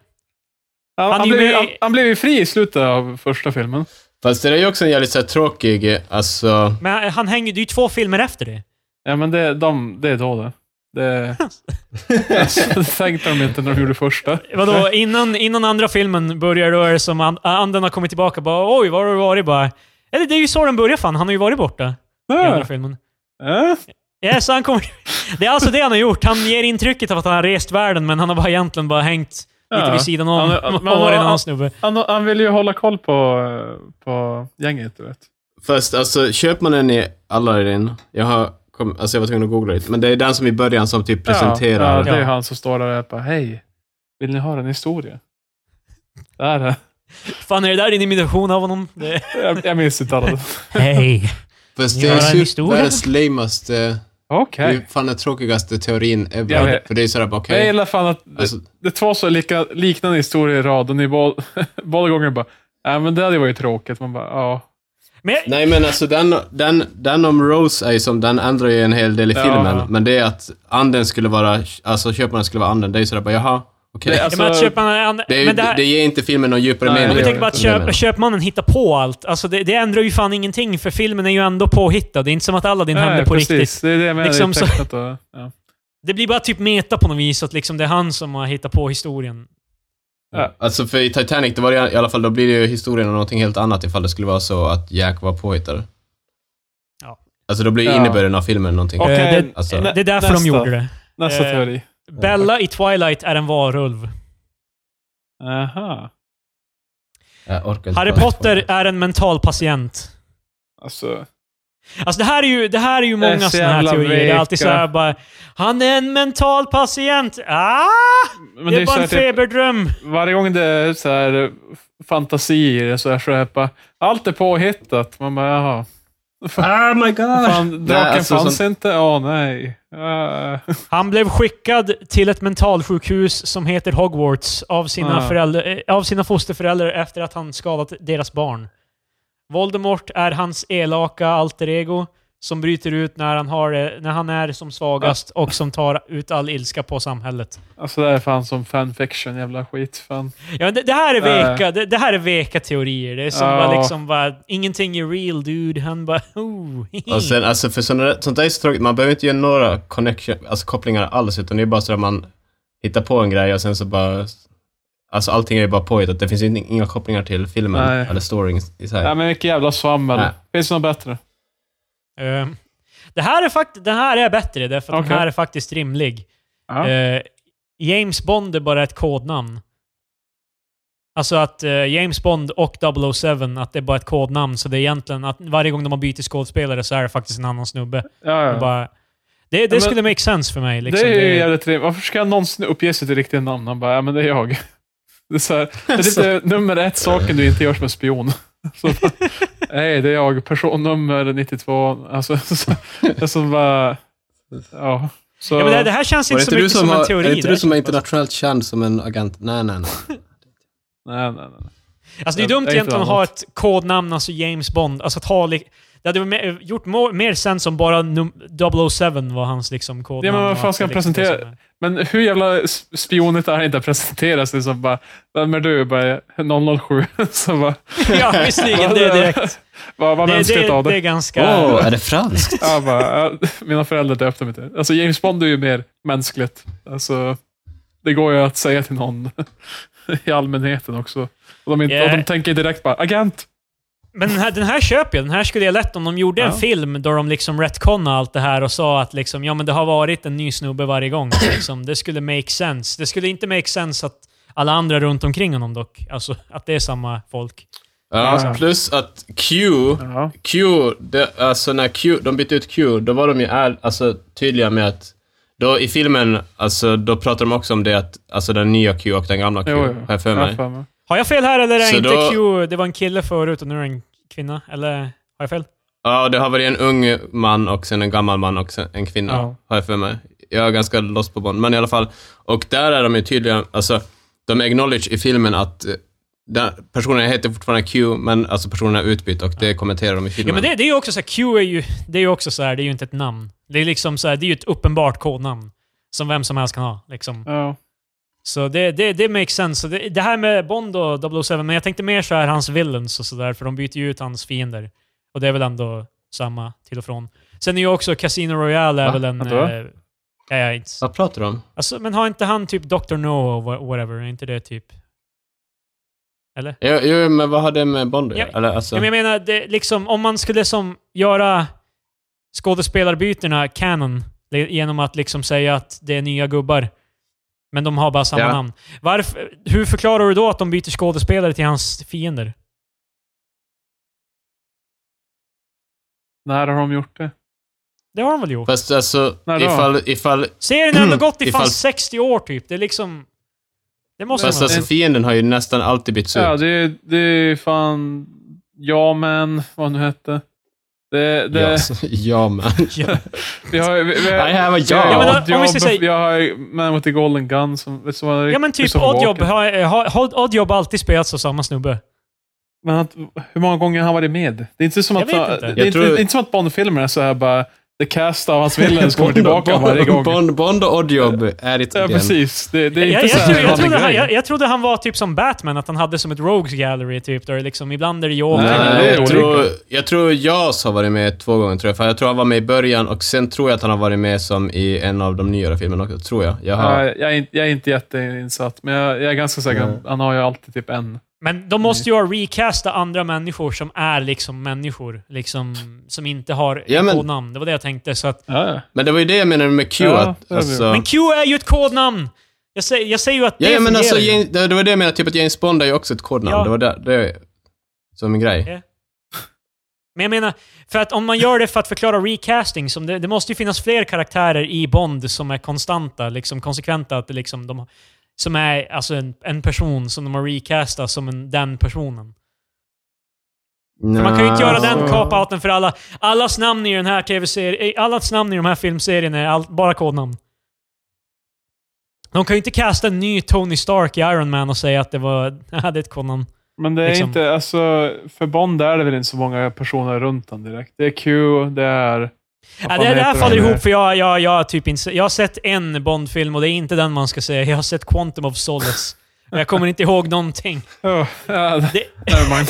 [SPEAKER 3] Han,
[SPEAKER 1] Han
[SPEAKER 3] han,
[SPEAKER 1] är ju
[SPEAKER 3] blev, ju-
[SPEAKER 1] med-
[SPEAKER 3] han, han blev ju fri i slutet av första filmen.
[SPEAKER 2] Fast det är ju också en jävligt så här, tråkig, eh, alltså...
[SPEAKER 1] men han hänger, det är ju två filmer efter det.
[SPEAKER 3] Ja, men det, de, det är då det. Det, det tänkte de inte när de gjorde första.
[SPEAKER 1] Vadå, innan, innan andra filmen börjar då är det som an- anden har kommit tillbaka bara oj, var har du varit? Bara, Eller det är ju så den börjar fan, han har ju varit borta i andra
[SPEAKER 3] Ja.
[SPEAKER 1] filmen.
[SPEAKER 3] Ja.
[SPEAKER 1] Ja, så han kommer... Det är alltså det han har gjort. Han ger intrycket av att han har rest världen, men han har bara egentligen bara hängt lite
[SPEAKER 3] Ja.
[SPEAKER 1] vid sidan om
[SPEAKER 3] Han- han-
[SPEAKER 1] och
[SPEAKER 3] men-
[SPEAKER 1] varit en annan
[SPEAKER 3] han-
[SPEAKER 1] snubbe.
[SPEAKER 3] Han, han ville ju hålla koll på, på gänget, du vet.
[SPEAKER 2] Fast alltså, köpmannen i Aladdin, jag har... Kom, alltså jag var tvungen att googla lite, men det är den som i början som typ presenterar...
[SPEAKER 3] Ja, ja, det är
[SPEAKER 1] Ja.
[SPEAKER 3] han som står där och bara hej, vill ni höra en historia? Där, är-
[SPEAKER 1] Fan, är det där din imitation av honom? Det...
[SPEAKER 3] jag, jag minns inte alla.
[SPEAKER 1] Hej!
[SPEAKER 2] Fast
[SPEAKER 1] Ni
[SPEAKER 2] det
[SPEAKER 1] har
[SPEAKER 2] är
[SPEAKER 1] en
[SPEAKER 2] ju
[SPEAKER 1] historia?
[SPEAKER 2] världens lamaste
[SPEAKER 3] Okej.
[SPEAKER 2] Det är ju fan den tråkigaste teorin ever.
[SPEAKER 3] Jag vet.
[SPEAKER 2] För det är sådär, bara,
[SPEAKER 3] Men Jag
[SPEAKER 2] okej.
[SPEAKER 3] gillar fan att det,
[SPEAKER 2] Alltså-
[SPEAKER 3] det är två så lika, liknande historier i rad och ni båda båda gånger bara Nej men det hade ju varit tråkigt. Man bara ja.
[SPEAKER 1] Men jag,
[SPEAKER 2] Nej men alltså den, den, den om Rose är ju som, den ändrar ju en hel del i
[SPEAKER 3] Ja.
[SPEAKER 2] filmen. Men det är att anden skulle vara, alltså köparen skulle vara anden. Det är ju sådär bara, jaha, okej.
[SPEAKER 3] Det är-
[SPEAKER 2] Det,
[SPEAKER 1] jag menar,
[SPEAKER 3] alltså-
[SPEAKER 1] köpmannen... an-
[SPEAKER 2] är ju-
[SPEAKER 1] men det här,
[SPEAKER 2] det ger inte filmen någon djupare
[SPEAKER 3] Nej,
[SPEAKER 2] mening.
[SPEAKER 1] om vi
[SPEAKER 3] det
[SPEAKER 1] tänker
[SPEAKER 3] gör
[SPEAKER 1] på att
[SPEAKER 2] det.
[SPEAKER 1] köp, köpmannen hittar på allt. Alltså det, det ändrar ju fan ingenting, för filmen är ju ändå påhittad. Det är inte som att Aladdin hände
[SPEAKER 3] Nej,
[SPEAKER 1] på
[SPEAKER 3] precis.
[SPEAKER 1] riktigt.
[SPEAKER 3] Det är det jag menar.
[SPEAKER 1] Liksom
[SPEAKER 3] det
[SPEAKER 1] så-
[SPEAKER 3] är tecknat och, ja.
[SPEAKER 1] Det blir bara typ meta på något vis, att liksom det är han som har hittat på historien.
[SPEAKER 2] Alltså för i Titanic, det var det, i alla fall, då blir det ju historien om någonting helt annat ifall det skulle vara så att Jack var påhittad.
[SPEAKER 1] Ja.
[SPEAKER 2] Alltså då blir ju
[SPEAKER 3] Ja.
[SPEAKER 2] innebörden av filmen någonting.
[SPEAKER 1] Och-
[SPEAKER 3] Okej,
[SPEAKER 1] det-
[SPEAKER 2] alltså-
[SPEAKER 3] nä-
[SPEAKER 1] Det är därför
[SPEAKER 3] Eh, nästa,
[SPEAKER 1] de gjorde det.
[SPEAKER 3] Nästa
[SPEAKER 1] Eh,
[SPEAKER 3] teori.
[SPEAKER 1] Bella i Twilight är en varulv.
[SPEAKER 3] Aha.
[SPEAKER 2] Jag orkar inte
[SPEAKER 1] Harry
[SPEAKER 2] prata om
[SPEAKER 1] Potter
[SPEAKER 2] det.
[SPEAKER 1] är en mental patient.
[SPEAKER 3] Alltså,
[SPEAKER 1] Alltså det här är ju, det här är ju
[SPEAKER 3] Det är
[SPEAKER 1] många
[SPEAKER 3] så
[SPEAKER 1] sådana här
[SPEAKER 3] jävla
[SPEAKER 1] teorier. Det är alltid
[SPEAKER 3] veka.
[SPEAKER 1] såhär bara... Han är en mental patient! Ah!
[SPEAKER 3] men
[SPEAKER 1] det,
[SPEAKER 3] ju
[SPEAKER 1] är
[SPEAKER 3] så
[SPEAKER 1] bara
[SPEAKER 3] här
[SPEAKER 1] en
[SPEAKER 3] typ-
[SPEAKER 1] feberdröm!
[SPEAKER 3] Varje gång det är så här eh, fantasier så här, så är det bara, allt är påhittat. Man bara, jaha.
[SPEAKER 2] Oh my god!
[SPEAKER 3] Fan, draken
[SPEAKER 2] alltså,
[SPEAKER 3] fanns
[SPEAKER 2] sånt-
[SPEAKER 3] inte? Åh nej. Ah.
[SPEAKER 1] Han blev skickad till ett mentalsjukhus som heter Hogwarts av sina,
[SPEAKER 3] Ah.
[SPEAKER 1] föräldrar, eh, av sina fosterföräldrar efter att han skadat deras barn. Voldemort är hans elaka alter ego som bryter ut när han, har, det- när han är som svagast och som tar ut all ilska på samhället.
[SPEAKER 3] Alltså det här är fan som fanfiction, jävla skit. Fan.
[SPEAKER 1] Ja, men det, det, här är
[SPEAKER 3] Nej.
[SPEAKER 1] veka, det, det här är veka teorier. Det är som
[SPEAKER 3] Ja.
[SPEAKER 1] bara liksom bara, ingenting är real dude. Han bara, oh, hehe.
[SPEAKER 2] Och sen, alltså för sådana, sånt där är så tråkigt. Man behöver inte göra några connection, alltså kopplingar alls, utan det är bara så att man hittar på en grej och sen så bara... Alltså allting är ju bara påhittat. Det finns ju in- inga kopplingar till filmen
[SPEAKER 3] Nej.
[SPEAKER 2] eller storyn i sig.
[SPEAKER 3] Nej men vilket jävla svammel.
[SPEAKER 2] Nej.
[SPEAKER 3] Finns det något bättre?
[SPEAKER 1] Eh, det här är fakt- den här är bättre, därför att den
[SPEAKER 3] Okej.
[SPEAKER 1] här är faktiskt rimlig.
[SPEAKER 3] Ja.
[SPEAKER 1] Eh, James Bond är bara ett kodnamn. Alltså att eh, James Bond och 007, att det är bara ett kodnamn. Så det är egentligen att varje gång de har bytt skådespelare så är det faktiskt en annan snubbe. Det,
[SPEAKER 3] ja,
[SPEAKER 1] är
[SPEAKER 3] ja.
[SPEAKER 1] bara, det, det
[SPEAKER 3] men-
[SPEAKER 1] skulle make sense för mig. Liksom.
[SPEAKER 3] det är ju
[SPEAKER 1] Det-
[SPEAKER 3] jävligt rimligt. Varför ska någonsin uppge sitt riktiga namn? Han bara, ja men det är jag. Det är, så här, det är lite nummer ett saken du inte gör som en spion. Så bara, Nej, det är jag. Personnummer 92. Alltså, så, det är som bara... Ja. Så,
[SPEAKER 1] ja, men det, det här känns
[SPEAKER 2] Var
[SPEAKER 1] inte
[SPEAKER 2] det
[SPEAKER 1] Typ så mycket
[SPEAKER 2] inte du som,
[SPEAKER 1] som en
[SPEAKER 2] var,
[SPEAKER 1] teori.
[SPEAKER 2] är det inte
[SPEAKER 1] där.
[SPEAKER 2] du som är internationellt känd som en agent? Nej, nej, nej.
[SPEAKER 3] Nej, nej, nej.
[SPEAKER 1] Alltså det är dumt
[SPEAKER 3] Jag- jag är inte
[SPEAKER 1] egentligen att ha
[SPEAKER 3] annat.
[SPEAKER 1] ett kodnamn, alltså James Bond. Alltså att ha... li- Det hade me- gjort mo- mer sens om bara num- 007 var hans liksom kodnamn.
[SPEAKER 3] Ja, men vad
[SPEAKER 1] och
[SPEAKER 3] fan
[SPEAKER 1] att
[SPEAKER 3] ska
[SPEAKER 1] det
[SPEAKER 3] han
[SPEAKER 1] liksom
[SPEAKER 3] presentera?
[SPEAKER 1] är sådär.
[SPEAKER 3] Men hur jävla s- spionigt är det inte att presentera sig som bara, vem är du? Bara, 007. Så bara,
[SPEAKER 1] ja, visserligen. Det är direkt.
[SPEAKER 3] vad vad
[SPEAKER 1] Det,
[SPEAKER 3] mänskligt
[SPEAKER 1] det,
[SPEAKER 3] av
[SPEAKER 1] det är
[SPEAKER 3] det.
[SPEAKER 1] ganska...
[SPEAKER 2] Åh, är det franskt?
[SPEAKER 3] Ja, bara, ja, mina föräldrar döpte mig till det. Alltså James Bond är ju mer mänskligt. Alltså, det går ju att säga till någon i allmänheten också. Och de, inte, och
[SPEAKER 1] Yeah.
[SPEAKER 3] de tänker direkt bara, agent!
[SPEAKER 1] Men den här, den här köper jag. Den här skulle jag lätt om de gjorde en
[SPEAKER 3] Ja.
[SPEAKER 1] film där de liksom retconnade allt det här och sa att liksom, ja, men det har varit en ny snubbe varje gång. Liksom. Det skulle make sense. Det skulle inte make sense att alla andra runt omkring honom dock. Alltså att det är samma folk.
[SPEAKER 2] Ja, plus att Q
[SPEAKER 3] Ja.
[SPEAKER 2] Q, det, alltså när Q, de bytte ut Q, då var de ju är, alltså, tydliga med att då i filmen, alltså, då pratar de också om det att alltså, den nya Q och den gamla Q,
[SPEAKER 3] Jo, jo.
[SPEAKER 2] har jag för mig.
[SPEAKER 3] Ja, fan, ja.
[SPEAKER 1] Har jag fel här eller är
[SPEAKER 2] Så
[SPEAKER 1] inte
[SPEAKER 2] då-
[SPEAKER 1] Q, det var en kille förut och nu är det en kvinna? Eller har jag fel?
[SPEAKER 2] Ja, det har varit en ung man och sen en gammal man och sen en kvinna,
[SPEAKER 3] Ja.
[SPEAKER 2] har jag för mig. Jag är ganska loss på bond, men i alla fall. Och där är de ju tydliga, alltså, de acknowledge i filmen att eh, den, personen heter fortfarande Q, men alltså personen är utbytt och det kommenterar de i filmen.
[SPEAKER 1] Ja men det, det är ju också såhär, Q är ju, det är ju också såhär, det är ju inte ett namn. Det är liksom såhär, det är ju ett uppenbart kodnamn. Som vem som helst kan ha. Liksom.
[SPEAKER 3] Ja.
[SPEAKER 1] Så det, det, det makes sense. Så det, det här med Bond och 007, men jag tänkte mer så här hans villains och sådär, för de byter ju ut hans fiender. Och det är väl ändå samma till och från. Sen är ju också Casino Royale är
[SPEAKER 2] Va?
[SPEAKER 1] väl en...
[SPEAKER 3] Vadå?
[SPEAKER 1] Eh, ja, ja, inte.
[SPEAKER 2] Vad pratar de om?
[SPEAKER 1] Alltså, men har inte han typ Dr. No och wha- whatever? Är inte det typ...
[SPEAKER 2] Jo, jo, men vad har det med Bond att
[SPEAKER 1] Ja,
[SPEAKER 2] göra? Eller, alltså,
[SPEAKER 1] Ja, men jag menar, det, liksom, om man skulle som göra skådespelarbytena canon det- genom att liksom säga att det är nya gubbar, men de har bara samma
[SPEAKER 2] Ja.
[SPEAKER 1] namn. Varför, hur förklarar du då att de byter skådespelare till hans fiender?
[SPEAKER 3] När har de gjort det?
[SPEAKER 1] Det har de väl gjort?
[SPEAKER 2] Fast alltså,
[SPEAKER 3] När då?
[SPEAKER 2] ifall, ifall
[SPEAKER 1] Serien har ändå gått i fan
[SPEAKER 2] Ifall-
[SPEAKER 1] 60 år typ. Det är liksom... Det måste
[SPEAKER 2] Fast
[SPEAKER 1] man...
[SPEAKER 2] alltså fienden har ju nästan alltid bytts ut.
[SPEAKER 3] Ja, det, är- det är fan... Ja, men vad nu hette. Det, det,
[SPEAKER 2] Ja, så- ja man.
[SPEAKER 1] Ja.
[SPEAKER 3] Vi har, vi, vi har,
[SPEAKER 2] Nej, här var jag.
[SPEAKER 1] Ja, men,
[SPEAKER 3] Odd
[SPEAKER 1] om vi ska
[SPEAKER 3] Job,
[SPEAKER 1] säga-
[SPEAKER 3] jag har Man with the Golden Gun. Som, vet du vad det är?
[SPEAKER 1] ja men typ
[SPEAKER 3] Christopher
[SPEAKER 1] Oddjob
[SPEAKER 3] Walken.
[SPEAKER 1] har, har, har Oddjob alltid spelats av samma snubbe.
[SPEAKER 3] Men att, hur många gånger har han varit med? Det är inte som
[SPEAKER 1] Jag
[SPEAKER 3] att,
[SPEAKER 1] vet
[SPEAKER 3] så-
[SPEAKER 1] inte.
[SPEAKER 3] Det,
[SPEAKER 2] Jag
[SPEAKER 3] är inte,
[SPEAKER 2] tror-
[SPEAKER 3] det är inte som att Bond-filmerna är så här bara, the cast av hans villains kommer tillbaka varje gång.
[SPEAKER 2] Bond, Bond och Oddjob är det
[SPEAKER 3] Ja,
[SPEAKER 2] igen.
[SPEAKER 3] precis. Det, det är
[SPEAKER 1] Jag,
[SPEAKER 3] inte
[SPEAKER 1] jag,
[SPEAKER 3] så
[SPEAKER 1] tror-
[SPEAKER 3] här
[SPEAKER 1] jag,
[SPEAKER 3] vanlig
[SPEAKER 1] trodde han,
[SPEAKER 3] grej.
[SPEAKER 1] jag, jag trodde han var typ som Batman, att han hade som ett Rogues Gallery typ. Där det liksom, ibland är det Joker.
[SPEAKER 3] Nej,
[SPEAKER 1] ibland
[SPEAKER 3] det
[SPEAKER 2] Nej,
[SPEAKER 3] är
[SPEAKER 2] jag,
[SPEAKER 3] olika.
[SPEAKER 2] tror, jag tror Jas har varit med två gånger, tror jag. För jag tror han var med i början och sen tror jag att han har varit med som i en av de nyare filmerna också, tror jag. Jag har...
[SPEAKER 3] Ja, jag, är, inte- jag är inte jätteinsatt, men jag, jag är ganska säker.
[SPEAKER 2] Nej.
[SPEAKER 3] Han har ju alltid typ en.
[SPEAKER 1] Men de måste ju ha recastat andra människor som är liksom människor. Liksom, som inte har
[SPEAKER 2] Ja, men-
[SPEAKER 1] kodnamn. Det var det jag tänkte. Så att,
[SPEAKER 3] Ja, ja.
[SPEAKER 2] Men det var ju det jag menade med Q.
[SPEAKER 3] Ja,
[SPEAKER 2] att,
[SPEAKER 3] det är det.
[SPEAKER 2] alltså...
[SPEAKER 1] Men Q är ju ett kodnamn! Jag säger, jag säger ju att det
[SPEAKER 2] Ja, ja, men
[SPEAKER 1] fungerar
[SPEAKER 2] alltså,
[SPEAKER 1] ju.
[SPEAKER 2] James, det, det var det jag menade, typ att James Bond är ju också ett kodnamn.
[SPEAKER 1] Ja.
[SPEAKER 2] Det var där, det som en grej.
[SPEAKER 1] Men jag menar, för att om man gör det för att förklara recasting, som det, det måste ju finnas fler karaktärer i Bond som är konstanta, liksom konsekventa. Att det liksom de, som är alltså en, en person som de har recastat som en, den personen. För man kan ju inte göra den
[SPEAKER 3] Alltså.
[SPEAKER 1] cop-outen för alla. Allas namn i den här tv-serien, allas namn i de här filmserierna är all, bara kodnamn. De kan ju inte casta en ny Tony Stark i Iron Man och säga att det var, det är ett kodnamn.
[SPEAKER 3] Men det är
[SPEAKER 1] Liksom.
[SPEAKER 3] inte, alltså, för Bond är det väl inte så många personer runt han direkt. Det är Q, det är...
[SPEAKER 1] Ja, det, det här
[SPEAKER 3] Vad fan
[SPEAKER 1] faller
[SPEAKER 3] heter
[SPEAKER 1] ihop för jag, jag, jag, har typ inte, jag har sett en Bond-film och det är inte den man ska säga. Jag har sett Quantum of Solace. Och Jag kommer inte ihåg någonting.
[SPEAKER 3] Oh, ja,
[SPEAKER 1] Det-
[SPEAKER 3] Nevermind.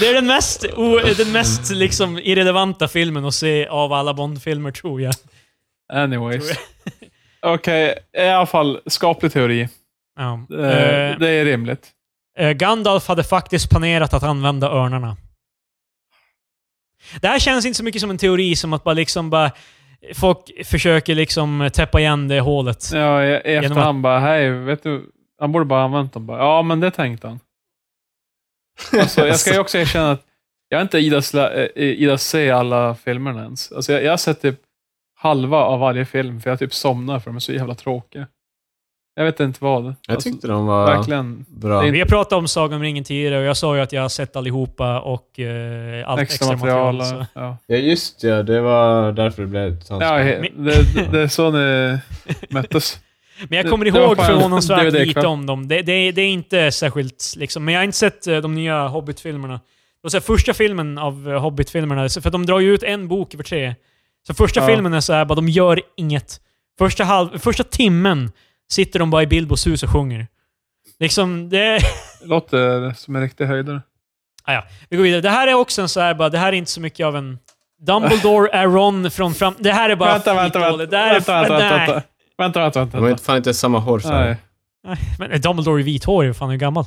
[SPEAKER 1] Det är den mest, o, den mest liksom irrelevanta filmen att se av alla Bond-filmer, tror jag.
[SPEAKER 3] Anyways. Okej, i alla fall. Skaplig teori.
[SPEAKER 1] Ja.
[SPEAKER 3] Eh,
[SPEAKER 1] Eh,
[SPEAKER 3] det är rimligt.
[SPEAKER 1] eh, Gandalf hade faktiskt planerat att använda örnarna. Det här känns inte så mycket som en teori som att bara liksom bara... Folk försöker liksom täppa igen det hålet.
[SPEAKER 3] Ja, i, i
[SPEAKER 1] Genom
[SPEAKER 3] efterhand bara, hej, vet du, han borde bara använt dem. Bara, ja, men det tänkte han. Alltså, jag ska ju också erkänna att jag har inte idas, lä- eh, idas se alla filmerna ens. Alltså, jag, jag har sett typ halva av varje film, för jag typ somnar för de är så jävla tråkiga. Jag vet inte vad.
[SPEAKER 2] Jag
[SPEAKER 3] Alltså,
[SPEAKER 2] tyckte de var
[SPEAKER 3] Verkligen.
[SPEAKER 2] bra.
[SPEAKER 3] Det är
[SPEAKER 1] Vi har pratat om Sagan om ringen tidigare och jag sa ju att jag har sett allihopa och eh, allt
[SPEAKER 3] Extra
[SPEAKER 1] extra material.
[SPEAKER 3] material.
[SPEAKER 1] så.
[SPEAKER 3] och- Ja.
[SPEAKER 2] Ja, just ja. Det var därför det blev ett sånt.
[SPEAKER 3] Ja, he-
[SPEAKER 1] Men-
[SPEAKER 3] det, det är så ni möttes.
[SPEAKER 1] Men jag
[SPEAKER 3] Det-
[SPEAKER 1] kommer
[SPEAKER 3] det var
[SPEAKER 1] ihåg
[SPEAKER 3] fan
[SPEAKER 1] förvånansvärt
[SPEAKER 3] DVD-kväll.
[SPEAKER 1] lite om dem. Det, det, det är inte särskilt... Liksom, men jag har inte sett eh, de nya Hobbit-filmerna. Det var så här, första filmen av eh, Hobbit-filmerna, så- för att de drar ju ut en bok över tre. Så första
[SPEAKER 3] Ja.
[SPEAKER 1] filmen är så här, bara, de gör inget. Första, halv, första timmen sitter de bara i Bilbos hus och sjunger. Liksom, det...
[SPEAKER 3] Låter som en riktig höjdare.
[SPEAKER 1] Vi går vidare. Det här är också en så här, bara, det här är inte så mycket av en... Dumbledore är Ron från fram... Det här är bara
[SPEAKER 3] Vänta, vänta, vänta.
[SPEAKER 1] skitdåligt. Det här är-
[SPEAKER 3] Vänta, vänta,
[SPEAKER 1] nej.
[SPEAKER 3] vänta. Vänta, vänta, vänta.
[SPEAKER 2] De har inte- fan inte samma hårfärg.
[SPEAKER 3] Nej.
[SPEAKER 1] Men Dumbledore är vithårig, hur fan är gammal?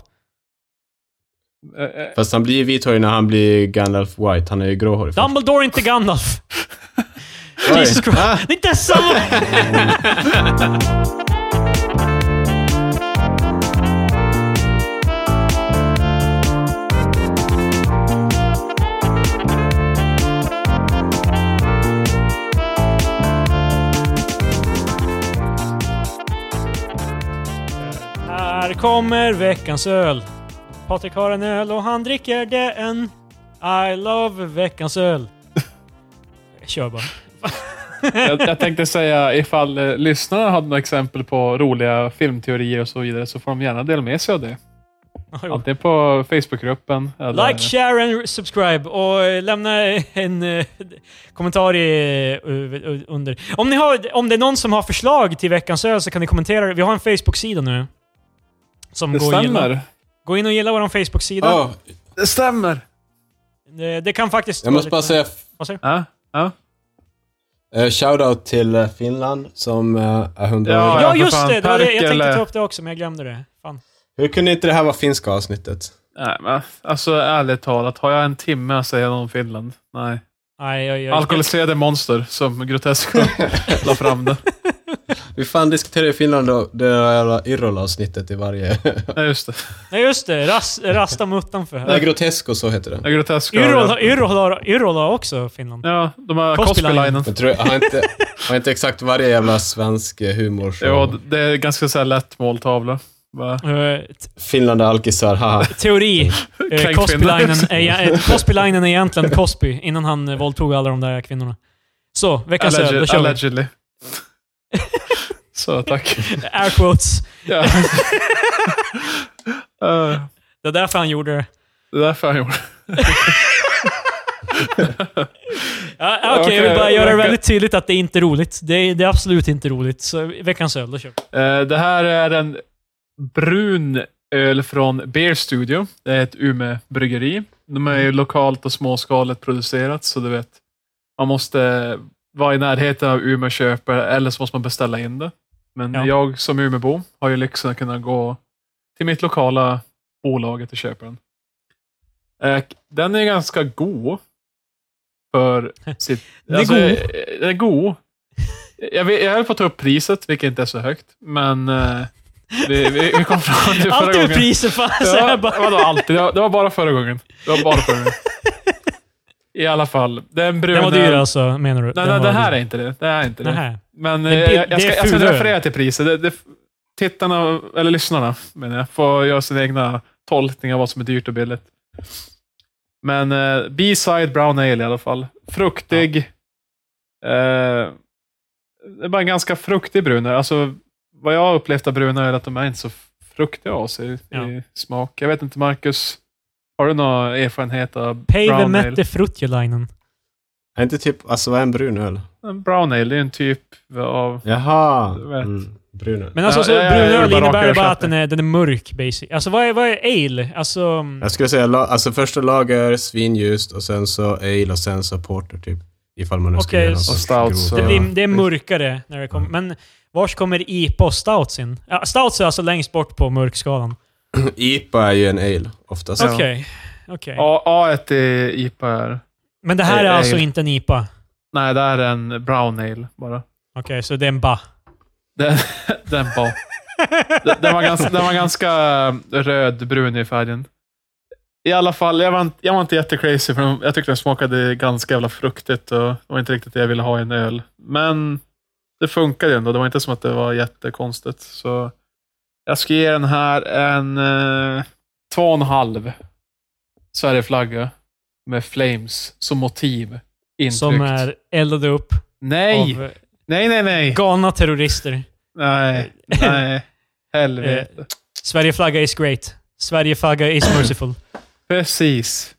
[SPEAKER 3] Eh, eh,
[SPEAKER 2] Fast han blir vithårig när han blir Gandalf White. Han är ju gråhårig. först.
[SPEAKER 1] Dumbledore är inte Gandalf!
[SPEAKER 2] Oj.
[SPEAKER 1] Jesus Christ.
[SPEAKER 2] Ah,
[SPEAKER 1] Det är inte ens samma! Här kommer veckans öl. Patrik har en öl och han dricker den. I love veckans öl. Kör bara.
[SPEAKER 3] jag, jag tänkte säga ifall eh, lyssnarna hade några exempel på roliga filmteorier och så vidare så får de gärna dela med sig av det. Antingen på Facebookgruppen eller...
[SPEAKER 1] Like, share and subscribe och eh, lämna en eh, kommentar i, eh, under. Om, ni har, om det är någon som har förslag till veckans öl så kan ni kommentera det. Vi har en Facebook-sida nu. Som
[SPEAKER 3] det
[SPEAKER 1] går
[SPEAKER 3] stämmer.
[SPEAKER 1] In, gå in och gilla vår Facebook-sida.
[SPEAKER 2] ah,
[SPEAKER 3] Det stämmer!
[SPEAKER 1] Det, det kan faktiskt...
[SPEAKER 2] jag
[SPEAKER 1] vara
[SPEAKER 2] måste bara
[SPEAKER 1] lite-
[SPEAKER 2] säga
[SPEAKER 1] Vad säger du?
[SPEAKER 3] Ja, ja.
[SPEAKER 2] eh, shoutout till eh, Finland som eh, är hundra år ja.
[SPEAKER 3] Ja,
[SPEAKER 1] Ja,
[SPEAKER 3] för
[SPEAKER 1] just
[SPEAKER 3] fan.
[SPEAKER 1] det! det var det. Jag tänkte
[SPEAKER 3] Perkele.
[SPEAKER 1] ta upp det också, men jag glömde det. Fan.
[SPEAKER 2] Hur kunde inte det här vara finska avsnittet?
[SPEAKER 3] Nej, men, alltså ärligt talat, har jag en timme att säga något om Finland? Nej.
[SPEAKER 1] Nej, jag, jag,
[SPEAKER 3] Alkoholiserade monster, som Grotesco la fram det.
[SPEAKER 2] Vi fan diskuterade ju Finland och det där jävla Irrol-avsnittet i varje...
[SPEAKER 3] Ja, just det.
[SPEAKER 1] Nej, just det. Ras, rasta muttan för
[SPEAKER 2] Nej,
[SPEAKER 1] här.
[SPEAKER 2] Grotesco, så heter det.
[SPEAKER 3] Ja, Grotesco.
[SPEAKER 1] Yrrol har- Yrrol har- Yrrol har också Finland.
[SPEAKER 3] Ja, de här
[SPEAKER 1] Cosby Line.
[SPEAKER 3] Cosby-linen.
[SPEAKER 2] Men tror jag, har inte, har inte exakt varje jävla svensk eh, humorshow.
[SPEAKER 3] Ja, det är ganska så här lätt måltavla. Va?
[SPEAKER 1] Eh, t-
[SPEAKER 2] Finland är alkisar, haha.
[SPEAKER 1] teori. Eh,
[SPEAKER 3] Kan
[SPEAKER 1] Cosby-linen
[SPEAKER 3] kvinnor-
[SPEAKER 1] är, eh, Cosby-linen är egentligen Cosby, innan han eh, våldtog alla de där kvinnorna. Så, veckans öl. Då
[SPEAKER 3] Alleged,
[SPEAKER 1] kör vi.
[SPEAKER 3] allegedly. Så, tack.
[SPEAKER 1] Air quotes.
[SPEAKER 3] Ja. Eh,
[SPEAKER 1] Det är därför han gjorde det.
[SPEAKER 3] det är därför han gjorde
[SPEAKER 1] Ja, ah, Okej, jag vill
[SPEAKER 3] Okej,
[SPEAKER 1] bara göra det
[SPEAKER 3] verkar-
[SPEAKER 1] väldigt tydligt att det är inte roligt. Det är, det är absolut inte roligt. Så veckans öl, då kör vi.
[SPEAKER 3] Eh, Det här är en brun öl från Beer Studio. Det är ett Umeå-bryggeri. De är ju
[SPEAKER 1] Mm.
[SPEAKER 3] lokalt och småskaligt producerat, så du vet. Man måste vara i närheten av Umeå och köpa, eller så måste man beställa in det. Men
[SPEAKER 1] Ja.
[SPEAKER 3] jag som Umeåbo har ju lyxen att kunna gå till mitt lokala bolaget och köpa den. Eh, Den är ganska god. För sitt...
[SPEAKER 1] Den är
[SPEAKER 3] eh, Den är god. Jag, vet, jag höll på att ta upp priset, vilket inte är så högt, men eh, vi, vi, vi kom fram till förra
[SPEAKER 1] Alltid
[SPEAKER 3] gången.
[SPEAKER 1] med priser, fan. Så
[SPEAKER 3] Ja,
[SPEAKER 1] här bara.
[SPEAKER 3] vadå alltid? Det var, det var bara förra gången. Det var bara förra gången. I alla fall. Den bruna...
[SPEAKER 1] Den var dyr alltså, menar du?
[SPEAKER 3] Nej, nej, det här är inte det. Det här är inte det.
[SPEAKER 1] Nähä.
[SPEAKER 3] Men eh,
[SPEAKER 1] Det-
[SPEAKER 3] jag,
[SPEAKER 1] det
[SPEAKER 3] jag, ska,
[SPEAKER 1] är
[SPEAKER 3] jag ska
[SPEAKER 1] fulöl.
[SPEAKER 3] referera till priset. Det, det, tittarna, eller lyssnarna, menar jag, får göra sina egna tolkningar av vad som är dyrt och billigt. Men eh, B-side brown ale i alla fall. Fruktig. Eh, det är bara en ganska fruktig brunare. Alltså, vad jag har upplevt av brunare är att de är inte så fruktiga av sig i
[SPEAKER 1] Ja.
[SPEAKER 3] smak. Jag vet inte, Marcus. Har du någon erfarenhet av
[SPEAKER 1] Pave
[SPEAKER 3] brown ale?
[SPEAKER 1] Mette Fruttjelainen.
[SPEAKER 2] Är inte typ, alltså vad är en brun öl?
[SPEAKER 3] En brown ale, det är en typ av...
[SPEAKER 2] Jaha.
[SPEAKER 3] Jag vet.
[SPEAKER 2] Mm, brun öl.
[SPEAKER 1] Men alltså,
[SPEAKER 3] Ja,
[SPEAKER 1] så
[SPEAKER 3] ja, ja, jag
[SPEAKER 1] brunöl
[SPEAKER 3] gjorde bara
[SPEAKER 1] innebär
[SPEAKER 3] raka
[SPEAKER 1] ju bara att
[SPEAKER 3] översättning.
[SPEAKER 1] den är, den är mörk, basic. Alltså vad är, vad är ale? Alltså...
[SPEAKER 2] Jag skulle säga, la- alltså första lager, svinljust och sen så ale och sen så porter typ. Ifall man nu ska
[SPEAKER 1] Okej,
[SPEAKER 2] göra någon
[SPEAKER 1] och
[SPEAKER 2] sorts
[SPEAKER 3] stout,
[SPEAKER 2] grov-
[SPEAKER 3] så-
[SPEAKER 1] Det, blir, det är
[SPEAKER 3] precis.
[SPEAKER 1] mörkare när det kommer. Men vars kommer IPA och stouts in? Ja, stouts är alltså längst bort på mörkskalan.
[SPEAKER 2] IPA är ju en ale oftast.
[SPEAKER 3] Ja.
[SPEAKER 1] Okej. okej.
[SPEAKER 3] A- A1 i IPA är...
[SPEAKER 1] Men det här är
[SPEAKER 3] Eh,
[SPEAKER 1] alltså
[SPEAKER 3] ale.
[SPEAKER 1] inte en IPA?
[SPEAKER 3] Nej, det här är en brown ale bara.
[SPEAKER 1] Okej, så det är en ba.
[SPEAKER 3] Den, den var... den- Den var, ganska, den var ganska rödbrun i färgen. I alla fall, jag var, inte- jag var inte jättecrazy för den- jag tyckte den smakade ganska jävla fruktigt och det var inte riktigt det jag ville ha i en öl. Men det funkade ändå. Det var inte som att det var jättekonstigt. Så jag ska ge den här en eh, två och en halv Sverigeflagga med Flames som motiv. Intryckt.
[SPEAKER 1] Som är eldade upp
[SPEAKER 3] Nej!
[SPEAKER 1] av eh,
[SPEAKER 3] Nej, nej, nej.
[SPEAKER 1] galna terrorister.
[SPEAKER 3] Nej, nej. Eh, Helvete.
[SPEAKER 1] Sverigeflagga is great. Sverigeflagga is merciful.
[SPEAKER 3] Precis.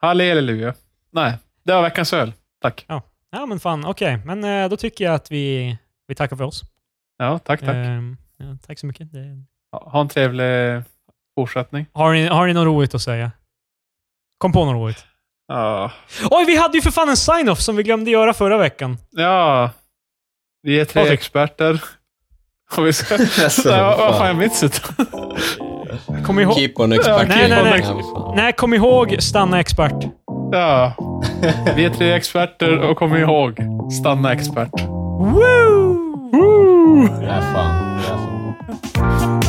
[SPEAKER 3] Halleluja. Nej, det var veckans öl. Tack.
[SPEAKER 1] Ja, men fan. Okej, men eh, då tycker jag att vi, vi tackar för oss.
[SPEAKER 3] Ja, tack, tack.
[SPEAKER 1] Ehm, ja, tack så mycket. Det...
[SPEAKER 3] Ha ha en trevlig fortsättning.
[SPEAKER 1] Har, ni, har ni något roligt att säga? Kom på något roligt.
[SPEAKER 3] Ja.
[SPEAKER 1] Oj, vi hade ju för fan en sign-off som vi glömde göra förra veckan.
[SPEAKER 3] ja. Vi är tre
[SPEAKER 1] Patrik.
[SPEAKER 3] experter. Och vi ska...
[SPEAKER 2] Alltså,
[SPEAKER 3] Nej, vad- Vad
[SPEAKER 2] fan.
[SPEAKER 3] fan är mitt sätt?
[SPEAKER 1] Kom ihåg...
[SPEAKER 2] Keep on expecting.
[SPEAKER 1] Nej, nej, nej.
[SPEAKER 2] Ja, fan.
[SPEAKER 1] Nej, kom ihåg stanna expert.
[SPEAKER 3] Ja. Vi är tre experter och kom ihåg, stanna expert.
[SPEAKER 1] Woo!
[SPEAKER 2] Ja, fan. Ja, fan.